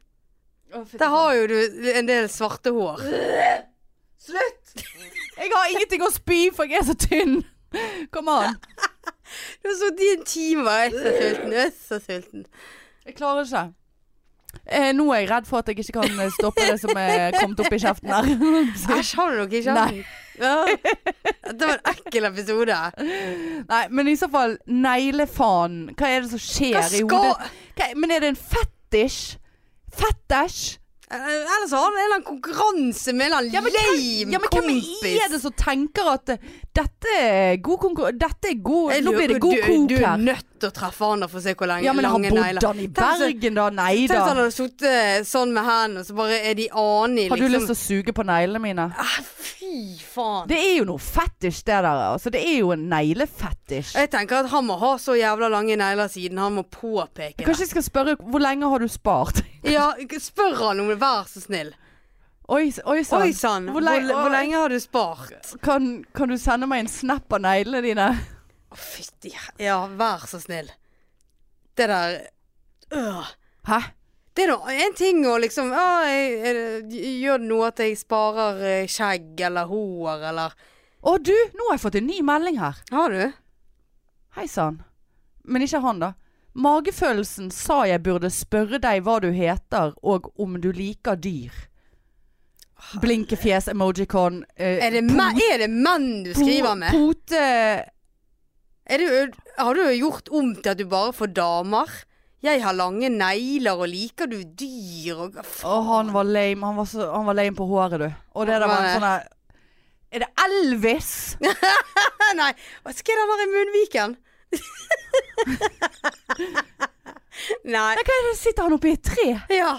Speaker 1: Å, fy
Speaker 2: Der
Speaker 1: faen.
Speaker 2: har jo du en del svarte hår.
Speaker 1: Slutt! eh, Jeg har ingenting å spy, for jeg er så tynn. Kom an.
Speaker 2: Du har sittet i en time og jeg er så sulten, jeg er så sulten.
Speaker 1: Jeg klarer ikke. Eh, nå er jeg redd for at jeg ikke kan eh, stoppe det som er kommet opp i kjeften her.
Speaker 2: Æsj, har du noe i kjeften? Ja. Det var en ekkel episode.
Speaker 1: Nei, men i så fall, neglefaen. Hva er det som
Speaker 2: Hva
Speaker 1: skjer i
Speaker 2: skal
Speaker 1: hodet? Hva, men er det en fetisj? Fetisj?
Speaker 2: Eh, Ellers har han en eller annen konkurranse med en eller
Speaker 1: men
Speaker 2: annen lame
Speaker 1: Ja, men hvem er
Speaker 2: kompis.
Speaker 1: det som tenker at eh, dette er god konkurranse Dette er god
Speaker 2: Jeg
Speaker 1: Nå blir det
Speaker 2: lurer-
Speaker 1: god
Speaker 2: Eh, du-
Speaker 1: kok
Speaker 2: Du er
Speaker 1: her.
Speaker 2: nødt til å treffe han og få se hvor lenge,
Speaker 1: Ja, men har
Speaker 2: lange negler
Speaker 1: bodd han i
Speaker 2: Tenk så-
Speaker 1: Bergen, da? Nei
Speaker 2: Tenk
Speaker 1: da.
Speaker 2: hvis han hadde sittet sånn med hendene, og så bare er de ane i
Speaker 1: Har du lyst
Speaker 2: liksom
Speaker 1: til å suge på neglene mine?
Speaker 2: ah, Fy faen.
Speaker 1: Det er jo noe fetisj det der, altså. Det er jo en neglefetisj.
Speaker 2: Jeg tenker at han må ha så jævla lange negler siden han må påpeke det.
Speaker 1: Kanskje jeg skal spørre hvor lenge har du spart?
Speaker 2: Ja, spør han om det, vær så snill.
Speaker 1: Oi, s- oi sann.
Speaker 2: Oi sann,
Speaker 1: Hvor
Speaker 2: hvor,
Speaker 1: lenge-
Speaker 2: le- hvor lenge har du spart?
Speaker 1: Kan, kan du sende meg en snap av neglene dine?
Speaker 2: Å, fytti he- Ja, vær så snill. Det der øh.
Speaker 1: Hæ?
Speaker 2: Det er nå en ting å liksom ah, jeg, er det- Gjør det noe at jeg sparer eh, skjegg eller hår eller
Speaker 1: Å du, nå har jeg fått en ny melding her.
Speaker 2: Har du?
Speaker 1: Hei sann. Men ikke han, da. Magefølelsen sa jeg burde spørre deg hva du heter og om du liker dyr. Blinkefjes, emojicon eh,
Speaker 2: Er det,
Speaker 1: po-
Speaker 2: me- er det menn du
Speaker 1: po-
Speaker 2: skriver med?
Speaker 1: Pote
Speaker 2: Er du, har du gjort om til at du bare får damer? Jeg har lange negler, og liker du dyr og
Speaker 1: Å, han var lame. Han var, så, han var lame på håret, du. Og det der var en
Speaker 2: Var det?
Speaker 1: sånn der Er det Elvis?
Speaker 2: Nei, hva skal den der i munnviken? Nei.
Speaker 1: Nei, hva er det? Sitter han oppi et tre?
Speaker 2: Ja.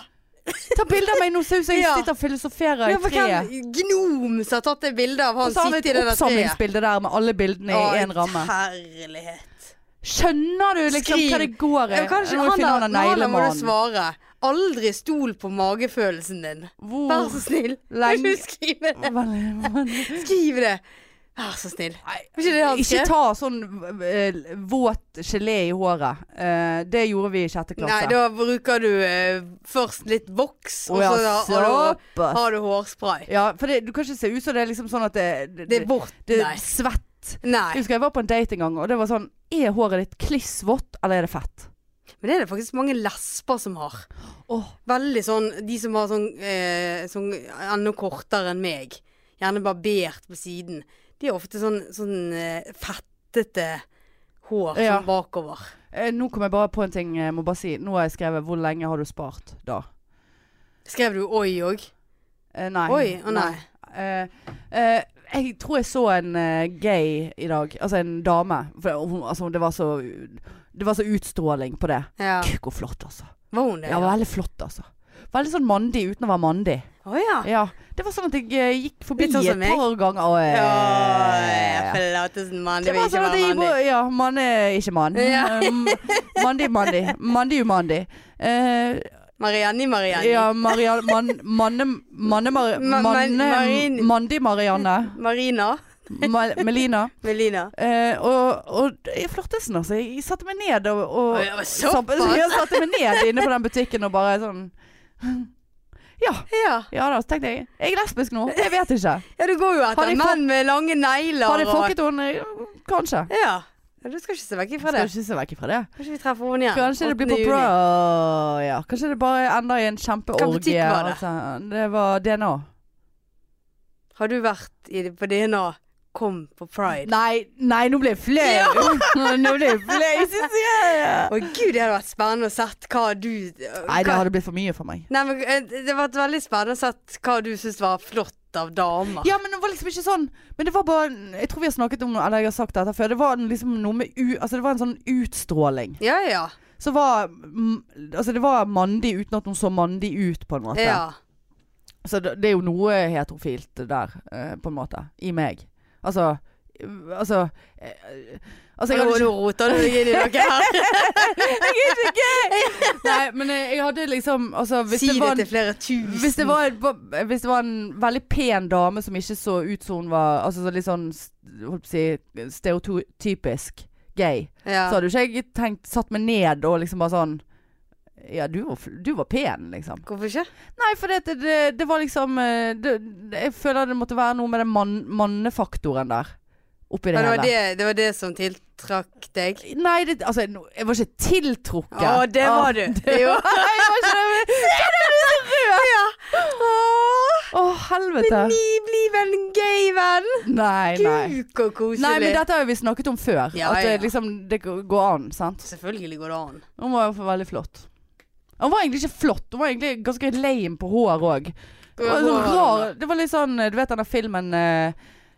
Speaker 1: Ta bilde av meg nå, ser ut som jeg
Speaker 2: Ja.
Speaker 1: sitter og filosoferer
Speaker 2: ja
Speaker 1: i
Speaker 2: for
Speaker 1: treet.
Speaker 2: hvem gnom som har tatt det bildet av
Speaker 1: Og
Speaker 2: han
Speaker 1: så har han
Speaker 2: sitte i
Speaker 1: et
Speaker 2: det der treet?
Speaker 1: oppsamlingsbilde der med alle bildene
Speaker 2: Å,
Speaker 1: i én ramme.
Speaker 2: Herlighet.
Speaker 1: Skjønner du liksom
Speaker 2: Skriv.
Speaker 1: hva det går i?
Speaker 2: Ja, kanskje
Speaker 1: Nå må vi
Speaker 2: han
Speaker 1: finne
Speaker 2: der
Speaker 1: han
Speaker 2: han der må du
Speaker 1: neglemannen.
Speaker 2: svare. Aldri stol på magefølelsen din. Vær
Speaker 1: Hvor
Speaker 2: så snill.
Speaker 1: Oh, lenge-
Speaker 2: Kan du skrive det?
Speaker 1: Veldig-
Speaker 2: Skriv det. Vær så snill. Var ikke det han
Speaker 1: Ikke
Speaker 2: skrev?
Speaker 1: ta sånn eh, våt gelé i håret. Eh, det gjorde vi i sjette klasse.
Speaker 2: Nei, da bruker du eh, først litt voks,
Speaker 1: Å
Speaker 2: og
Speaker 1: ja,
Speaker 2: så har, har, du,
Speaker 1: såpass.
Speaker 2: har du hårspray.
Speaker 1: Ja, for det, du kan ikke se ut som det er liksom sånn at det,
Speaker 2: Det er bort.
Speaker 1: det
Speaker 2: nei.
Speaker 1: er svett. Jeg
Speaker 2: nei.
Speaker 1: husker jeg var på en date en gang, og det var sånn Er håret ditt klissvått, eller er det fett?
Speaker 2: Men det er det faktisk mange lesber som har.
Speaker 1: Åh.
Speaker 2: Veldig sånn De som har sånn, eh, sånn enda kortere enn meg. Gjerne barbert på siden. De har ofte sånn, sånn eh, fettete hår
Speaker 1: Ja.
Speaker 2: sånn bakover.
Speaker 1: Eh, nå kom jeg bare på en ting jeg må bare si. Nå har jeg skrevet 'Hvor lenge har du spart?' da.
Speaker 2: Skrev du oi òg?
Speaker 1: Eh, nei.
Speaker 2: Oi, å nei.
Speaker 1: Eh, eh, jeg tror jeg så en eh, gay i dag. Altså en dame. For hun, altså, det, var så, det var så utstråling på det.
Speaker 2: Ja.
Speaker 1: Kuk og flott, altså.
Speaker 2: Var hun det?
Speaker 1: Ja, veldig flott, altså. Veldig sånn mandig uten å være mandig.
Speaker 2: Å ja.
Speaker 1: Ja. Det var sånn at jeg eh, gikk forbi
Speaker 2: Litt sånn som
Speaker 1: et par ganger og eh,
Speaker 2: Ja, Flatesen, mann.
Speaker 1: Det
Speaker 2: Det vil
Speaker 1: var
Speaker 2: ikke
Speaker 1: sånn at
Speaker 2: være
Speaker 1: jeg
Speaker 2: mandig.
Speaker 1: bo- Ja, mann er ikke mann.
Speaker 2: Ja.
Speaker 1: Um, Mandig, mandig. Mandig, umandig. Eh,
Speaker 2: Marianne, Marianne.
Speaker 1: ja, Marianne man, Manne... Manne... Mar,
Speaker 2: Ma- man-
Speaker 1: manne
Speaker 2: Marin-
Speaker 1: mandig Marianne.
Speaker 2: Marina.
Speaker 1: Mal- Melina.
Speaker 2: Melina.
Speaker 1: Eh, og, og i flørtelsen, altså. Jeg satte meg ned og, og
Speaker 2: Å, ja, men såpass.
Speaker 1: Satt- Jeg satte meg ned inne på den butikken og bare sånn Ja.
Speaker 2: Ja.
Speaker 1: Ja da, så tenkte jeg Jeg er lesbisk nå. Jeg vet ikke.
Speaker 2: ja, du går jo
Speaker 1: Har
Speaker 2: etter
Speaker 1: jeg
Speaker 2: menn med lange negler.
Speaker 1: Har jeg
Speaker 2: og-
Speaker 1: fucket henne? Kanskje.
Speaker 2: Ja. ja. Du skal ikke se vekk ifra
Speaker 1: Skal
Speaker 2: det.
Speaker 1: ikke se vekk ifra det.
Speaker 2: Kanskje vi treffer henne igjen.
Speaker 1: Kanskje det blir
Speaker 2: 8.
Speaker 1: på
Speaker 2: juni.
Speaker 1: pro... Ja, kanskje det bare ender i en
Speaker 2: Hvilken butikk
Speaker 1: kjempeorgie.
Speaker 2: var det?
Speaker 1: Altså. Det var DNA.
Speaker 2: Har du vært i, på DNA? Kom på pride.
Speaker 1: Nei, nei, nå ble jeg flau! nå ble jeg flau, syns jeg!
Speaker 2: Å gud, det hadde vært spennende å sett hva du
Speaker 1: Nei, det
Speaker 2: hva-
Speaker 1: hadde blitt for mye for meg.
Speaker 2: Nei, men eh, Det hadde vært veldig spennende å sett hva du syntes var flott av damer.
Speaker 1: Ja, men det var liksom ikke sånn Men det var bare Jeg tror vi har snakket om Eller jeg har sagt dette før. Det var en liksom noe med u... Altså, det var en sånn utstråling.
Speaker 2: Ja, ja.
Speaker 1: Så var mm, Altså, det var mandig uten at hun så mandig ut, på en måte.
Speaker 2: ja.
Speaker 1: Så det, det er jo noe heterofilt der, eh, på en måte. I meg. Altså eh, Altså, eh, altså jeg hadde
Speaker 2: Nå nå
Speaker 1: ikke,
Speaker 2: roter du deg inn i noe her.
Speaker 1: Nei, men jeg, jeg hadde liksom altså, hvis, det
Speaker 2: Si det
Speaker 1: var en,
Speaker 2: til flere tusen.
Speaker 1: hvis, det var, en- hvis det var en veldig pen dame som ikke så ut som hun var altså, så litt sånn st- holdt på å si, stereotypisk gay,
Speaker 2: ja.
Speaker 1: så hadde jo ikke jeg tenkt, satt meg ned og liksom bare sånn Ja, du var, fl- du var pen, liksom.
Speaker 2: Hvorfor ikke?
Speaker 1: Nei, for det, det, det var liksom eh, det, det, Jeg føler det måtte være noe med den mann, mannefaktoren der. Oppi det,
Speaker 2: Men det, var
Speaker 1: hele.
Speaker 2: det, det var det som tiltrakk deg?
Speaker 1: Nei, det, altså, no- jeg var ikke tiltrukket.
Speaker 2: Å, det
Speaker 1: Ah,
Speaker 2: var du.
Speaker 1: det
Speaker 2: Jo.
Speaker 1: var- Nei, jeg var ikke det.
Speaker 2: Ja. Åh,
Speaker 1: Å, helvete.
Speaker 2: ni blir vel en gay venn?
Speaker 1: Nei, nei.
Speaker 2: Gud, så koselig.
Speaker 1: Nei, men dette har jo vi snakket om før.
Speaker 2: Ja,
Speaker 1: at det,
Speaker 2: ja.
Speaker 1: liksom, det g- går an, sant.
Speaker 2: Selvfølgelig går det an.
Speaker 1: Hun var jo veldig flott. Hun var egentlig ikke flott, hun var egentlig ganske lame på hår òg. Det var sånn rar Det var litt sånn Du vet denne filmen eh,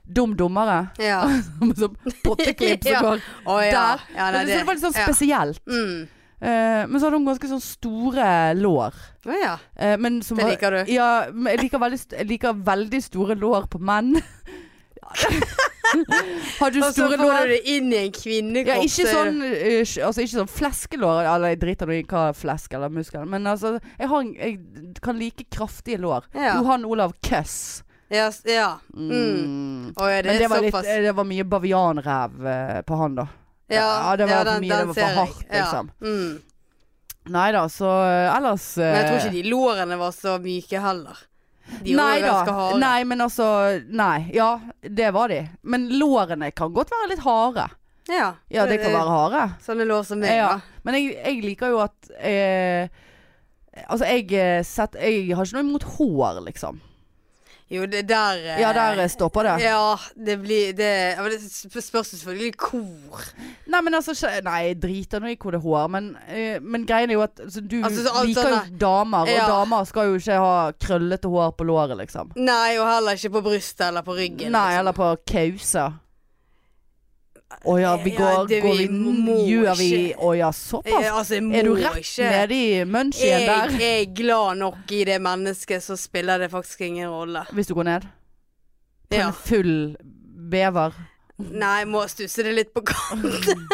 Speaker 1: Dum dummere?
Speaker 2: Ja.
Speaker 1: Med sånn potteklipp
Speaker 2: Ja.
Speaker 1: som går
Speaker 2: Å ja.
Speaker 1: Der.
Speaker 2: ja
Speaker 1: Men det, så det var litt sånn spesielt.
Speaker 2: Ja. Mm.
Speaker 1: Eh, men så hadde hun ganske sånn store lår.
Speaker 2: Å ja.
Speaker 1: Eh, men som
Speaker 2: Det
Speaker 1: var-
Speaker 2: liker du.
Speaker 1: Ja, men jeg liker veldig, st- jeg liker veldig store lår på menn. har du
Speaker 2: Og så
Speaker 1: store
Speaker 2: får du
Speaker 1: lår
Speaker 2: det inn i en kvinnekropp.
Speaker 1: ja, ikke
Speaker 2: så er det-
Speaker 1: sånn, eh, sj- altså, ikke sånn fleskelår, eller jeg driter nå i hva flesk eller muskel Men altså, jeg, har, en- jeg kan like kraftige lår.
Speaker 2: Ja.
Speaker 1: Johan Olav Køss.
Speaker 2: Ja. s- ja.
Speaker 1: Mm.
Speaker 2: Mm. Å ja, det
Speaker 1: Men
Speaker 2: er
Speaker 1: det var, litt,
Speaker 2: såpass.
Speaker 1: eh, det var mye bavianræv eh, på han, da. ja, det var for mye, det var for
Speaker 2: ser jeg.
Speaker 1: hardt, liksom.
Speaker 2: Ja. Mm.
Speaker 1: Nei da, så eh, ellers
Speaker 2: Men jeg tror ikke de lårene var så myke heller. De var
Speaker 1: Nei
Speaker 2: jo ganske
Speaker 1: da.
Speaker 2: harde.
Speaker 1: Nei, men altså Nei. Ja, det var de. Men lårene kan godt være litt harde.
Speaker 2: Ja,
Speaker 1: Ja, det kan
Speaker 2: Eh,
Speaker 1: være harde.
Speaker 2: Sånne lår som meg,
Speaker 1: Ja.
Speaker 2: da.
Speaker 1: Men jeg, jeg liker jo at eh, Altså, jeg, eh, sett, jeg har ikke noe imot hår, liksom.
Speaker 2: Jo, det der eh,
Speaker 1: Ja, der eh, stopper det.
Speaker 2: Ja, det blir det, ja, men det sp- spørs jo selvfølgelig hvor.
Speaker 1: Nei, men altså skje- Nei, jeg driter nå i hvor det er hår, men, eh, men greien er jo at altså, du
Speaker 2: Altså, så alt
Speaker 1: liker jo
Speaker 2: sånne-
Speaker 1: damer, og
Speaker 2: Ja.
Speaker 1: damer skal jo ikke ha krøllete hår på låret, liksom.
Speaker 2: Nei, og heller ikke på brystet eller på ryggen.
Speaker 1: Nei,
Speaker 2: liksom.
Speaker 1: eller på kauser. Å ja, vi
Speaker 2: Ja,
Speaker 1: går,
Speaker 2: det
Speaker 1: går
Speaker 2: vi
Speaker 1: vi,
Speaker 2: må
Speaker 1: Gjør vi
Speaker 2: ikke.
Speaker 1: Å ja, såpass?
Speaker 2: Eh, altså, jeg må
Speaker 1: Er du rett
Speaker 2: ikke.
Speaker 1: nede i munchien
Speaker 2: jeg
Speaker 1: der?
Speaker 2: er glad nok i det mennesket, så spiller det faktisk ingen rolle.
Speaker 1: Hvis du går ned? På
Speaker 2: Ja.
Speaker 1: en full bever?
Speaker 2: Nei, jeg må stusse det litt på kanten.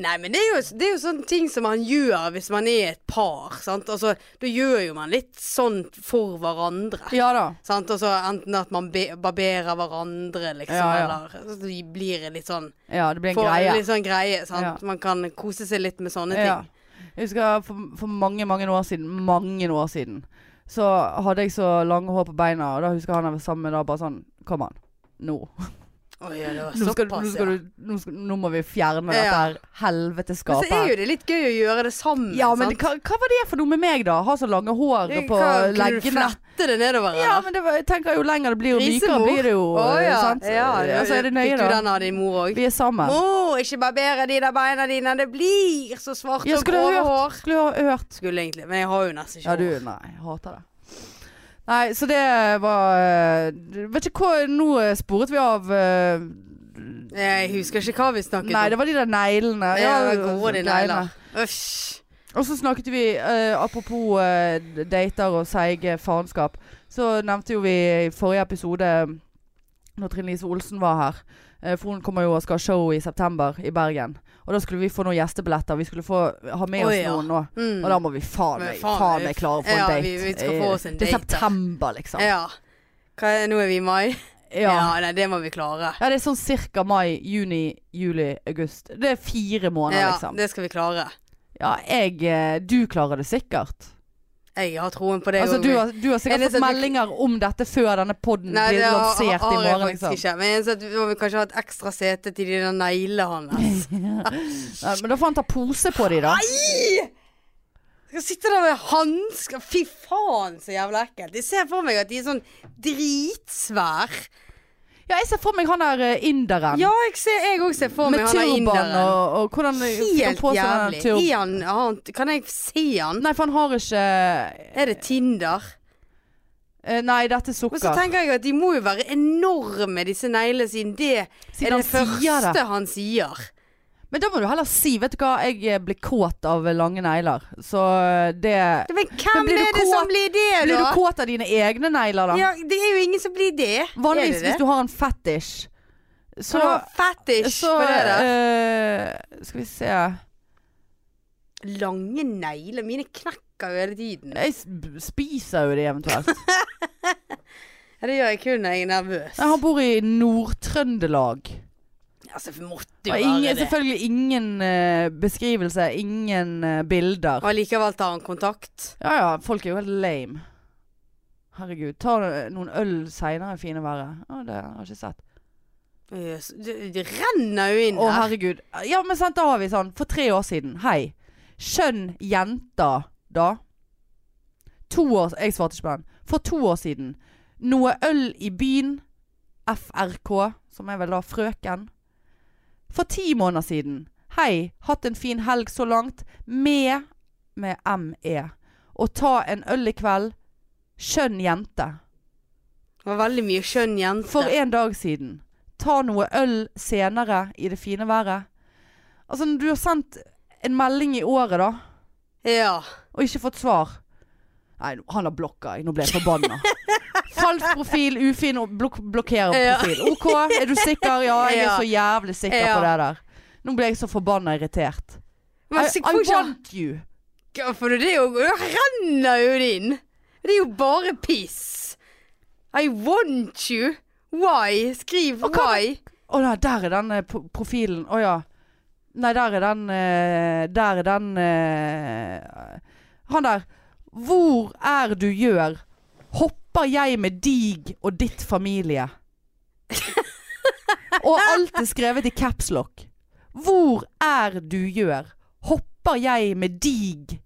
Speaker 2: Nei, men det er, jo, det er jo sånne ting som man gjør hvis man er et par. sant? Altså, Da gjør jo man litt sånn for hverandre.
Speaker 1: Ja da.
Speaker 2: Sant? Altså, enten at man be barberer hverandre, liksom,
Speaker 1: Ja, ja.
Speaker 2: eller så de blir det litt sånn
Speaker 1: Ja, det blir en
Speaker 2: får
Speaker 1: greie.
Speaker 2: Litt sånn greie sant?
Speaker 1: Ja.
Speaker 2: Man kan kose seg litt med sånne
Speaker 1: Ja.
Speaker 2: ting.
Speaker 1: Jeg husker for, for mange, mange år siden Mange år siden Så hadde jeg så lange hår på beina, og da husker han jeg var sammen med da bare sånn Kom an. Nå.
Speaker 2: Oi, ja, det var
Speaker 1: Nå, skal, du- nå,
Speaker 2: såpass,
Speaker 1: skal
Speaker 2: ja.
Speaker 1: du, nå, skal, nå må vi fjerne
Speaker 2: Ja.
Speaker 1: dette her helvetes
Speaker 2: Men
Speaker 1: skapet.
Speaker 2: så er
Speaker 1: her.
Speaker 2: jo det litt gøy å gjøre det sammen.
Speaker 1: Ja, men
Speaker 2: sant?
Speaker 1: hva, hva var det for noe med meg, da? Ha så lange hår
Speaker 2: Det-
Speaker 1: på
Speaker 2: hva- Kunne du
Speaker 1: leggene.
Speaker 2: flette det nedover?
Speaker 1: Ja,
Speaker 2: eller?
Speaker 1: men det var, jeg tenker jo lenger det blir, jo mykere
Speaker 2: Grisemor?
Speaker 1: blir det jo.
Speaker 2: Å, ja.
Speaker 1: sant?
Speaker 2: Ja,
Speaker 1: altså, er det nøye,
Speaker 2: Fikk du
Speaker 1: da?
Speaker 2: den av din mor òg?
Speaker 1: Vi er sammen.
Speaker 2: Må ikke barbere de der beina dine, det blir så svarte
Speaker 1: Ja,
Speaker 2: og
Speaker 1: skulle ha
Speaker 2: grove
Speaker 1: hørt.
Speaker 2: hår.
Speaker 1: Skulle ha hørt.
Speaker 2: Skulle egentlig, men jeg har jo nesten ikke
Speaker 1: Ja, du,
Speaker 2: hår.
Speaker 1: nei, jeg hater det. Nei, så det var eh, Vet ikke hva Nå eh, sporet vi av eh,
Speaker 2: Jeg husker ikke hva vi snakket
Speaker 1: Nei,
Speaker 2: om.
Speaker 1: det var de der neglene.
Speaker 2: Ja, det var gode de
Speaker 1: greiene.
Speaker 2: negler. Uff.
Speaker 1: Og så snakket vi, eh, apropos eh, dater og seige faenskap, så nevnte jo vi i forrige episode når Trine Lise Olsen var her. eh, For hun kommer jo og skal ha show i september i Bergen. Og da skulle vi få noen gjestebilletter. Vi skulle få ha med
Speaker 2: Å,
Speaker 1: oss
Speaker 2: ja.
Speaker 1: noen nå.
Speaker 2: Mm.
Speaker 1: Og da må vi faen meg
Speaker 2: Men faen,
Speaker 1: faen
Speaker 2: vi-
Speaker 1: meg klare å få en
Speaker 2: ja,
Speaker 1: date.
Speaker 2: vi- vi skal få
Speaker 1: i-
Speaker 2: oss
Speaker 1: det
Speaker 2: en
Speaker 1: er
Speaker 2: date, da.
Speaker 1: september, liksom. Ja.
Speaker 2: Ja. Hva er, nå er vi i mai? Ja.
Speaker 1: Ja.
Speaker 2: nei, det må vi klare.
Speaker 1: det er sånn cirka mai, juni, juli, august. Det er fire måneder,
Speaker 2: Ja,
Speaker 1: liksom.
Speaker 2: det skal vi klare.
Speaker 1: Ja, jeg eh, Du klarer det sikkert.
Speaker 2: Jeg har troen på det.
Speaker 1: Altså,
Speaker 2: og-
Speaker 1: du har, du har
Speaker 2: Er
Speaker 1: sikkert
Speaker 2: det
Speaker 1: fått
Speaker 2: sånn at-
Speaker 1: meldinger om dette før denne poden
Speaker 2: Nei,
Speaker 1: blir
Speaker 2: det har, har,
Speaker 1: lansert i
Speaker 2: har jeg
Speaker 1: morgen,
Speaker 2: faktisk
Speaker 1: liksom.
Speaker 2: ikke. Men jeg sa at vi må kanskje ha et ekstra sete til de der neglene hans.
Speaker 1: Nei, men da får han ta pose på de, da.
Speaker 2: Ai! Skal sitte der med hansker Fy faen, så jævla ekkelt. Jeg ser for meg at de er sånn dritsvær
Speaker 1: Ja, jeg ser for meg han der eh, inderen.
Speaker 2: Ja, jeg ser jeg òg ser for meg
Speaker 1: med
Speaker 2: han er
Speaker 1: turban
Speaker 2: inderen.
Speaker 1: og, og hvordan fikk han
Speaker 2: Helt
Speaker 1: på seg den
Speaker 2: jævlig.
Speaker 1: turban?
Speaker 2: Er han, har han, kan jeg se han?
Speaker 1: Nei, for han har ikke
Speaker 2: Er det Tinder?
Speaker 1: eh, Nei, dette er
Speaker 2: Men så
Speaker 1: sukker.
Speaker 2: tenker jeg at de må jo være enorme, disse neglene, siden det er
Speaker 1: Siden
Speaker 2: det
Speaker 1: han sier
Speaker 2: første
Speaker 1: det.
Speaker 2: han sier.
Speaker 1: Men da må du heller si Vet du hva, jeg eh, blir kåt av eh, lange negler. Så eh, det
Speaker 2: Men hvem
Speaker 1: blir du
Speaker 2: er det
Speaker 1: kåt-
Speaker 2: som blir det, da?
Speaker 1: Blir du kåt av dine egne negler, da?
Speaker 2: Ja, det er jo ingen som blir det.
Speaker 1: Vanligvis
Speaker 2: er det det?
Speaker 1: hvis du har en fetish. Så,
Speaker 2: Kan du ha fetish
Speaker 1: så
Speaker 2: på det der?
Speaker 1: eh, Skal vi se
Speaker 2: Lange negler. Mine knekker jo hele tiden.
Speaker 1: Jeg sp- spiser jo det eventuelt.
Speaker 2: Ja, det gjør jeg kun når jeg er nervøs.
Speaker 1: Nei, han bor i Nord-Trøndelag.
Speaker 2: Altså, for måtte
Speaker 1: Og
Speaker 2: jo
Speaker 1: ingen,
Speaker 2: være det.
Speaker 1: selvfølgelig ingen eh, beskrivelse, ingen eh, bilder.
Speaker 2: Og allikevel tar han kontakt.
Speaker 1: Ja ja, folk er jo helt lame. Herregud. Ta eh, noen øl seinere i fine været. Å, det har jeg ikke sett.
Speaker 2: Jøss, Det, det renner jo inn
Speaker 1: Å,
Speaker 2: her.
Speaker 1: herregud. Ja, men sant, da har vi sånn. For tre år siden. Hei. Skjønn jenta, da. To år Jeg svarte ikke på den. For to år siden. Noe øl i byen. FRK, som er vel da frøken. For ti måneder siden. Hei. Hatt en fin helg så langt. Med med ME. Å ta en øl i kveld. Skjønn jente.
Speaker 2: Det var veldig mye skjønn jente.
Speaker 1: For en dag siden. Ta noe øl senere i det fine været. Altså, når du har sendt en melding i året, da,
Speaker 2: Ja.
Speaker 1: og ikke fått svar Nei, nå- han har blokka jeg. Nå ble jeg forbanna. Falsk profil, ufin og blok blokkerer
Speaker 2: Ja.
Speaker 1: profil. OK, er du sikker? Ja, jeg er
Speaker 2: Ja.
Speaker 1: så jævlig sikker på
Speaker 2: Ja.
Speaker 1: det der. Nå ble jeg så forbanna irritert. I,
Speaker 2: Men så
Speaker 1: I
Speaker 2: får ikke han-
Speaker 1: want you.
Speaker 2: Ja, For det er jo Det renner jo det inn. Det er jo bare piss. I want you. Why? Skriv
Speaker 1: Og hva-
Speaker 2: why.
Speaker 1: Å nei, der er den eh, pro- profilen. Å ja. Nei, der er den eh, Der er den eh, Han der. Hvor er du gjør? Hopper jeg med dig og ditt familie? og alt er skrevet i capslock. Hvor er du gjør? Hopper jeg med dig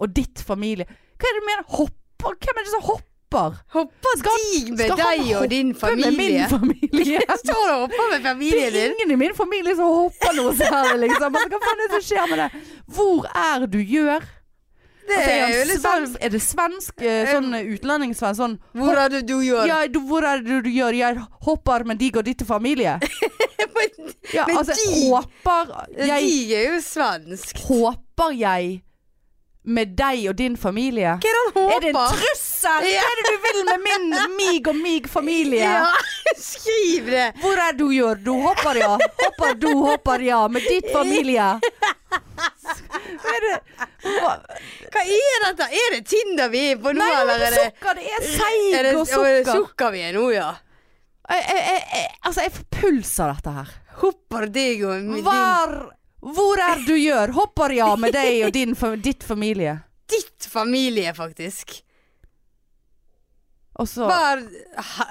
Speaker 1: og ditt familie? Hva er det du mener? Hopper? Hvem er det som hopper?
Speaker 2: Hopper
Speaker 1: Skal-
Speaker 2: dig med
Speaker 1: skal han
Speaker 2: deg og din
Speaker 1: Hvem er
Speaker 2: familie.
Speaker 1: min familie?
Speaker 2: Står du og hopper med
Speaker 1: Det
Speaker 2: familien
Speaker 1: er
Speaker 2: din?
Speaker 1: ingen i min familie som hopper noe særlig, liksom. Altså, hva faen er det som skjer med det? Hvor er du gjør?
Speaker 2: Det
Speaker 1: Altså, er,
Speaker 2: er jo
Speaker 1: han
Speaker 2: litt sånn
Speaker 1: svensk, er det svensk, eh, sånn eh, utlendingssvensk, sånn
Speaker 2: Hvor er det du gjør?
Speaker 1: ja, du, hvor er det du gjør? Jeg hopper med deg og ditt familie.
Speaker 2: men
Speaker 1: Ja,
Speaker 2: Men
Speaker 1: altså,
Speaker 2: dig-
Speaker 1: håper jeg,
Speaker 2: dig Eh, er jo svensk.
Speaker 1: håper jeg med deg og din familie.
Speaker 2: Hva er det han
Speaker 1: Er det en
Speaker 2: håper?
Speaker 1: trussel?
Speaker 2: Ja.
Speaker 1: Hva er det du vil med min, mig og mig familie?
Speaker 2: Ja, skriv det.
Speaker 1: Hvor er du gjør? Du hopper ja. Hopper du, hopper ja. Med ditt familie. Hva er det? Hva?
Speaker 2: Hva er dette? Er det Tinder vi er på nå,
Speaker 1: Nei, men
Speaker 2: eller er det
Speaker 1: sukker. Det er
Speaker 2: er det-
Speaker 1: seig og
Speaker 2: å, er det
Speaker 1: sukker.
Speaker 2: sukker vi er nå, ja?
Speaker 1: Jeg, jeg, jeg, jeg- altså, jeg får puls av dette her.
Speaker 2: Hopper deg og min, din,
Speaker 1: Var, hvor er du gjør? Hopper ja med deg og din, fa- ditt familie.
Speaker 2: ditt familie, faktisk.
Speaker 1: Og så
Speaker 2: Hva er hæ?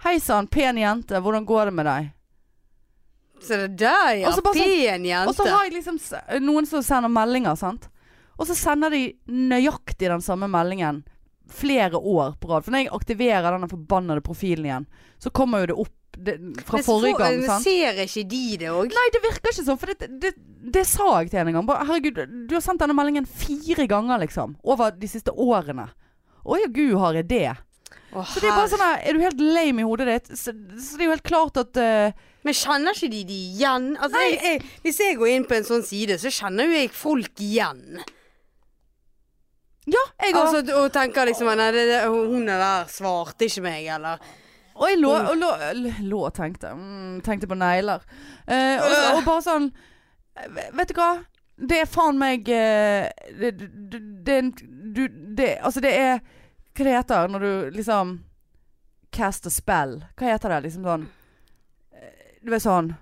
Speaker 1: Hei sann, pen jente, hvordan går det med deg?
Speaker 2: Så det der, ja.
Speaker 1: Og så bare sånn-
Speaker 2: Pen
Speaker 1: Og så
Speaker 2: jente.
Speaker 1: har jeg liksom s- noen som sender meldinger, sant. Og så sender de nøyaktig den samme meldingen flere år på rad. For når jeg aktiverer den forbannede profilen igjen, så kommer jo det opp det, fra
Speaker 2: Men så
Speaker 1: forrige
Speaker 2: får- eh,
Speaker 1: gang,
Speaker 2: men
Speaker 1: sant.
Speaker 2: Ser ikke de det òg?
Speaker 1: Nei, det virker ikke sånn, for det, det, det sa jeg til henne en gang. Bare, herregud, du har sendt denne meldingen fire ganger, liksom. Over de siste årene. Å ja, gud, har jeg det? Så det er bare sånn her, er du helt lame i hodet ditt? Så, så det er jo helt klart at eh,
Speaker 2: Men kjenner ikke de de igjen? Altså, jeg, jeg, hvis jeg går inn på en sånn side, så kjenner jo jeg folk igjen.
Speaker 1: Ja, jeg òg.
Speaker 2: Altså, og tenker liksom Nei, det, det, hun er der svarte ikke meg, eller
Speaker 1: Og jeg lå og lå, lå og tenkte. Mm, tenkte på negler. Eh, og, så- og bare sånn eh, Vet du hva? Det er faen meg eh, det, det, det, er en- du, det Altså, det er Hva det heter når du liksom Cast a spell. Hva heter det? Liksom sånn eh, Du er sånn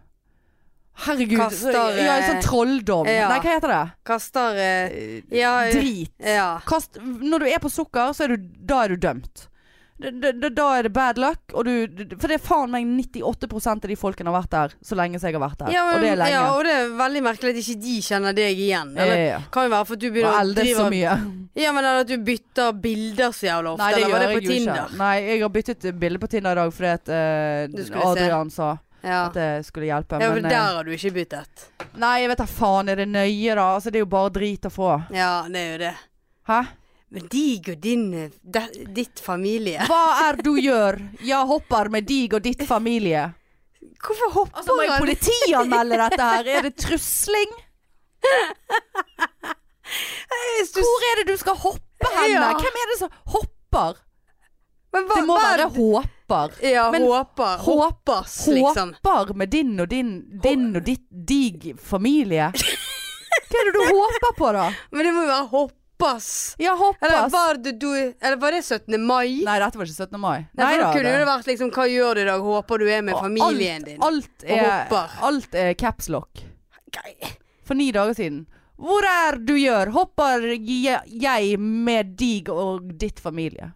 Speaker 1: Herregud.
Speaker 2: Kaster,
Speaker 1: ja, en sånn
Speaker 2: eh,
Speaker 1: trolldom.
Speaker 2: ja.
Speaker 1: Nei, hva heter det?
Speaker 2: Kaster eh, Ja. eh,
Speaker 1: Drit.
Speaker 2: ja.
Speaker 1: Kast, når du er på sukker, så er du, da er du dømt. Da, da, da er det bad luck. Og du, du- for det er faen meg 98 av de folkene har vært der så lenge som jeg har vært der.
Speaker 2: Ja, men,
Speaker 1: og det er lenge.
Speaker 2: ja, og det er veldig merkelig at ikke de kjenner deg igjen.
Speaker 1: Ja,
Speaker 2: Eller,
Speaker 1: ja, ja.
Speaker 2: kan jo være for at du
Speaker 1: Og
Speaker 2: begynner å
Speaker 1: eldes så
Speaker 2: drive
Speaker 1: mye.
Speaker 2: Ja, men eller at du bytter bilder så jævla ofte.
Speaker 1: Nei, det
Speaker 2: eller
Speaker 1: gjør
Speaker 2: var det
Speaker 1: jeg
Speaker 2: på
Speaker 1: jo ikke.
Speaker 2: Tinder?
Speaker 1: Nei, jeg har byttet bilde på Tinder i dag fordi at eh,
Speaker 2: Du skulle se.
Speaker 1: Adrian sa
Speaker 2: Ja.
Speaker 1: at det skulle hjelpe.
Speaker 2: ja, for
Speaker 1: men,
Speaker 2: der
Speaker 1: eh,
Speaker 2: har du ikke byttet.
Speaker 1: nei, jeg vet da faen. Er det nøye, da? Altså, det er jo bare drit å få.
Speaker 2: Ja, det er jo det.
Speaker 1: Hæ?
Speaker 2: Men de og din de, ditt familie
Speaker 1: Hva er du gjør? Jeg hopper med dig og ditt familie.
Speaker 2: Hvorfor hopper
Speaker 1: Altså, må jeg
Speaker 2: han?
Speaker 1: politianmelde dette her? Er det trusling?
Speaker 2: Hvis du-
Speaker 1: Hvor er det du skal hoppe hen?
Speaker 2: Ja.
Speaker 1: Hvem er det som hopper?
Speaker 2: Men hva,
Speaker 1: Det må
Speaker 2: hva-
Speaker 1: være håper.
Speaker 2: Ja,
Speaker 1: Men-
Speaker 2: håper.
Speaker 1: Håp-
Speaker 2: Håpas, liksom.
Speaker 1: Håper med din og din, din og ditt, dig familie. Hva er det du håper på, da?
Speaker 2: Men det må jo være hoppas.
Speaker 1: Ja,
Speaker 2: Eller
Speaker 1: hoppas.
Speaker 2: var det, du, eller var det 17. mai?
Speaker 1: Nei, dette var ikke 17. mai.
Speaker 2: Nei,
Speaker 1: Nei
Speaker 2: for da
Speaker 1: da.
Speaker 2: kunne jo det
Speaker 1: det-
Speaker 2: vært liksom Hva gjør du i dag? Håper du er med
Speaker 1: Og
Speaker 2: familien
Speaker 1: alt,
Speaker 2: din.
Speaker 1: Alt er,
Speaker 2: hopper.
Speaker 1: alt er caps lock.
Speaker 2: Grei.
Speaker 1: For ni dager siden. Hvor er du gjør? Hopper jeg, jeg med dig og ditt familie?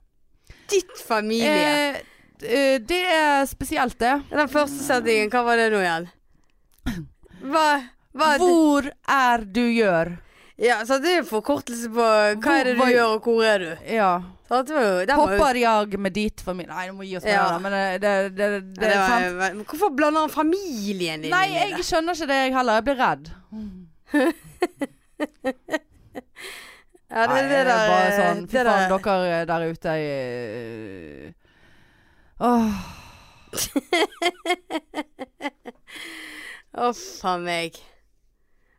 Speaker 2: Ditt familie.
Speaker 1: Eh, eh, det er spesielt, det.
Speaker 2: Den første setningen, hva var det nå igjen? Hva, hva er det?
Speaker 1: Hvor er du gjør?
Speaker 2: Ja, så det er jo forkortelse på hva er det du
Speaker 1: Hvor-
Speaker 2: gjør og hvor er du?
Speaker 1: Ja.
Speaker 2: Så det var jo, den var jo,
Speaker 1: Hopper jeg med dit familie Nei, nå må jeg gi oss med
Speaker 2: Ja.
Speaker 1: det, men eh, det, det, det,
Speaker 2: Ja, det
Speaker 1: er
Speaker 2: var,
Speaker 1: sant.
Speaker 2: men hvorfor blander han familien din
Speaker 1: Nei,
Speaker 2: inn i det?
Speaker 1: jeg skjønner ikke det jeg heller. Jeg blir redd.
Speaker 2: Ja, det,
Speaker 1: Nei,
Speaker 2: det,
Speaker 1: jeg er
Speaker 2: der, eh,
Speaker 1: bare sånn Fy
Speaker 2: det
Speaker 1: faen,
Speaker 2: der-
Speaker 1: dere der ute i eh, Åh.
Speaker 2: Å, faen meg.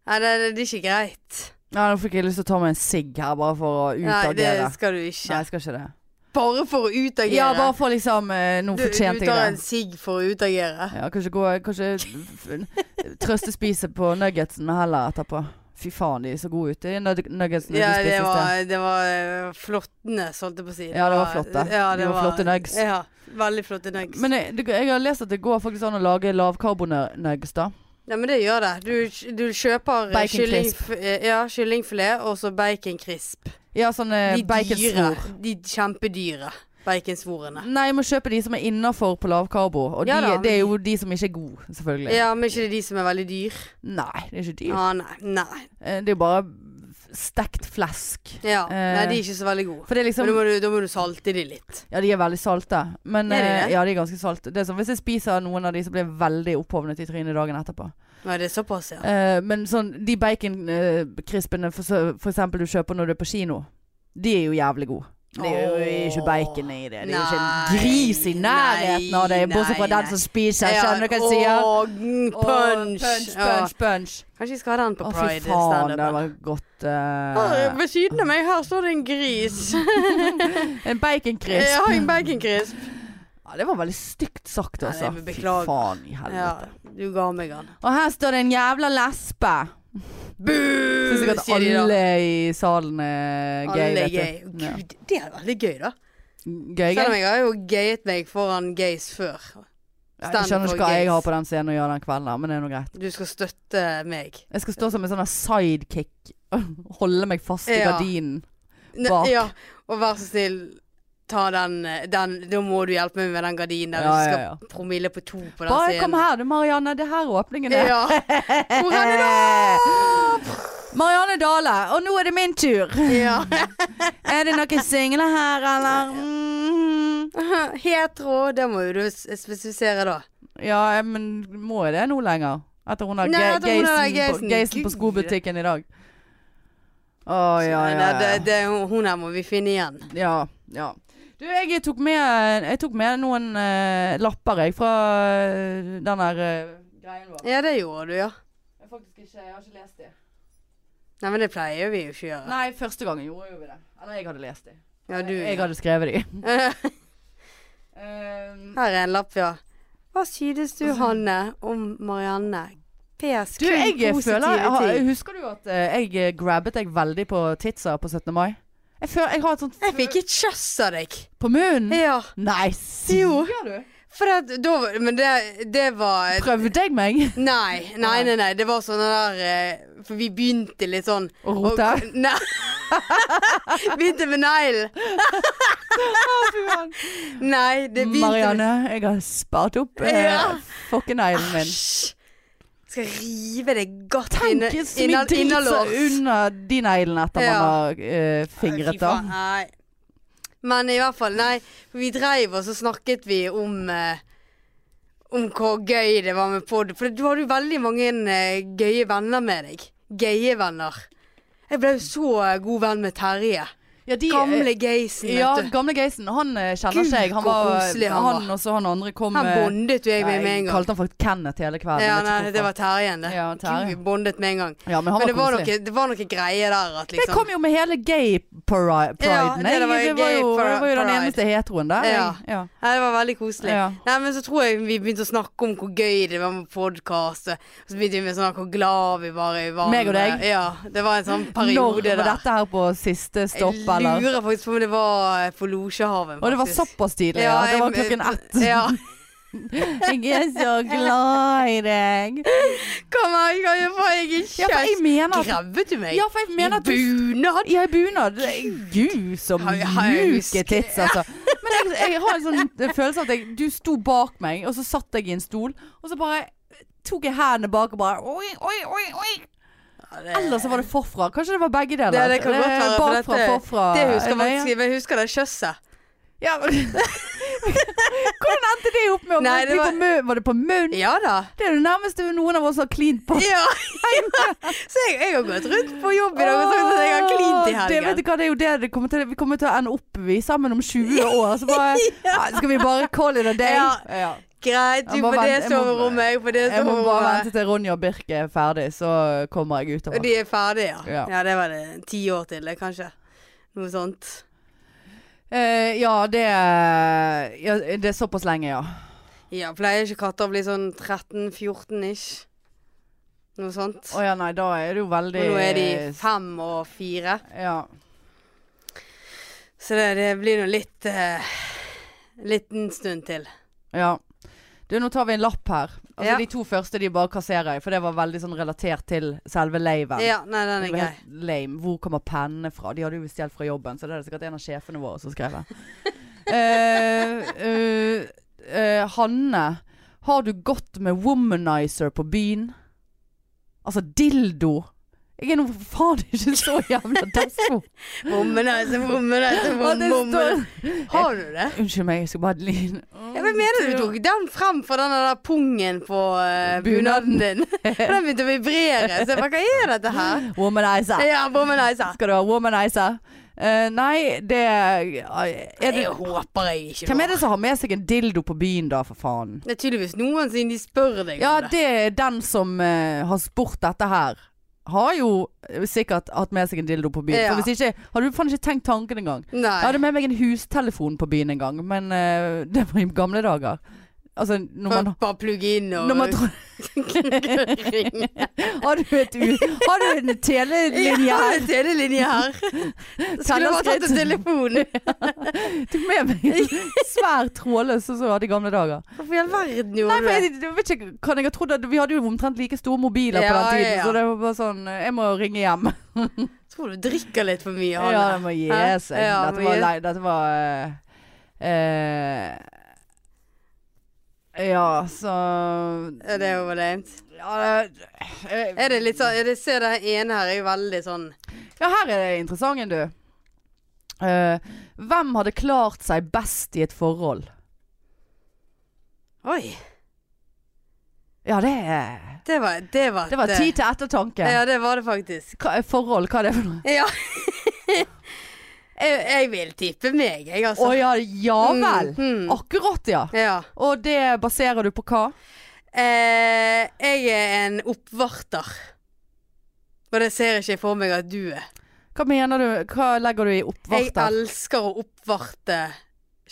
Speaker 2: Nei, det, det, det er ikke greit.
Speaker 1: Ja, nå fikk jeg lyst til å ta meg en sigg her, bare for å
Speaker 2: Nei, det
Speaker 1: utagere.
Speaker 2: skal du
Speaker 1: Nei,
Speaker 2: ikke.
Speaker 1: jeg skal ikke det.
Speaker 2: Bare for å utagere.
Speaker 1: Ja, bare for liksom eh, Nå
Speaker 2: du, du
Speaker 1: fortjente
Speaker 2: tar
Speaker 1: jeg
Speaker 2: en
Speaker 1: det.
Speaker 2: sigg for å utagere.
Speaker 1: Ja, kanskje gå Kanskje f- f- trøstespise på nuggetsene heller etterpå. Fy faen, de er så gode ute, de nug- nuggetsene
Speaker 2: Ja,
Speaker 1: de
Speaker 2: det
Speaker 1: spises til.
Speaker 2: var, det var eh, flottene, holdt jeg på å si.
Speaker 1: Ja, det var flotte.
Speaker 2: Ja,
Speaker 1: De
Speaker 2: det
Speaker 1: var flotte nugs.
Speaker 2: Ja, veldig flotte nugs.
Speaker 1: Men jeg, det- jeg har lest at det går faktisk an å lage lavkarbonugs, da.
Speaker 2: ja, men det gjør det. Du, du kjøper eh,
Speaker 1: Bacon
Speaker 2: kylling,
Speaker 1: crisp.
Speaker 2: eh, ja, kyllingfilet og så bacon crisp.
Speaker 1: Ja, sånne
Speaker 2: De dyre.
Speaker 1: baconsvor.
Speaker 2: De kjempedyre baconsvorene.
Speaker 1: Nei, jeg må kjøpe de som er innafor på lavkarbo. Og
Speaker 2: Ja
Speaker 1: de,
Speaker 2: da, men
Speaker 1: det er jo de som ikke er gode, selvfølgelig.
Speaker 2: Ja, men ikke det de som er veldig dyr?
Speaker 1: Nei, det er ikke dyr.
Speaker 2: Ja, nei. nei.
Speaker 1: Eh, Det er jo bare stekt flesk.
Speaker 2: Ja, nei,
Speaker 1: Eh,
Speaker 2: de er ikke så veldig gode.
Speaker 1: For det er
Speaker 2: Men da
Speaker 1: liksom
Speaker 2: må, du, da må du salte de litt.
Speaker 1: Ja, de er veldig salte. Men
Speaker 2: Er de det?
Speaker 1: eh, ja, de er ganske salte. Det er som hvis jeg spiser noen av de, så blir jeg veldig opphovnet i trynet dagen etterpå.
Speaker 2: Ja, det er såpass, ja.
Speaker 1: Eh, men sånn de baconkrispene for, så- for eksempel du kjøper når du er på kino, de er jo jævlig gode. Det er jo ikke bacon i det. Det er jo ikke en
Speaker 2: Nei,
Speaker 1: gris i nærheten av det,
Speaker 2: nei,
Speaker 1: bortsett fra den
Speaker 2: nei.
Speaker 1: som spiser. Skjønner du hva jeg sier?
Speaker 2: Åh, mm,
Speaker 1: Åh,
Speaker 2: punch.
Speaker 1: punch,
Speaker 2: Ja.
Speaker 1: punch, punch.
Speaker 2: Kanskje jeg skal ha den på
Speaker 1: Å, fy
Speaker 2: Pride.
Speaker 1: faen, det
Speaker 2: standupen.
Speaker 1: var godt.
Speaker 2: Her,
Speaker 1: eh,
Speaker 2: ved siden av meg her står det en gris.
Speaker 1: en baconkrisp.
Speaker 2: Jeg har en baconkrisp.
Speaker 1: Ja, det var veldig stygt sagt,
Speaker 2: Ja,
Speaker 1: altså.
Speaker 2: det må
Speaker 1: Fy
Speaker 2: beklage.
Speaker 1: faen i
Speaker 2: Ja,
Speaker 1: helvete.
Speaker 2: du ga meg den.
Speaker 1: Og her står det en jævla lesbe.
Speaker 2: Boo!
Speaker 1: Syns jeg at
Speaker 2: Mm, sier de da.
Speaker 1: alle i salen er gøy,
Speaker 2: Alle er
Speaker 1: vet du.
Speaker 2: gay.
Speaker 1: Ja.
Speaker 2: Gud, det er veldig gøy, da.
Speaker 1: Gøy,
Speaker 2: Selv
Speaker 1: gøy.
Speaker 2: om jeg har jo gayet meg foran gays før.
Speaker 1: Ja,
Speaker 2: Stand
Speaker 1: Jeg skjønner
Speaker 2: for
Speaker 1: ikke hva jeg
Speaker 2: gays.
Speaker 1: har på den scenen å gjøre den kvelden, der, men det er nå greit.
Speaker 2: Du skal støtte meg.
Speaker 1: Jeg skal stå som en sånn her sidekick. Holde meg fast i
Speaker 2: Ja.
Speaker 1: gardinen.
Speaker 2: Ne-
Speaker 1: Bak.
Speaker 2: Ja, og vær så snill, ta den, eh, den Da må du hjelpe meg med den gardinen der
Speaker 1: Ja,
Speaker 2: du
Speaker 1: ja,
Speaker 2: skal
Speaker 1: ja.
Speaker 2: promille på to på den
Speaker 1: Bare
Speaker 2: scenen.
Speaker 1: kom her du, Marianne. Det er her åpningen er. Eh.
Speaker 2: Ja. Hvor er det da?
Speaker 1: Marianne Dale, og nå er det min tur.
Speaker 2: Ja.
Speaker 1: Er det noen single her, eller? Mm.
Speaker 2: Hetero, det må jo du s- spesifisere, da.
Speaker 1: Ja, eh, men må jeg det nå lenger? Etter hun har
Speaker 2: Nei,
Speaker 1: ge-
Speaker 2: etter hun har
Speaker 1: geisen på,
Speaker 2: geisen.
Speaker 1: geisen på
Speaker 2: Gud.
Speaker 1: skobutikken i dag. Å, ja, ja,
Speaker 2: Nei, Det,
Speaker 1: ja.
Speaker 2: det, hun her må vi finne igjen.
Speaker 1: ja, ja. Du, jeg tok med, jeg tok med noen eh, lapper, jeg, fra eh, den der eh, greien vår.
Speaker 2: Ja, det gjorde du, ja.
Speaker 1: Jeg, har faktisk ikke, jeg har ikke lest det.
Speaker 2: Nei, men det pleier vi jo ikke å gjøre.
Speaker 1: Nei, første gangen gjorde jo vi det. Eller jeg hadde lest de.
Speaker 2: Ja, du.
Speaker 1: Jeg hadde skrevet de. Eh,
Speaker 2: Her er en lapp, ja. Hva synes du, Hanne, om Marianne? PS
Speaker 1: du,
Speaker 2: kun
Speaker 1: jeg
Speaker 2: positive
Speaker 1: føler jeg har,
Speaker 2: ting.
Speaker 1: Husker du at eh, jeg grabbet deg veldig på titsa på 17. mai? Jeg føler jeg har et sånt
Speaker 2: Jeg fikk et kjøss av deg.
Speaker 1: På munnen?
Speaker 2: Ja.
Speaker 1: Nei,
Speaker 2: Jo.
Speaker 1: sier Mm. du?
Speaker 2: For at, da var- Men det, det var
Speaker 1: Prøvde jeg meg
Speaker 2: Nei, nei, nei, nei. Det var sånn der eh, For vi begynte litt sånn
Speaker 1: å rote?
Speaker 2: og- Nei. begynte med neglen. Nei, det begynte
Speaker 1: Marianne, jeg har spart opp
Speaker 2: Ja.
Speaker 1: uh, fokkeneglen
Speaker 2: med
Speaker 1: min.
Speaker 2: Æsj. Skal rive deg godt inne-
Speaker 1: Tenk så mye
Speaker 2: innan-
Speaker 1: drit som
Speaker 2: innanlårs.
Speaker 1: er under de neglene etter
Speaker 2: Ja.
Speaker 1: man har eh, fingret,
Speaker 2: Fy
Speaker 1: da.
Speaker 2: faen, Nei. Men i hvert fall, nei. Vi dreiv og så snakket vi om eh, om hvor gøy det var med pod. For du hadde jo veldig mange eh, gøye venner med deg. Gøye venner. Jeg ble jo så eh, god venn med Terje.
Speaker 1: Ja, de, eh,
Speaker 2: Gamle Geisen, vet
Speaker 1: ja,
Speaker 2: du.
Speaker 1: gamle Geisen. Han eh, kjenner
Speaker 2: Gud,
Speaker 1: seg. Han,
Speaker 2: hvor
Speaker 1: var,
Speaker 2: koselig han
Speaker 1: han,
Speaker 2: var.
Speaker 1: og så han andre kom
Speaker 2: Han
Speaker 1: eh,
Speaker 2: bondet jo jeg med med en gang.
Speaker 1: kalte han faktisk Kenneth hele kvelden. jeg vet
Speaker 2: Ja,
Speaker 1: ikke
Speaker 2: nei, det var
Speaker 1: hvorfor.
Speaker 2: Terjen, det.
Speaker 1: Ja, Terje.
Speaker 2: Gud, vi bondet med en gang.
Speaker 1: ja, men han
Speaker 2: Men det var,
Speaker 1: koselig.
Speaker 2: noe, det var noe greier der at
Speaker 1: Det
Speaker 2: liksom
Speaker 1: kom jo med hele gay-priden.
Speaker 2: Ja, det
Speaker 1: jeg.
Speaker 2: var jo
Speaker 1: det var jo,
Speaker 2: gay
Speaker 1: jeg var jo den
Speaker 2: pride.
Speaker 1: eneste heteroen der.
Speaker 2: Ja.
Speaker 1: Jeg. Ja.
Speaker 2: Nei, det var veldig koselig.
Speaker 1: Ja.
Speaker 2: Nei, men så tror jeg vi begynte å snakke om hvor gøy det var med podkast. Og så begynte vi med sånn hvor glad vi var i hverandre.
Speaker 1: Meg og deg?
Speaker 2: Ja. Det var en sånn
Speaker 1: Når
Speaker 2: periode
Speaker 1: var
Speaker 2: der.
Speaker 1: dette her på siste stopp,
Speaker 2: jeg
Speaker 1: eller?
Speaker 2: lurer faktisk på om det var eh, på Losjehaven.
Speaker 1: Og det var
Speaker 2: faktisk.
Speaker 1: såpass tidlig, ja. Det
Speaker 2: jeg-
Speaker 1: var klokken ett.
Speaker 2: Ja.
Speaker 1: Jeg er så glad i deg.
Speaker 2: Kom her, kan jeg få deg en
Speaker 1: Ja, for jeg
Speaker 2: kjeft?
Speaker 1: mener at
Speaker 2: Grabbet du meg?
Speaker 1: Ja, for jeg mener at
Speaker 2: I
Speaker 1: du
Speaker 2: bunad?
Speaker 1: Ja, i bunad. Gud, så
Speaker 2: Har jeg- har jeg
Speaker 1: mjuke
Speaker 2: husket?
Speaker 1: tits, altså. Men jeg, jeg har en sånn følelse at jeg, du sto bak meg, og så satt jeg i en stol, og så bare tok jeg hendene bak og bare Oi, oi, oi, oi.
Speaker 2: Ja, det-
Speaker 1: Eller så var det forfra. Kanskje det var begge deler.
Speaker 2: Ja, det kan godt være, for
Speaker 1: Bakfra,
Speaker 2: dette-
Speaker 1: forfra.
Speaker 2: Det husker
Speaker 1: Nei,
Speaker 2: jeg faktisk, men jeg husker det kjøsset.
Speaker 1: Ja, men Hvordan endte det opp med å
Speaker 2: Nei, det
Speaker 1: bli
Speaker 2: var-
Speaker 1: på munn? Var det på munn?
Speaker 2: Ja da.
Speaker 1: Det er det nærmeste noen av oss har klint på.
Speaker 2: Ja. Så jeg, jeg har gått rundt på jobb i dag og sagt at jeg har klint i
Speaker 1: Åh, Det, vet
Speaker 2: helgen.
Speaker 1: du hva, det er jo det det kommer til Vi kommer til å ende opp vi sammen om 20 år. Så bare ah, Skal vi bare call it a day?
Speaker 2: Ja.
Speaker 1: Ja.
Speaker 2: Greit,
Speaker 1: Jeg
Speaker 2: du
Speaker 1: må
Speaker 2: på det
Speaker 1: vente- jeg må-
Speaker 2: soverommet, jeg på det
Speaker 1: Jeg må bare
Speaker 2: soverommet.
Speaker 1: vente til Ronja og Birk er ferdig, så kommer jeg
Speaker 2: Og
Speaker 1: utover.
Speaker 2: de er ferdige, ja.
Speaker 1: Ja.
Speaker 2: Ja, det var det ti år til, det, kanskje. Noe sånt.
Speaker 1: Eh, ja, det er, ja, det er såpass lenge, ja.
Speaker 2: Ja, pleier ikke katter å bli sånn 13-14 ish? Noe sånt.
Speaker 1: Å ja, nei, da er det jo
Speaker 2: Og
Speaker 1: veldig
Speaker 2: nå er de fem og fire,
Speaker 1: Ja.
Speaker 2: så det, det blir nå litt eh, Liten stund til.
Speaker 1: Ja. Du, nå tar vi en lapp her. Altså
Speaker 2: Ja.
Speaker 1: De to første de bare kasserer jeg, for det var veldig sånn relatert til selve laven.
Speaker 2: Ja, nei, den
Speaker 1: Det
Speaker 2: er
Speaker 1: var
Speaker 2: grei.
Speaker 1: helt lame. Hvor kommer pennene fra? De hadde jo stjålet fra jobben, så det er det sikkert en av sjefene våre som skrev det. Eh, eh, eh, Hanne, har du gått med womanizer på byen? Altså dildo. Jeg er nå for faen ikke så jævla despo.
Speaker 2: Bommen er så bommen er så
Speaker 1: Og det
Speaker 2: bommen er
Speaker 1: står-
Speaker 2: så- Har du det?
Speaker 1: Unnskyld meg, jeg skal bare line
Speaker 2: Ja, men mener du tok den frem fra den der pungen på eh, bunaden din? For den begynte å vibrere. Så jeg bare, hva er dette her?
Speaker 1: Womanizer.
Speaker 2: Ja, womanizer.
Speaker 1: Skal du ha womanizer? Eh, nei, det er det,
Speaker 2: Det håper jeg ikke.
Speaker 1: Hvem er det som har med seg en dildo på byen, da, for faen?
Speaker 2: Det er tydeligvis noen siden de spør deg
Speaker 1: Ja,
Speaker 2: om det.
Speaker 1: det er den som eh, har spurt dette her. Har jo eh, sikkert hatt med seg en dildo på byen.
Speaker 2: Ja.
Speaker 1: For hvis ikke, har du faen ikke tenkt tanken engang.
Speaker 2: Nei.
Speaker 1: Jeg hadde med meg en hustelefon på byen en gang, men eh, det var i gamle dager. Altså, når man,
Speaker 2: For bare plugge inn og
Speaker 1: når man tro-
Speaker 2: ringe.
Speaker 1: har, du et, u- har du en telelinje?
Speaker 2: Ja, en telelinje her. Skulle bare tatt en telefon.
Speaker 1: Jeg tok med meg en svær trådløs sånn som jeg hadde i gamle dager.
Speaker 2: Hvorfor i all verden
Speaker 1: Nei,
Speaker 2: gjorde
Speaker 1: for
Speaker 2: du det?
Speaker 1: jeg, jeg vet ikke, kan jeg ha trodd at Vi hadde jo omtrent like store mobiler på
Speaker 2: Ja,
Speaker 1: den tiden,
Speaker 2: ja, ja.
Speaker 1: så det var bare sånn eh, Jeg må ringe hjem.
Speaker 2: Tror du drikker litt for mye,
Speaker 1: Ja,
Speaker 2: Hanne.
Speaker 1: det må gi
Speaker 2: Hæ?
Speaker 1: seg.
Speaker 2: Ja, det
Speaker 1: dette,
Speaker 2: må
Speaker 1: var
Speaker 2: gi-
Speaker 1: lei, dette var eh, eh, Ja, så
Speaker 2: Ja, det er jo lame.
Speaker 1: ja, det- eh,
Speaker 2: Er det litt sånn, jeg ser det her ene her er jo veldig sånn
Speaker 1: ja, her er det interessant en, du. Eh, hvem hadde klart seg best i et forhold?
Speaker 2: Oi,
Speaker 1: Ja, det er
Speaker 2: det var Det var,
Speaker 1: Det var
Speaker 2: et,
Speaker 1: tid til ettertanke.
Speaker 2: Ja, det var det faktisk.
Speaker 1: Hva, er forhold, hva er det for noe?
Speaker 2: Ja. jeg, jeg vil tippe meg,
Speaker 1: Å
Speaker 2: jeg, altså.
Speaker 1: ja, ja vel.
Speaker 2: Mm, mm.
Speaker 1: Akkurat, ja.
Speaker 2: Ja.
Speaker 1: Og det baserer du på hva?
Speaker 2: Eh, jeg er en oppvarter. For det ser ikke jeg for meg at du er.
Speaker 1: Hva mener du? Hva legger du i
Speaker 2: Jeg
Speaker 1: oppvarter?
Speaker 2: elsker å oppvarte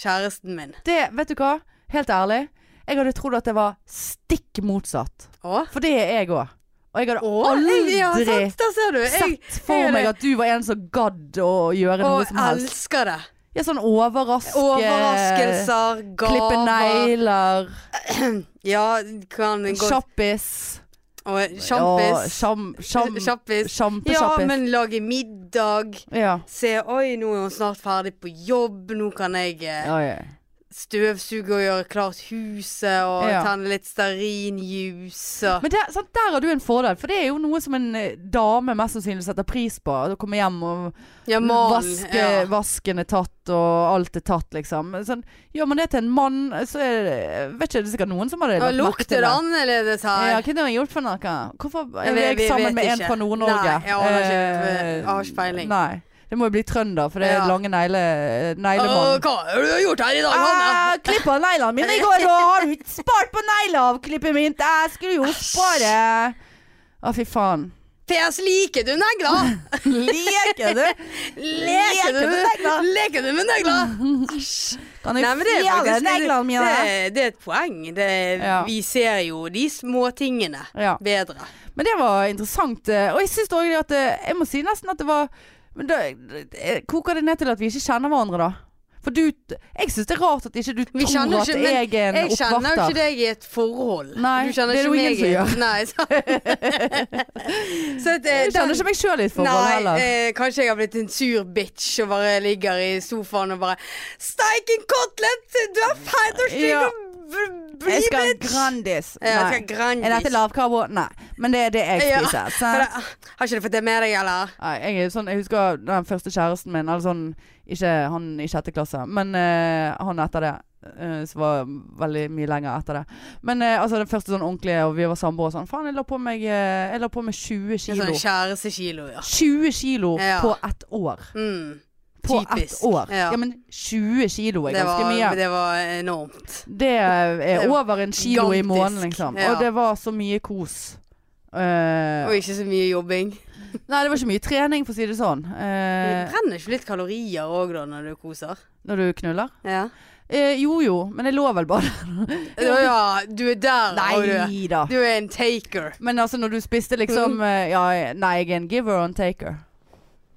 Speaker 2: kjæresten min.
Speaker 1: Det, vet du hva? Helt ærlig, jeg hadde trodd at det var stikk motsatt.
Speaker 2: Å?
Speaker 1: For det er jeg òg. Og jeg hadde
Speaker 2: Å, jeg- ja,
Speaker 1: aldri
Speaker 2: sant, der ser du. Jeg,
Speaker 1: sett for
Speaker 2: jeg-
Speaker 1: meg at du var en som gadd å gjøre
Speaker 2: å,
Speaker 1: noe
Speaker 2: jeg
Speaker 1: som helst.
Speaker 2: elsker det.
Speaker 1: Ja, sånn overraske
Speaker 2: Overraskelser,
Speaker 1: Klippe
Speaker 2: gaver
Speaker 1: negler,
Speaker 2: Ja, kan gå
Speaker 1: kjappis.
Speaker 2: Og
Speaker 1: Ja,
Speaker 2: Sjampis.
Speaker 1: sjam- sjam-
Speaker 2: Kjappis. Ja,
Speaker 1: Kjempekjappis.
Speaker 2: men lage middag.
Speaker 1: Ja.
Speaker 2: Se, oi, nå er hun snart ferdig på jobb. Nå kan jeg eh,
Speaker 1: Ja, ja.
Speaker 2: støvsuge og gjøre klart huset og
Speaker 1: Ja.
Speaker 2: tenne litt stearinjuice. og-
Speaker 1: Men der, sant, der har du en fordel, for det er jo noe som en eh, dame mest sannsynlig setter pris på. Å komme hjem og
Speaker 2: Ja, mal.
Speaker 1: vaske,
Speaker 2: ja.
Speaker 1: vasken er tatt og alt er tatt, liksom. Sånn, gjør man det til en mann, så er det, vet ikke, det er sikkert noen som hadde
Speaker 2: Ja,
Speaker 1: lagt merke
Speaker 2: lukter
Speaker 1: til
Speaker 2: det
Speaker 1: det.
Speaker 2: annerledes
Speaker 1: Ja,
Speaker 2: her?
Speaker 1: hva har jeg gjort for noe? Hvorfor
Speaker 2: Jeg
Speaker 1: er
Speaker 2: vet- vi
Speaker 1: jeg sammen
Speaker 2: vet
Speaker 1: med en
Speaker 2: ikke.
Speaker 1: fra Nord-Norge?
Speaker 2: Nei, jeg aner ikke.
Speaker 1: Eh,
Speaker 2: Jeg har ikke peiling.
Speaker 1: Nei. Det må jo bli trønder, for det er
Speaker 2: Ja.
Speaker 1: lange negle,
Speaker 2: Åh,
Speaker 1: neglemann.
Speaker 2: hva har du gjort her i dag, Hanne?
Speaker 1: Ah, klipp av neglene mine i går, og har du ikke spart på negleavklippet mitt? Jeg skulle jo spare Å, fy faen.
Speaker 2: Fes, liker du negler?
Speaker 1: Leker du?
Speaker 2: Leker du med negler? Leker du med negler? Æsj.
Speaker 1: Kan
Speaker 2: Nei,
Speaker 1: du
Speaker 2: men det er
Speaker 1: fjele
Speaker 2: faktisk-
Speaker 1: neglene mine?
Speaker 2: Det, er- det er et poeng. Det, er-
Speaker 1: Ja.
Speaker 2: Vi ser jo de små tingene
Speaker 1: Ja.
Speaker 2: bedre.
Speaker 1: Men det var interessant. eh, Og jeg syns òg at eh, Jeg må si nesten at det var Men da eh, koker det ned til at vi ikke kjenner hverandre, da. For du Jeg syns det er rart at ikke du
Speaker 2: Vi
Speaker 1: tror
Speaker 2: kjenner
Speaker 1: at
Speaker 2: ikke- men
Speaker 1: jeg er en
Speaker 2: Jeg kjenner jo ikke
Speaker 1: oppvarter.
Speaker 2: deg i et forhold.
Speaker 1: Nei,
Speaker 2: du kjenner
Speaker 1: det er det jo
Speaker 2: ikke
Speaker 1: ingen
Speaker 2: meg
Speaker 1: som
Speaker 2: i-
Speaker 1: gjør.
Speaker 2: Nei, sant? Så at, eh,
Speaker 1: Jeg kjenner
Speaker 2: den-
Speaker 1: ikke meg sjøl i et forhold
Speaker 2: Nei,
Speaker 1: heller.
Speaker 2: eh, kanskje jeg har blitt en sur bitch og bare ligger i sofaen og bare Steiken kotlet! Du er feil og stygg
Speaker 1: Ja.
Speaker 2: og br- blir
Speaker 1: Jeg skal ha
Speaker 2: bitch!
Speaker 1: Grandis.
Speaker 2: Ja, jeg
Speaker 1: Nei.
Speaker 2: skal grandis.
Speaker 1: Er dette lavkarbo? Nei. Men det er det jeg
Speaker 2: Ja.
Speaker 1: spiser.
Speaker 2: Har
Speaker 1: sant?
Speaker 2: du- Har ikke du fått det med deg, eller?
Speaker 1: Nei, jeg, er sånn, jeg husker den første kjæresten min Eller sånn, ikke han i sjette klasse Men eh, han etter det eh, Som var veldig mye lenger etter det Men eh, altså den første sånn ordentlige Og vi var samboere og sånn Faen, jeg la på meg, eh, jeg la på meg 20
Speaker 2: En
Speaker 1: kilo
Speaker 2: sånn kjærestekilo, ja.
Speaker 1: 20 kilo
Speaker 2: Ja.
Speaker 1: på ett år
Speaker 2: Mm.
Speaker 1: På ett
Speaker 2: Typisk.
Speaker 1: år
Speaker 2: Ja.
Speaker 1: ja. men 20 kilo er
Speaker 2: Det,
Speaker 1: ganske
Speaker 2: var,
Speaker 1: mye
Speaker 2: det var enormt.
Speaker 1: Det er over en kilo i måneden
Speaker 2: Gigantisk,
Speaker 1: liksom
Speaker 2: ja.
Speaker 1: Og det var så mye kos Eh,
Speaker 2: Og ikke så mye jobbing.
Speaker 1: Nei, det var ikke mye trening for å si det sånn Eh,
Speaker 2: Det brenner ikke litt kalorier òg da, når du koser?
Speaker 1: Når du knuller
Speaker 2: Ja.
Speaker 1: Eh, jo jo, men jeg lå vel bare
Speaker 2: Ja, ja, du er der, og du er,
Speaker 1: da.
Speaker 2: du er en taker.
Speaker 1: Men altså, når du spiste liksom
Speaker 2: Mm.
Speaker 1: eh, Ja, nei, jeg er en giver og en taker.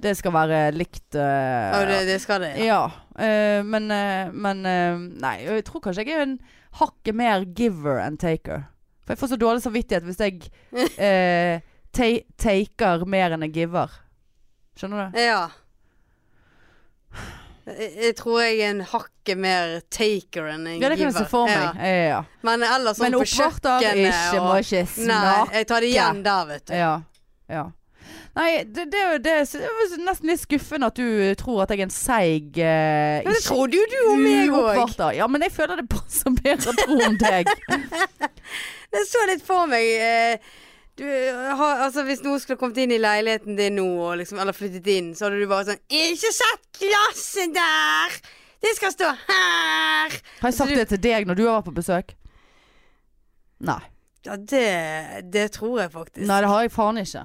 Speaker 1: Det skal være likt eh,
Speaker 2: Ja, det, det skal det.
Speaker 1: ja. Eh, men eh, men eh, Nei, jeg tror kanskje jeg er en hakket mer giver enn taker. For jeg får så dårlig samvittighet hvis jeg eh, ta taker mer enn jeg giver. Skjønner du?
Speaker 2: Ja. Jeg, jeg tror jeg er en hakket mer taker enn en
Speaker 1: Ja, det kan jeg se for meg.
Speaker 2: Ja.
Speaker 1: Ja. Ja.
Speaker 2: Men ellers sånn
Speaker 1: Men
Speaker 2: på
Speaker 1: oppvarter
Speaker 2: kjøkkenet
Speaker 1: ikke, må ikke
Speaker 2: Nei,
Speaker 1: snakke.
Speaker 2: jeg tar det igjen der, vet du.
Speaker 1: Ja. ja. Nei, det, det, er jo- det, det var nesten litt skuffende at du tror at jeg er en seig eh,
Speaker 2: Men det
Speaker 1: ikke
Speaker 2: trodde jo du om meg òg.
Speaker 1: uoppvarter. Ja, men jeg føler det passer bedre å tro om deg.
Speaker 2: Det så litt for meg. Eh, du, har, altså, hvis noen skulle kommet inn i leiligheten din nå, og liksom, eller flyttet inn, så hadde du bare sånn Ikke sett glasset der! Det skal stå her!
Speaker 1: Har jeg sagt det til deg når du har vært på besøk? Nei.
Speaker 2: Ja, det, det tror jeg faktisk.
Speaker 1: Nei, det har jeg faen ikke.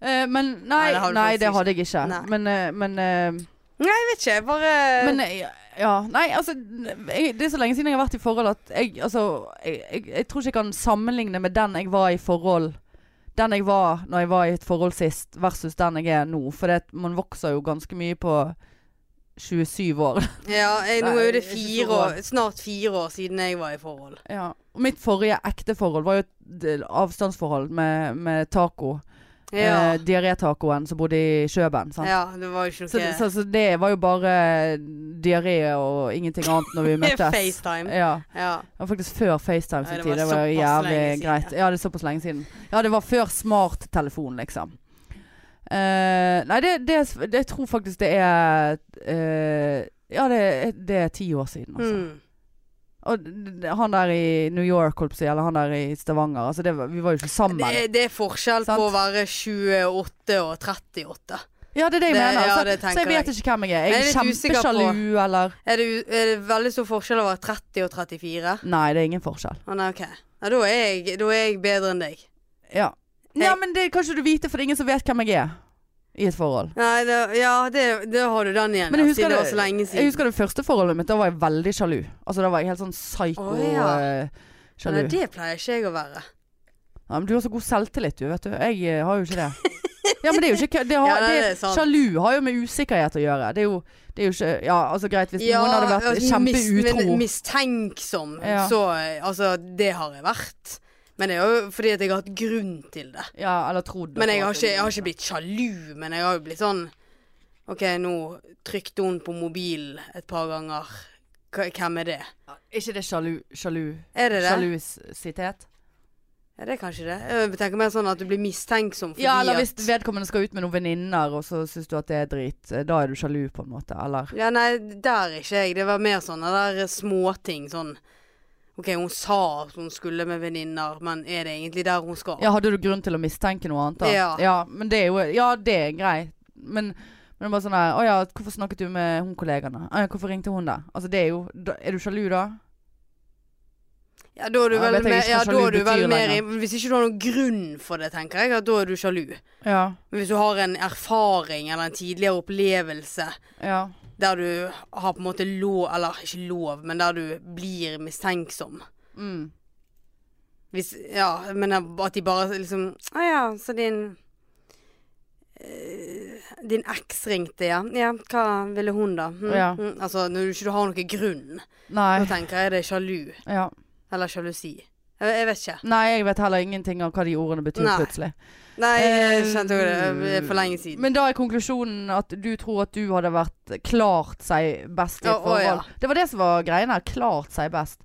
Speaker 1: Eh, men nei,
Speaker 2: Nei, det har du
Speaker 1: nei,
Speaker 2: faktisk
Speaker 1: det hadde jeg ikke.
Speaker 2: Nei.
Speaker 1: Men, eh, men, eh,
Speaker 2: Nei, jeg vet ikke. jeg Bare
Speaker 1: men eh, Ja, nei, altså jeg, Det er så lenge siden jeg har vært i forhold at jeg Altså, jeg, jeg, jeg tror ikke jeg kan sammenligne med den jeg var i forhold Den jeg var når jeg var i et forhold sist, versus den jeg er nå. For det, at man vokser jo ganske mye på 27 år.
Speaker 2: Ja, jeg, nå
Speaker 1: Nei,
Speaker 2: er jo det
Speaker 1: jeg er ikke så
Speaker 2: fire år, snart fire år siden jeg var i forhold.
Speaker 1: Ja. Og mitt forrige ekte forhold var jo et del- avstandsforhold med, med taco.
Speaker 2: Ja,
Speaker 1: Eh, Diaré-tacoen som bodde i Kjøben. Sant?
Speaker 2: ja det var jo ikke noe
Speaker 1: Så, så, så det var jo bare diaré og ingenting annet når vi møttes.
Speaker 2: FaceTime.
Speaker 1: Ja.
Speaker 2: Ja.
Speaker 1: Det var faktisk før FaceTime sin
Speaker 2: Ja, det
Speaker 1: tid. Det
Speaker 2: var
Speaker 1: var
Speaker 2: såpass lenge
Speaker 1: jævlig
Speaker 2: siden,
Speaker 1: greit. Ja, det er såpass lenge siden. Ja, det var før smarttelefon, liksom. Eh, nei, det, det, det jeg tror faktisk det er eh, Ja, det, det er ti år siden, altså.
Speaker 2: Mm.
Speaker 1: Og d- d- han der i New York, holdt på å si, eller han der i Stavanger altså det, var- Vi var jo ikke sammen.
Speaker 2: Det, det er forskjell
Speaker 1: Sant?
Speaker 2: på å være 28 og 38.
Speaker 1: ja, det er det jeg
Speaker 2: det-
Speaker 1: mener.
Speaker 2: ja,
Speaker 1: så,
Speaker 2: det
Speaker 1: så
Speaker 2: tenker
Speaker 1: jeg vet ikke hvem jeg er. Jeg
Speaker 2: Jeg er
Speaker 1: er
Speaker 2: litt usikker på-
Speaker 1: kjempesjalu, eller
Speaker 2: Er det, er det veldig stor forskjell å være 30 og 34?
Speaker 1: Nei, det er ingen forskjell.
Speaker 2: Å nei, ok. Ja, da, er jeg, da er jeg bedre enn deg.
Speaker 1: Ja. Ja, men det kan ikke du vite, for det er ingen som vet hvem jeg er i et forhold.
Speaker 2: Nei, det, ja, det, det har du den igjen.
Speaker 1: Men jeg
Speaker 2: ja,
Speaker 1: husker,
Speaker 2: siden det var så lenge
Speaker 1: det, jeg
Speaker 2: siden.
Speaker 1: husker det første forholdet mitt. Da var jeg veldig sjalu. Altså, da var jeg helt sånn psyko
Speaker 2: Å, ja.
Speaker 1: eh, sjalu.
Speaker 2: Nei, det pleier ikke jeg å være.
Speaker 1: Ja, men du har så god selvtillit, du, vet du. Jeg eh, har jo ikke det. Ja, men det er jo ikke kø- det har,
Speaker 2: Ja, nei,
Speaker 1: det,
Speaker 2: det er sant.
Speaker 1: Sjalu har jo med usikkerhet å gjøre. Det er jo, det er jo ikke Ja, altså greit, hvis
Speaker 2: Ja,
Speaker 1: noen hadde vært
Speaker 2: altså, mis-
Speaker 1: kjempeutro
Speaker 2: men Mistenksom,
Speaker 1: Ja.
Speaker 2: så eh, Altså, det har jeg vært. Men det er jo fordi at jeg har hatt grunn til det.
Speaker 1: ja, eller trodd
Speaker 2: Men jeg har, ikke, jeg har ikke blitt sjalu, men jeg har jo blitt sånn OK, nå trykte hun på mobilen et par ganger. Hva- Hvem er det?
Speaker 1: Ikke det sjalu... Sjalu...
Speaker 2: Er det det?
Speaker 1: Sjalusitet?
Speaker 2: Ja, det er kanskje det. Jeg tenker mer sånn at du blir mistenksom fordi
Speaker 1: Ja, eller
Speaker 2: at
Speaker 1: hvis vedkommende skal ut med noen venninner, og så syns du at det er drit. eh, Da er du sjalu, på en måte. Eller
Speaker 2: Ja, nei, der er ikke jeg. Det var mer sånne der småting. Sånn OK, hun sa at hun skulle med venninner, men er det egentlig der hun skal?
Speaker 1: Ja, hadde du grunn til å mistenke noe annet, da?
Speaker 2: Ja.
Speaker 1: men det er jo Ja, det er greit. Men, men det er bare sånn her Å ja, hvorfor snakket du med hun kollegaen, da? Å ja, hvorfor ringte hun, da? Altså, det er jo da, Er du sjalu, da?
Speaker 2: Ja, da er du
Speaker 1: Ja, jeg
Speaker 2: vel,
Speaker 1: vet jeg
Speaker 2: mer,
Speaker 1: ikke
Speaker 2: ja,
Speaker 1: hva
Speaker 2: da
Speaker 1: sjalu
Speaker 2: er du vel
Speaker 1: betyr
Speaker 2: mer i, Hvis ikke du har noen grunn for det, tenker jeg, at da er du sjalu.
Speaker 1: Ja.
Speaker 2: Men hvis du har en erfaring eller en tidligere opplevelse
Speaker 1: Ja.
Speaker 2: der du har på en måte lov Eller ikke lov, men der du blir mistenksom.
Speaker 1: Mm.
Speaker 2: Hvis, ja, men at de bare liksom Å ja, så din eh, Din eks ringte, ja. Ja, hva ville hun, da? Hm,
Speaker 1: Ja.
Speaker 2: hm. Altså, når du ikke har noen grunn, da
Speaker 1: Nei.
Speaker 2: tenker jeg det er sjalu.
Speaker 1: Ja.
Speaker 2: Eller sjalusi. Jeg, jeg vet ikke.
Speaker 1: Nei, jeg vet heller ingenting av hva de ordene betyr
Speaker 2: Nei.
Speaker 1: plutselig.
Speaker 2: Nei, jeg
Speaker 1: Eh,
Speaker 2: kjente jo det eh, for lenge siden.
Speaker 1: Men da er konklusjonen at du tror at du hadde vært klart seg best i et
Speaker 2: Å, å,
Speaker 1: forhold.
Speaker 2: ja.
Speaker 1: Det var det som var greien her. Klart seg best.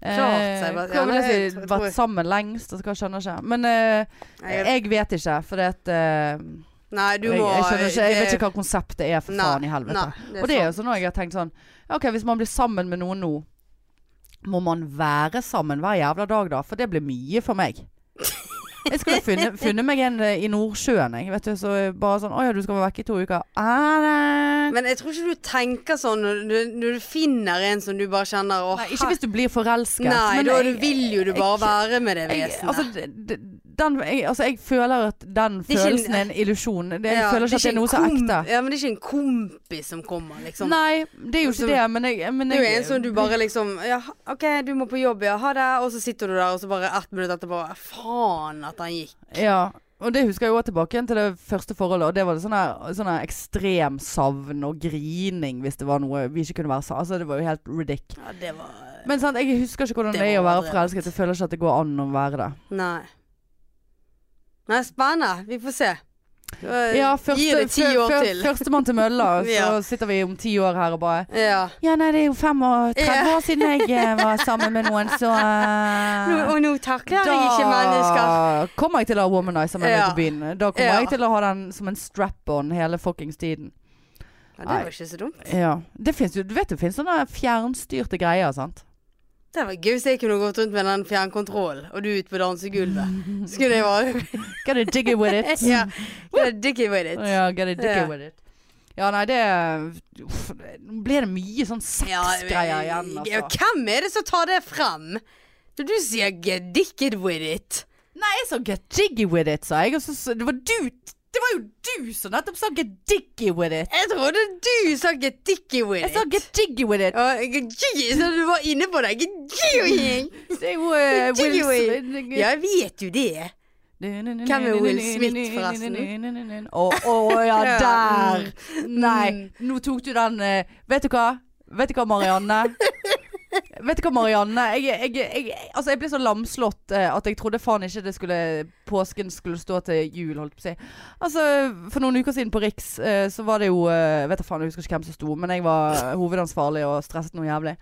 Speaker 2: Klart seg
Speaker 1: Eh,
Speaker 2: best. Ja,
Speaker 1: hva vil
Speaker 2: nei,
Speaker 1: jeg si?
Speaker 2: jeg tror-
Speaker 1: vært sammen lengst? Altså, hva skjønner ikke. Men eh,
Speaker 2: Jeg-
Speaker 1: jeg vet ikke, for det at eh,
Speaker 2: nei, du
Speaker 1: jeg,
Speaker 2: må
Speaker 1: jeg, skjønner ikke, jeg vet ikke hva konseptet er, for faen i helvete.
Speaker 2: Nei,
Speaker 1: og det er jo sånn også jeg har tenkt sånn ja, Ok, hvis man blir sammen med noen nå, må man være sammen hver jævla dag da? For det blir mye for meg. Jeg skulle funnet, funnet meg en eh, i Nordsjøen, jeg. Vet du, så bare sånn Å ja, du skal være vekke i to uker. Ah, nei.
Speaker 2: Men jeg tror ikke du tenker sånn når du, når du finner en som du bare kjenner Å,
Speaker 1: Nei, ikke hvis du blir forelsket.
Speaker 2: Nei,
Speaker 1: men
Speaker 2: da
Speaker 1: jeg-
Speaker 2: vil jo du bare være med det
Speaker 1: jeg,
Speaker 2: vesenet.
Speaker 1: altså, d- d- den, jeg, altså, jeg føler at den
Speaker 2: er ikke en-
Speaker 1: følelsen er en illusjon. Det, jeg
Speaker 2: Ja,
Speaker 1: føler ikke at det er
Speaker 2: en
Speaker 1: noe så
Speaker 2: kom-
Speaker 1: ekte.
Speaker 2: Ja, men det er ikke en kompis som kommer, liksom.
Speaker 1: Nei, det er jo
Speaker 2: Altså,
Speaker 1: ikke det, men jeg, men
Speaker 2: det er jo
Speaker 1: jeg
Speaker 2: en som du bare liksom Ja, OK, du må på jobb, ja, ha det. Og så sitter du der, og så bare ett minutt etterpå Faen at han gikk.
Speaker 1: Ja, og det husker jeg jo også tilbake igjen til det første forholdet. Og det var det sånn her- sånn her ekstrem savn og grining hvis det var noe vi ikke kunne være sammen. Altså, det var jo helt ridic.
Speaker 2: Ja, det var
Speaker 1: Men sant, jeg husker ikke hvordan
Speaker 2: Det
Speaker 1: det, er å
Speaker 2: var
Speaker 1: være
Speaker 2: drevet.
Speaker 1: forelsket. Jeg føler ikke at det går an å være det.
Speaker 2: Nei. Nei, spennende. Vi får se.
Speaker 1: Ja,
Speaker 2: Eh, Gi det ti år til.
Speaker 1: Førstemann til mølla,
Speaker 2: Ja.
Speaker 1: så sitter vi om ti år her og bare
Speaker 2: Ja.
Speaker 1: Ja, nei, det er jo 35
Speaker 2: Ja.
Speaker 1: år siden jeg eh, var sammen med noen, så eh,
Speaker 2: Nå, og nå takler jeg ikke mennesker.
Speaker 1: Da kommer jeg til å ha womanizer med
Speaker 2: Ja.
Speaker 1: meg på byen. Da kommer
Speaker 2: Ja.
Speaker 1: jeg til å ha den som en strap-on hele fuckings tiden.
Speaker 2: Ja, det var ikke så dumt.
Speaker 1: Ja. Det finnes jo, du vet det finnes sånne fjernstyrte greier, sant?
Speaker 2: Det var gøy hvis jeg kunne gått rundt med den fjernkontrollen, og du ute på dansegulvet. Så kunne jeg bare
Speaker 1: Gotta dig it with it.
Speaker 2: Ja. yeah, Dick it with it.
Speaker 1: ja gotta dig
Speaker 2: Ja.
Speaker 1: it with it. Ja, nei, det uff, Nå ble det mye sånn sexgreier igjen,
Speaker 2: ja,
Speaker 1: altså.
Speaker 2: Hvem er det som tar det frem? Når du sier 'get dicked with it'.
Speaker 1: Nei, jeg sa get jiggy with it, sa jeg. Og så, så, det var du Det var jo du som nettopp sa get diggy with it.
Speaker 2: Jeg trodde du sa 'get dicky with
Speaker 1: Jeg sa
Speaker 2: it'.
Speaker 1: get jiggy with it.
Speaker 2: Ja, get jiggy, så du var inne på det. Get jiggy.
Speaker 1: Det er jo eh,
Speaker 2: Get
Speaker 1: Will
Speaker 2: jiggy with it.
Speaker 1: Smith.
Speaker 2: Ja, jeg vet jo det.
Speaker 1: Hvem
Speaker 2: er Will Smith, forresten?
Speaker 1: Å å, ja,
Speaker 2: Ja.
Speaker 1: der!
Speaker 2: Mm.
Speaker 1: Nei, nå tok du den eh, Vet du hva? Vet du hva, Marianne? Vet du hva, Marianne? Jeg, jeg, jeg, altså jeg ble så lamslått eh, at jeg trodde faen ikke det skulle påsken skulle stå til jul, holdt på å si. Altså, for noen uker siden på Riks, eh, så var det jo eh, Vet da faen, jeg husker ikke hvem som sto, men jeg var hovedansvarlig og stresset noe jævlig.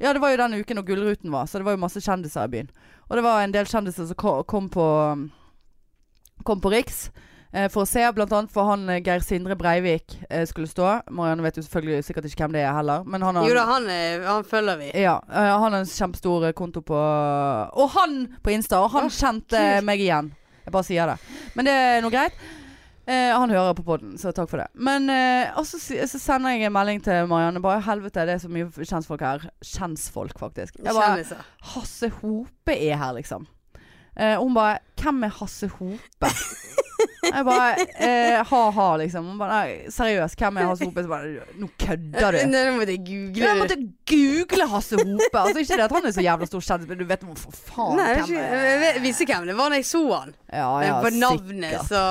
Speaker 1: Ja, det var jo den uken når Gullruten var, så det var jo masse kjendiser i byen. Og det var en del kjendiser som ko- kom på Kom på Riks eh, for å se, blant annet for han eh, Geir Sindre Breivik eh, skulle stå. Marianne vet jo selvfølgelig sikkert ikke hvem det er heller, men han har
Speaker 2: Jo da, han, er- han følger vi.
Speaker 1: ja, eh, han har en kjempestor eh, konto på Og han på Insta! Og han kjente
Speaker 2: kult.
Speaker 1: meg igjen. Jeg bare sier det. Men det er nå greit. Eh, han hører på podden, så takk for det. Men eh, og så, si- så sender jeg en melding til Marianne. Bare helvete, det er så mye kjentfolk her. Kjentfolk, faktisk. Jeg bare,
Speaker 2: Kjendiser.
Speaker 1: Hasse Hope er her, liksom. Eh, og hun bare 'Hvem er Hasse Hope?' Jeg bare eh, ha-ha, liksom. Hun bare nei, 'Seriøst, hvem er Hasse Hope?' Så bare 'Nå kødder du'.
Speaker 2: Nei, nå måtte jeg google
Speaker 1: Jeg
Speaker 2: det.
Speaker 1: måtte google Hasse Hope. Altså Ikke det at han er så jævla stor kjendis, men du vet for faen
Speaker 2: Nei, jeg,
Speaker 1: hvem
Speaker 2: vet ikke-
Speaker 1: er
Speaker 2: jeg vet- visste hvem det var når jeg så han.
Speaker 1: ja,
Speaker 2: Men
Speaker 1: ja,
Speaker 2: på navnet,
Speaker 1: sikkert.
Speaker 2: så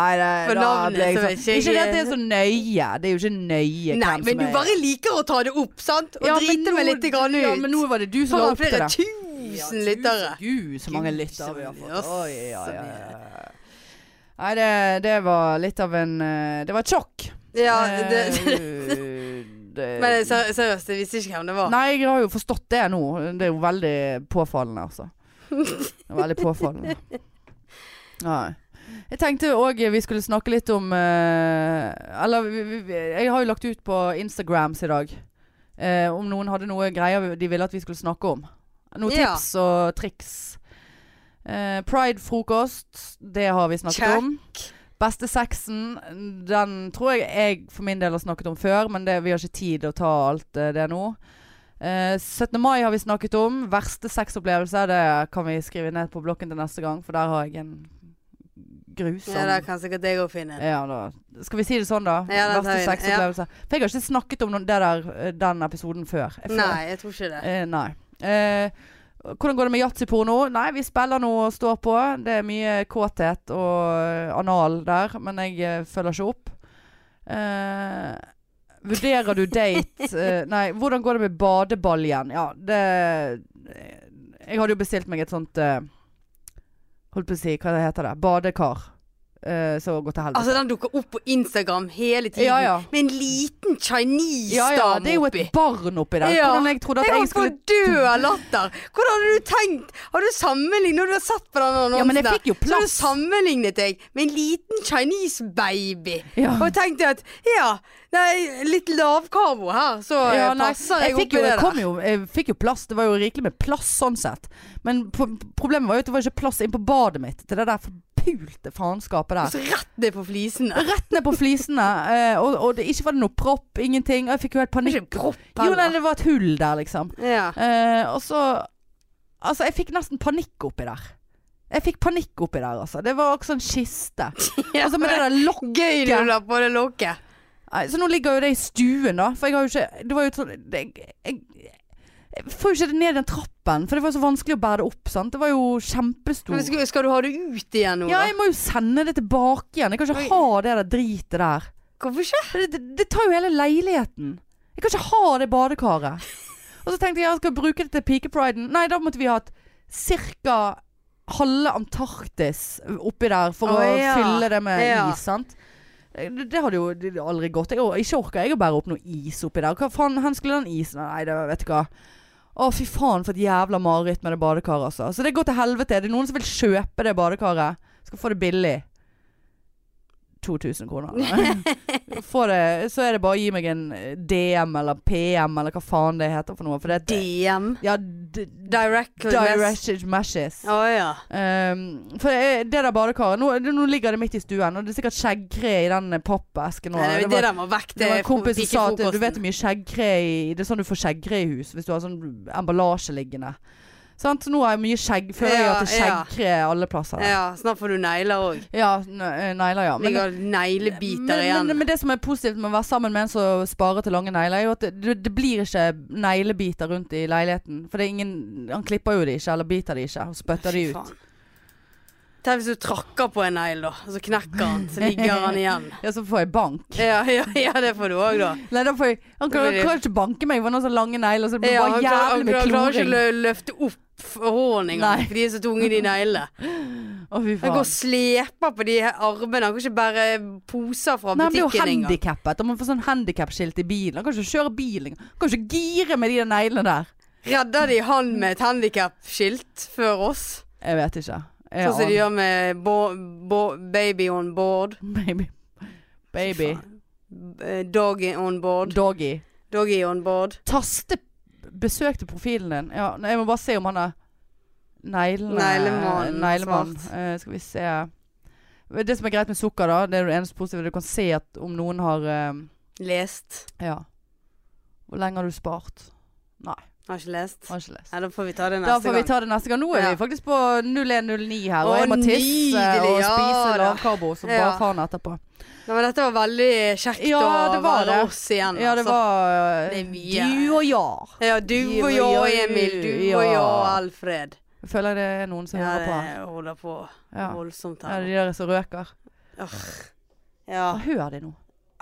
Speaker 1: Nei, det,
Speaker 2: på
Speaker 1: da
Speaker 2: navnet
Speaker 1: ble jeg
Speaker 2: så
Speaker 1: sånn-
Speaker 2: vet ikke jeg-
Speaker 1: Ikke det at det er så nøye. Det er jo ikke nøye
Speaker 2: Nei,
Speaker 1: hvem
Speaker 2: men
Speaker 1: som
Speaker 2: du
Speaker 1: er
Speaker 2: bare liker å ta det opp, sant? Og
Speaker 1: Ja, men
Speaker 2: drite
Speaker 1: nå-
Speaker 2: meg litt grann ut.
Speaker 1: Ja, men nå var det du som la
Speaker 2: Foran
Speaker 1: opp til
Speaker 2: flere
Speaker 1: det.
Speaker 2: tusen lyttere.
Speaker 1: Gud, så mange
Speaker 2: Gud,
Speaker 1: lyttere
Speaker 2: så
Speaker 1: vi har
Speaker 2: mye, ass.
Speaker 1: fått. Oi, ja, ja, ja. Nei, det, det var litt av en eh, Det var et sjokk.
Speaker 2: Ja,
Speaker 1: Eh,
Speaker 2: det,
Speaker 1: det-
Speaker 2: men eh, ser- seriøst, jeg visste ikke hvem det var.
Speaker 1: Nei, jeg har jo forstått det nå. Det er jo veldig påfallende, altså. Det er veldig påfallende. Nei. Jeg tenkte òg vi skulle snakke litt om eh, Eller vi, vi, vi- jeg har jo lagt ut på Instagrams i dag eh, om noen hadde noe greier de ville at vi skulle snakke om. Noen
Speaker 2: Ja.
Speaker 1: tips og triks. Eh, Pride-frokost, det har vi snakket
Speaker 2: Check.
Speaker 1: om. Beste sexen, den tror jeg jeg for min del har snakket om før, men det, vi har ikke tid å ta alt eh, det nå. Eh, 17. mai har vi snakket om. Verste sexopplevelse, det kan vi skrive ned på blokken til neste gang, for der har jeg en grusom
Speaker 2: Ja, det kan sikkert jeg òg finne. en.
Speaker 1: ja, da. Skal vi si det sånn, da?
Speaker 2: Ja, da tar
Speaker 1: Verste
Speaker 2: vi det.
Speaker 1: sexopplevelse. For jeg har ikke snakket om noen, det der, eh, den episoden før. Jeg føler-
Speaker 2: Nei, jeg tror ikke det.
Speaker 1: Eh, nei. Eh, hvordan går det med yatzyporno? Nei, vi spiller nå og står på. Det er mye kåthet og eh, anal der, men jeg eh, følger ikke opp. Eh, vurderer du date eh, Nei, hvordan går det med badebaljen? Ja, det eh, Jeg hadde jo bestilt meg et sånt eh, Holdt på å si, hva det heter det? Badekar. Eh, så går til helvete.
Speaker 2: Altså, den dukker opp på Instagram hele tiden.
Speaker 1: Ja, ja.
Speaker 2: Med en liten chinese-dam
Speaker 1: ja ja, det sånn- er jo
Speaker 2: oppi.
Speaker 1: et barn oppi der.
Speaker 2: Ja.
Speaker 1: Hvordan jeg trodde at
Speaker 2: Jeg
Speaker 1: jeg,
Speaker 2: holdt på å
Speaker 1: skulle
Speaker 2: dø av latter! Hvordan hadde du tenkt? Har du sammenlignet når du har sett på den annonsen?
Speaker 1: Ja, men jeg
Speaker 2: der,
Speaker 1: fikk jo
Speaker 2: Så har du
Speaker 1: plass.
Speaker 2: sammenlignet deg med en liten chinese baby.
Speaker 1: Ja.
Speaker 2: Og tenkte at ja, nei, litt lavkarbo her, så
Speaker 1: Ja,
Speaker 2: eh,
Speaker 1: nei,
Speaker 2: passer
Speaker 1: jeg
Speaker 2: jeg,
Speaker 1: fikk
Speaker 2: oppi
Speaker 1: jo,
Speaker 2: det
Speaker 1: jeg kom
Speaker 2: der.
Speaker 1: jo, jeg fikk jo plass. Det var jo rikelig med plass sånn sett. Men pro problemet var jo at det var ikke plass inn på badet mitt til det der forpulte faenskapet der.
Speaker 2: Og så rett ned på flisene.
Speaker 1: Rett ned på flisene, eh, og, og det ikke var det noe propp, ingenting. Og jeg fikk jo helt
Speaker 2: Det er
Speaker 1: panikk.
Speaker 2: ikke propp
Speaker 1: Jo, nei,
Speaker 2: heller.
Speaker 1: det var et hull der, liksom.
Speaker 2: Ja.
Speaker 1: Eh, og så Altså, jeg fikk nesten panikk oppi der. Jeg fikk panikk oppi der, altså. Det var også en kiste. Altså, med det der lokket
Speaker 2: Gøy når du la på det lokket.
Speaker 1: Nei, Så nå ligger jo det i stuen, da. For jeg har jo ikke Det var jo et sånn det, jeg, jeg, jeg får jo ikke det ned den trappen, for det var så vanskelig å bære det opp. sant? Det var jo kjempestor.
Speaker 2: Men skal, skal du ha det ut igjen nå,
Speaker 1: Ja,
Speaker 2: da?
Speaker 1: jeg må jo sende det tilbake igjen. Jeg kan ikke ha det der dritet der.
Speaker 2: Hvorfor ikke?
Speaker 1: Det, det, det tar jo hele leiligheten. Jeg kan ikke ha det badekaret. Og så tenkte jeg jeg skal jeg bruke det til pikepriden. Nei, da måtte vi ha hatt ca. halve Antarktis oppi der for
Speaker 2: Å,
Speaker 1: å
Speaker 2: ja.
Speaker 1: fylle det med
Speaker 2: Ja.
Speaker 1: is, sant. Eh, Det, det hadde jo det hadde aldri gått. Jeg, or- ikke orker jeg å bære opp noe is oppi der. Hva faen, Hvor skulle den isen Nei, det vet du hva. Å, fy faen, for et jævla mareritt med det badekaret, altså. Så det går til helvete. Er det noen som vil kjøpe det badekaret? Skal få det billig. 2000 kroner. eller? Få det, så er det bare å gi meg en DM eller PM eller hva faen det heter for noe. For det er
Speaker 2: DM.
Speaker 1: Ja, d-
Speaker 2: Direct.
Speaker 1: direct meshes.
Speaker 2: Å ja.
Speaker 1: Um, for eh, det der badekaret nå, nå ligger det midt i stuen, og det er sikkert skjeggkre i den eh, pappesken. nå.
Speaker 2: Nei, det,
Speaker 1: Det var-
Speaker 2: det der må vekk
Speaker 1: det
Speaker 2: til
Speaker 1: var en kompis som sa at du
Speaker 2: pikefrokosten.
Speaker 1: vet hvor mye skjeggkre i Det er sånn du får skjeggkre i hus hvis du har sånn emballasje liggende. Sant? Så nå har jeg mye skjegg. Føler jeg
Speaker 2: Ja,
Speaker 1: at det er
Speaker 2: ja.
Speaker 1: skjeggkre alle plasser. Ja,
Speaker 2: Ja, snart får du negler òg.
Speaker 1: ja n- eh, negler, ja. Men,
Speaker 2: Ligger
Speaker 1: men,
Speaker 2: neglebiter igjen.
Speaker 1: men, men det som er positivt med å være sammen med en som sparer til lange negler, er jo at det, det blir ikke neglebiter rundt i leiligheten. For det er ingen Han klipper jo de ikke, eller biter de ikke, og spytter de
Speaker 2: Fy
Speaker 1: ut.
Speaker 2: faen. Tenk hvis du trakker på en negl, da, og så knekker han. Så ligger han igjen.
Speaker 1: Ja, så får jeg bank.
Speaker 2: Ja, ja, ja det får du òg, da.
Speaker 1: Nei, da får jeg Han kan,
Speaker 2: Det blir-
Speaker 1: han kan ikke banke meg, for han har så lange negler, så det blir
Speaker 2: Ja,
Speaker 1: bare
Speaker 2: han klarer, han
Speaker 1: jævlig mye
Speaker 2: klarer, klarer ikke
Speaker 1: kloring.
Speaker 2: å lø- løfte opp hånden engang,
Speaker 1: Nei.
Speaker 2: for de er så tunge, de neglene.
Speaker 1: Å, fy
Speaker 2: Han går
Speaker 1: faen.
Speaker 2: og sleper på de her armene. Han kan ikke bære poser fra
Speaker 1: Nei, han blir jo
Speaker 2: butikken engang.
Speaker 1: handikappet. Han må få sånn handikapskilt i bilen. Han kan ikke kjøre bil engang. Han kan ikke gire med de der neglene der.
Speaker 2: Redder de han med et handikapskilt før oss?
Speaker 1: Jeg vet ikke. Jeg
Speaker 2: Sånn som de
Speaker 1: aner-
Speaker 2: gjør med bo, bo, Baby on board.
Speaker 1: Baby. Baby.
Speaker 2: Eh, Doggy on board.
Speaker 1: Doggy.
Speaker 2: Doggy on board.
Speaker 1: Taste besøkte profilen din. Ja, nei, jeg må bare se om han er neglene
Speaker 2: Neglemann,
Speaker 1: neglemann.
Speaker 2: svart.
Speaker 1: Eh, skal vi se Det som er greit med sukker, da, det er det eneste positive. Du kan se at om noen har eh,
Speaker 2: Lest.
Speaker 1: Ja. Hvor lenge har du spart? Nei.
Speaker 2: Har ikke lest.
Speaker 1: Har ikke lest.
Speaker 2: Nei, da får vi ta det
Speaker 1: Da
Speaker 2: neste
Speaker 1: får vi ta det neste gang. Nå er
Speaker 2: Ja.
Speaker 1: vi faktisk på 0109 her, og
Speaker 2: Å,
Speaker 1: jeg må tisse
Speaker 2: nydelig,
Speaker 1: og
Speaker 2: ja
Speaker 1: spise
Speaker 2: da.
Speaker 1: lavkarbo som bare
Speaker 2: Ja.
Speaker 1: faen etterpå.
Speaker 2: gang. Nei, men dette var veldig kjekt
Speaker 1: Ja,
Speaker 2: å
Speaker 1: det var
Speaker 2: være
Speaker 1: det.
Speaker 2: oss igjen.
Speaker 1: Ja, det
Speaker 2: altså.
Speaker 1: var eh,
Speaker 2: Det er mye.
Speaker 1: du og ja.
Speaker 2: Ja, du
Speaker 1: Jo,
Speaker 2: og jeg og
Speaker 1: jo,
Speaker 2: Emil. Du
Speaker 1: ja.
Speaker 2: og jeg og Alfred.
Speaker 1: Jeg føler det er noen som
Speaker 2: Ja,
Speaker 1: hører på her.
Speaker 2: det holder på
Speaker 1: Ja.
Speaker 2: voldsomt
Speaker 1: ja,
Speaker 2: her.
Speaker 1: de der som røker.
Speaker 2: Arr. Ja.
Speaker 1: Hør de nå.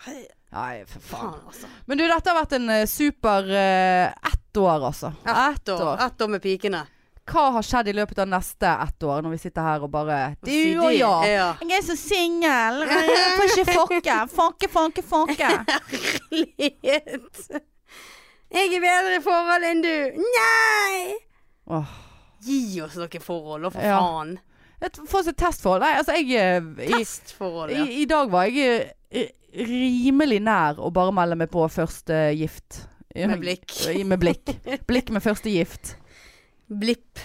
Speaker 2: Hei,
Speaker 1: Nei, for faen.
Speaker 2: Faen, altså.
Speaker 1: Men du, dette har vært en eh, super eh, ett år, altså.
Speaker 2: Ett år. Ett år med pikene.
Speaker 1: Hva har skjedd i løpet av neste ett år, når vi sitter her og bare Du
Speaker 2: Sier
Speaker 1: og
Speaker 2: de-
Speaker 1: ja.
Speaker 2: ja.
Speaker 1: Jeg er så singel. Jeg Får ikke fokke. Fokke, fokke, fokke.
Speaker 2: Herlighet. Jeg er bedre i forhold enn du. Nei!
Speaker 1: Åh.
Speaker 2: Gi oss noen forhold, da, for
Speaker 1: Ja.
Speaker 2: faen.
Speaker 1: Et- Få oss et testforhold. Nei, altså, jeg eh, i,
Speaker 2: Testforhold,
Speaker 1: i,
Speaker 2: ja.
Speaker 1: I dag var jeg eh, rimelig nær å bare melde meg på første gift.
Speaker 2: Med blikk.
Speaker 1: I- Med blikk. Blikk med første gift.
Speaker 2: Blipp.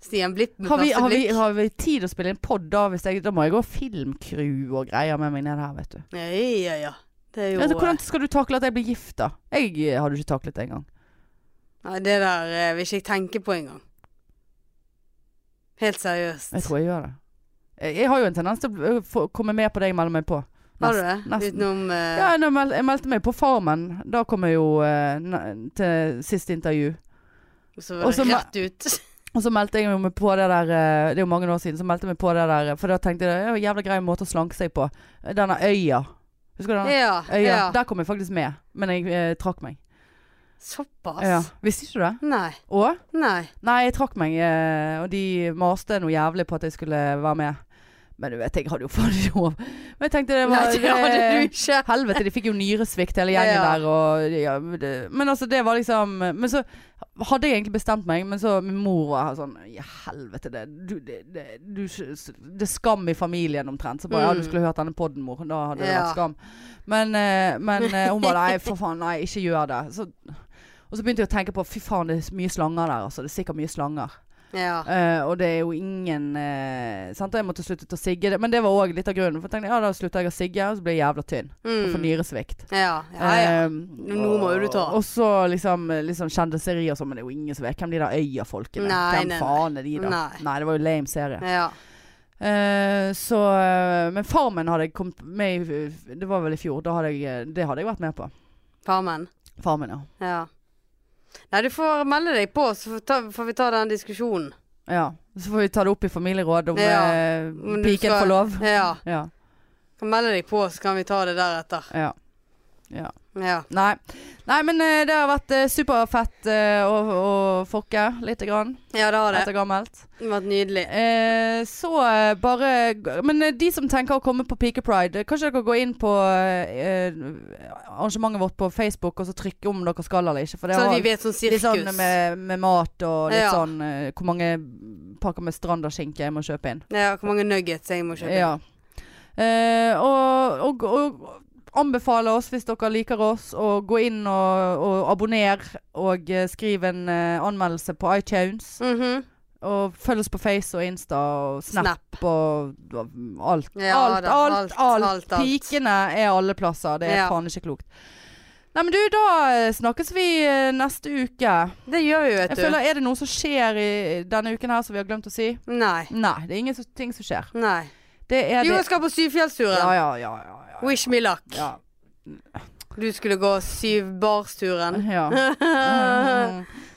Speaker 2: Stian Blipp med
Speaker 1: Har vi,
Speaker 2: første
Speaker 1: har, vi,
Speaker 2: blikk.
Speaker 1: har vi tid å spille inn pod da? Hvis jeg, da må jeg gå filmcrew og greier med meg ned her, vet du.
Speaker 2: Ja, ja, ja. Det er jo
Speaker 1: Altså, hvordan skal du takle at jeg blir gift, da? Jeg eh, hadde ikke taklet det engang.
Speaker 2: Nei, det der eh, vil ikke jeg tenke på engang. Helt seriøst.
Speaker 1: Jeg tror jeg gjør det. Jeg, jeg har jo en tendens til å eh, få- komme med på det jeg melder meg på.
Speaker 2: har du det?
Speaker 1: nesten.
Speaker 2: Utenom eh,
Speaker 1: Ja, når jeg, mel jeg meldte meg på Farmen. Da kom jeg jo eh, na- til siste intervju.
Speaker 2: Og så var
Speaker 1: Også
Speaker 2: det
Speaker 1: ma-
Speaker 2: rett ut.
Speaker 1: Og så meldte jeg meg på det der eh, Det er jo mange år siden, så meldte jeg meg på det der eh, For da tenkte jeg det er jo en jævla grei måte å slanke seg på. Denne øya. Husker du den?
Speaker 2: ja,
Speaker 1: Øya.
Speaker 2: ja.
Speaker 1: Der kom jeg faktisk med, men jeg eh, trakk meg.
Speaker 2: Såpass?
Speaker 1: Ja. Visste ikke du det?
Speaker 2: Nei.
Speaker 1: Og?
Speaker 2: Nei.
Speaker 1: Nei, jeg trakk meg, eh, og de maste noe jævlig på at jeg skulle være med. Men du vet, jeg hadde jo faen ikke lov. Men jeg tenkte det
Speaker 2: Nei,
Speaker 1: var eh,
Speaker 2: det hadde du ikke.
Speaker 1: Helvete, de fikk jo nyresvikt hele gjengen
Speaker 2: Ja.
Speaker 1: der. Og, ja, det, men altså, det var liksom Men så hadde jeg egentlig bestemt meg, men så min mor var her sånn Ja, helvete, det du, det, det, du, det er skam i familien omtrent. Så bare Ja,
Speaker 2: Mm.
Speaker 1: du skulle hørt denne podden, mor. Da hadde det
Speaker 2: Ja.
Speaker 1: vært skam. Men, eh, men eh, hun bare Nei, for faen, nei, ikke gjør det. Så, og så begynte jeg å tenke på Fy faen, det er mye slanger der, altså. Det er sikkert mye slanger.
Speaker 2: Ja.
Speaker 1: Eh, og det er jo ingen eh, sant? Og jeg måtte slutte å sigge. Men det var òg litt av grunnen. For jeg tenkte, ja, da slutter jeg å sigge, og så blir jeg jævla tynn. Og får
Speaker 2: Mm.
Speaker 1: nyresvikt.
Speaker 2: Ja, ja, ja.
Speaker 1: Eh,
Speaker 2: Nå må jo du ta.
Speaker 1: Og, og så liksom, liksom kjendiseri og sånn, men det er jo ingen som vet hvem de der Øya-folkene
Speaker 2: Nei,
Speaker 1: Hvem
Speaker 2: nei, nei.
Speaker 1: faen er de da?
Speaker 2: Nei.
Speaker 1: det var jo lame serie.
Speaker 2: ja.
Speaker 1: Eh, så eh, Men Farmen hadde jeg kommet med i Det var vel i fjor. Da hadde jeg, eh, det hadde jeg vært med på.
Speaker 2: Farmen.
Speaker 1: Farmen, ja.
Speaker 2: Ja. Nei, du får melde deg på, så får, ta, får vi ta den diskusjonen.
Speaker 1: ja. Så får vi ta det opp i familieråd om
Speaker 2: Ja.
Speaker 1: eh,
Speaker 2: Om du
Speaker 1: piken
Speaker 2: skal-
Speaker 1: får lov.
Speaker 2: Ja.
Speaker 1: Ja.
Speaker 2: Kan melde deg på, så kan vi ta det deretter.
Speaker 1: ja.
Speaker 2: Ja.
Speaker 1: Nei. Nei, men eh, det har vært eh, superfett eh, å, å fokke lite grann
Speaker 2: Ja, det har det.
Speaker 1: etter gammelt.
Speaker 2: Det har vært nydelig.
Speaker 1: Eh, så eh, bare g- Men eh, de som tenker å komme på Pike Pride, eh, kanskje dere går inn på eh, arrangementet vårt på Facebook og så trykke om dere skal eller ikke. For det
Speaker 2: Sånn at vi
Speaker 1: har
Speaker 2: vet sånn
Speaker 1: litt
Speaker 2: sirkus.
Speaker 1: sånn med, med mat og litt
Speaker 2: Ja.
Speaker 1: sånn eh, Hvor mange pakker med Stranda-skinke jeg må kjøpe inn.
Speaker 2: Ja, hvor mange nuggets jeg må kjøpe.
Speaker 1: Ja. Eh, og, og, og anbefale oss hvis dere liker oss, å gå inn og, og abonnere og eh, skriv en eh, anmeldelse på iTunes.
Speaker 2: Mhm.
Speaker 1: Og følg oss på Face og Insta og Snap,
Speaker 2: Snap.
Speaker 1: og og alt.
Speaker 2: Ja
Speaker 1: alt,
Speaker 2: da,
Speaker 1: alt,
Speaker 2: alt,
Speaker 1: alt,
Speaker 2: alt, alt.
Speaker 1: Pikene er alle plasser. Det er
Speaker 2: Ja.
Speaker 1: faen ikke klokt. Nei, men du, da eh, snakkes vi eh, neste uke.
Speaker 2: Det gjør vi, vet
Speaker 1: Jeg
Speaker 2: du.
Speaker 1: føler, Er det noe som skjer i denne uken her som vi har glemt å si?
Speaker 2: Nei.
Speaker 1: Nei, det er ingenting som skjer.
Speaker 2: Nei.
Speaker 1: Det er
Speaker 2: Jo,
Speaker 1: det
Speaker 2: jeg skal på syvfjellsturen.
Speaker 1: Ja, ja, ja. ja, ja.
Speaker 2: Wish me luck.
Speaker 1: Ja.
Speaker 2: Du skulle gå syvbarsturen.
Speaker 1: ja.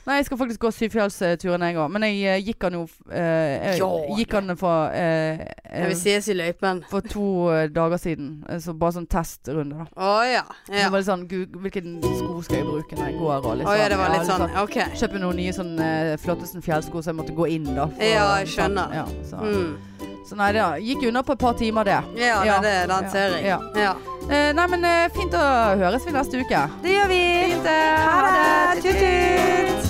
Speaker 1: Mm. Nei, jeg skal faktisk gå syvfjellsturen, jeg òg. Men jeg eh, gikk han jo eh, jeg
Speaker 2: Ja.
Speaker 1: Gikk han for eh, eh,
Speaker 2: Ja, vi ses i løypen.
Speaker 1: For to eh, dager siden. Eh, Så bare sånn testrunde, da.
Speaker 2: Å ja.
Speaker 1: Så
Speaker 2: Ja.
Speaker 1: var det sånn Gud, hvilken sko skal jeg bruke når jeg går, og litt
Speaker 2: Å ja, det var
Speaker 1: Ja,
Speaker 2: litt sånn. OK.
Speaker 1: Kjøpe noen nye sånn eh, Flottesen fjellsko, så jeg måtte gå inn, da.
Speaker 2: Ja, jeg skjønner.
Speaker 1: Ja, så.
Speaker 2: Mm.
Speaker 1: så nei, det gikk unna på et par timer, det.
Speaker 2: Ja,
Speaker 1: Ja.
Speaker 2: det er den ser jeg.
Speaker 1: Ja.
Speaker 2: Ja.
Speaker 1: Eh, nei, men eh, fint å høres vi neste uke.
Speaker 2: Det gjør vi.
Speaker 1: Fint, eh, ha det. Tut-tut.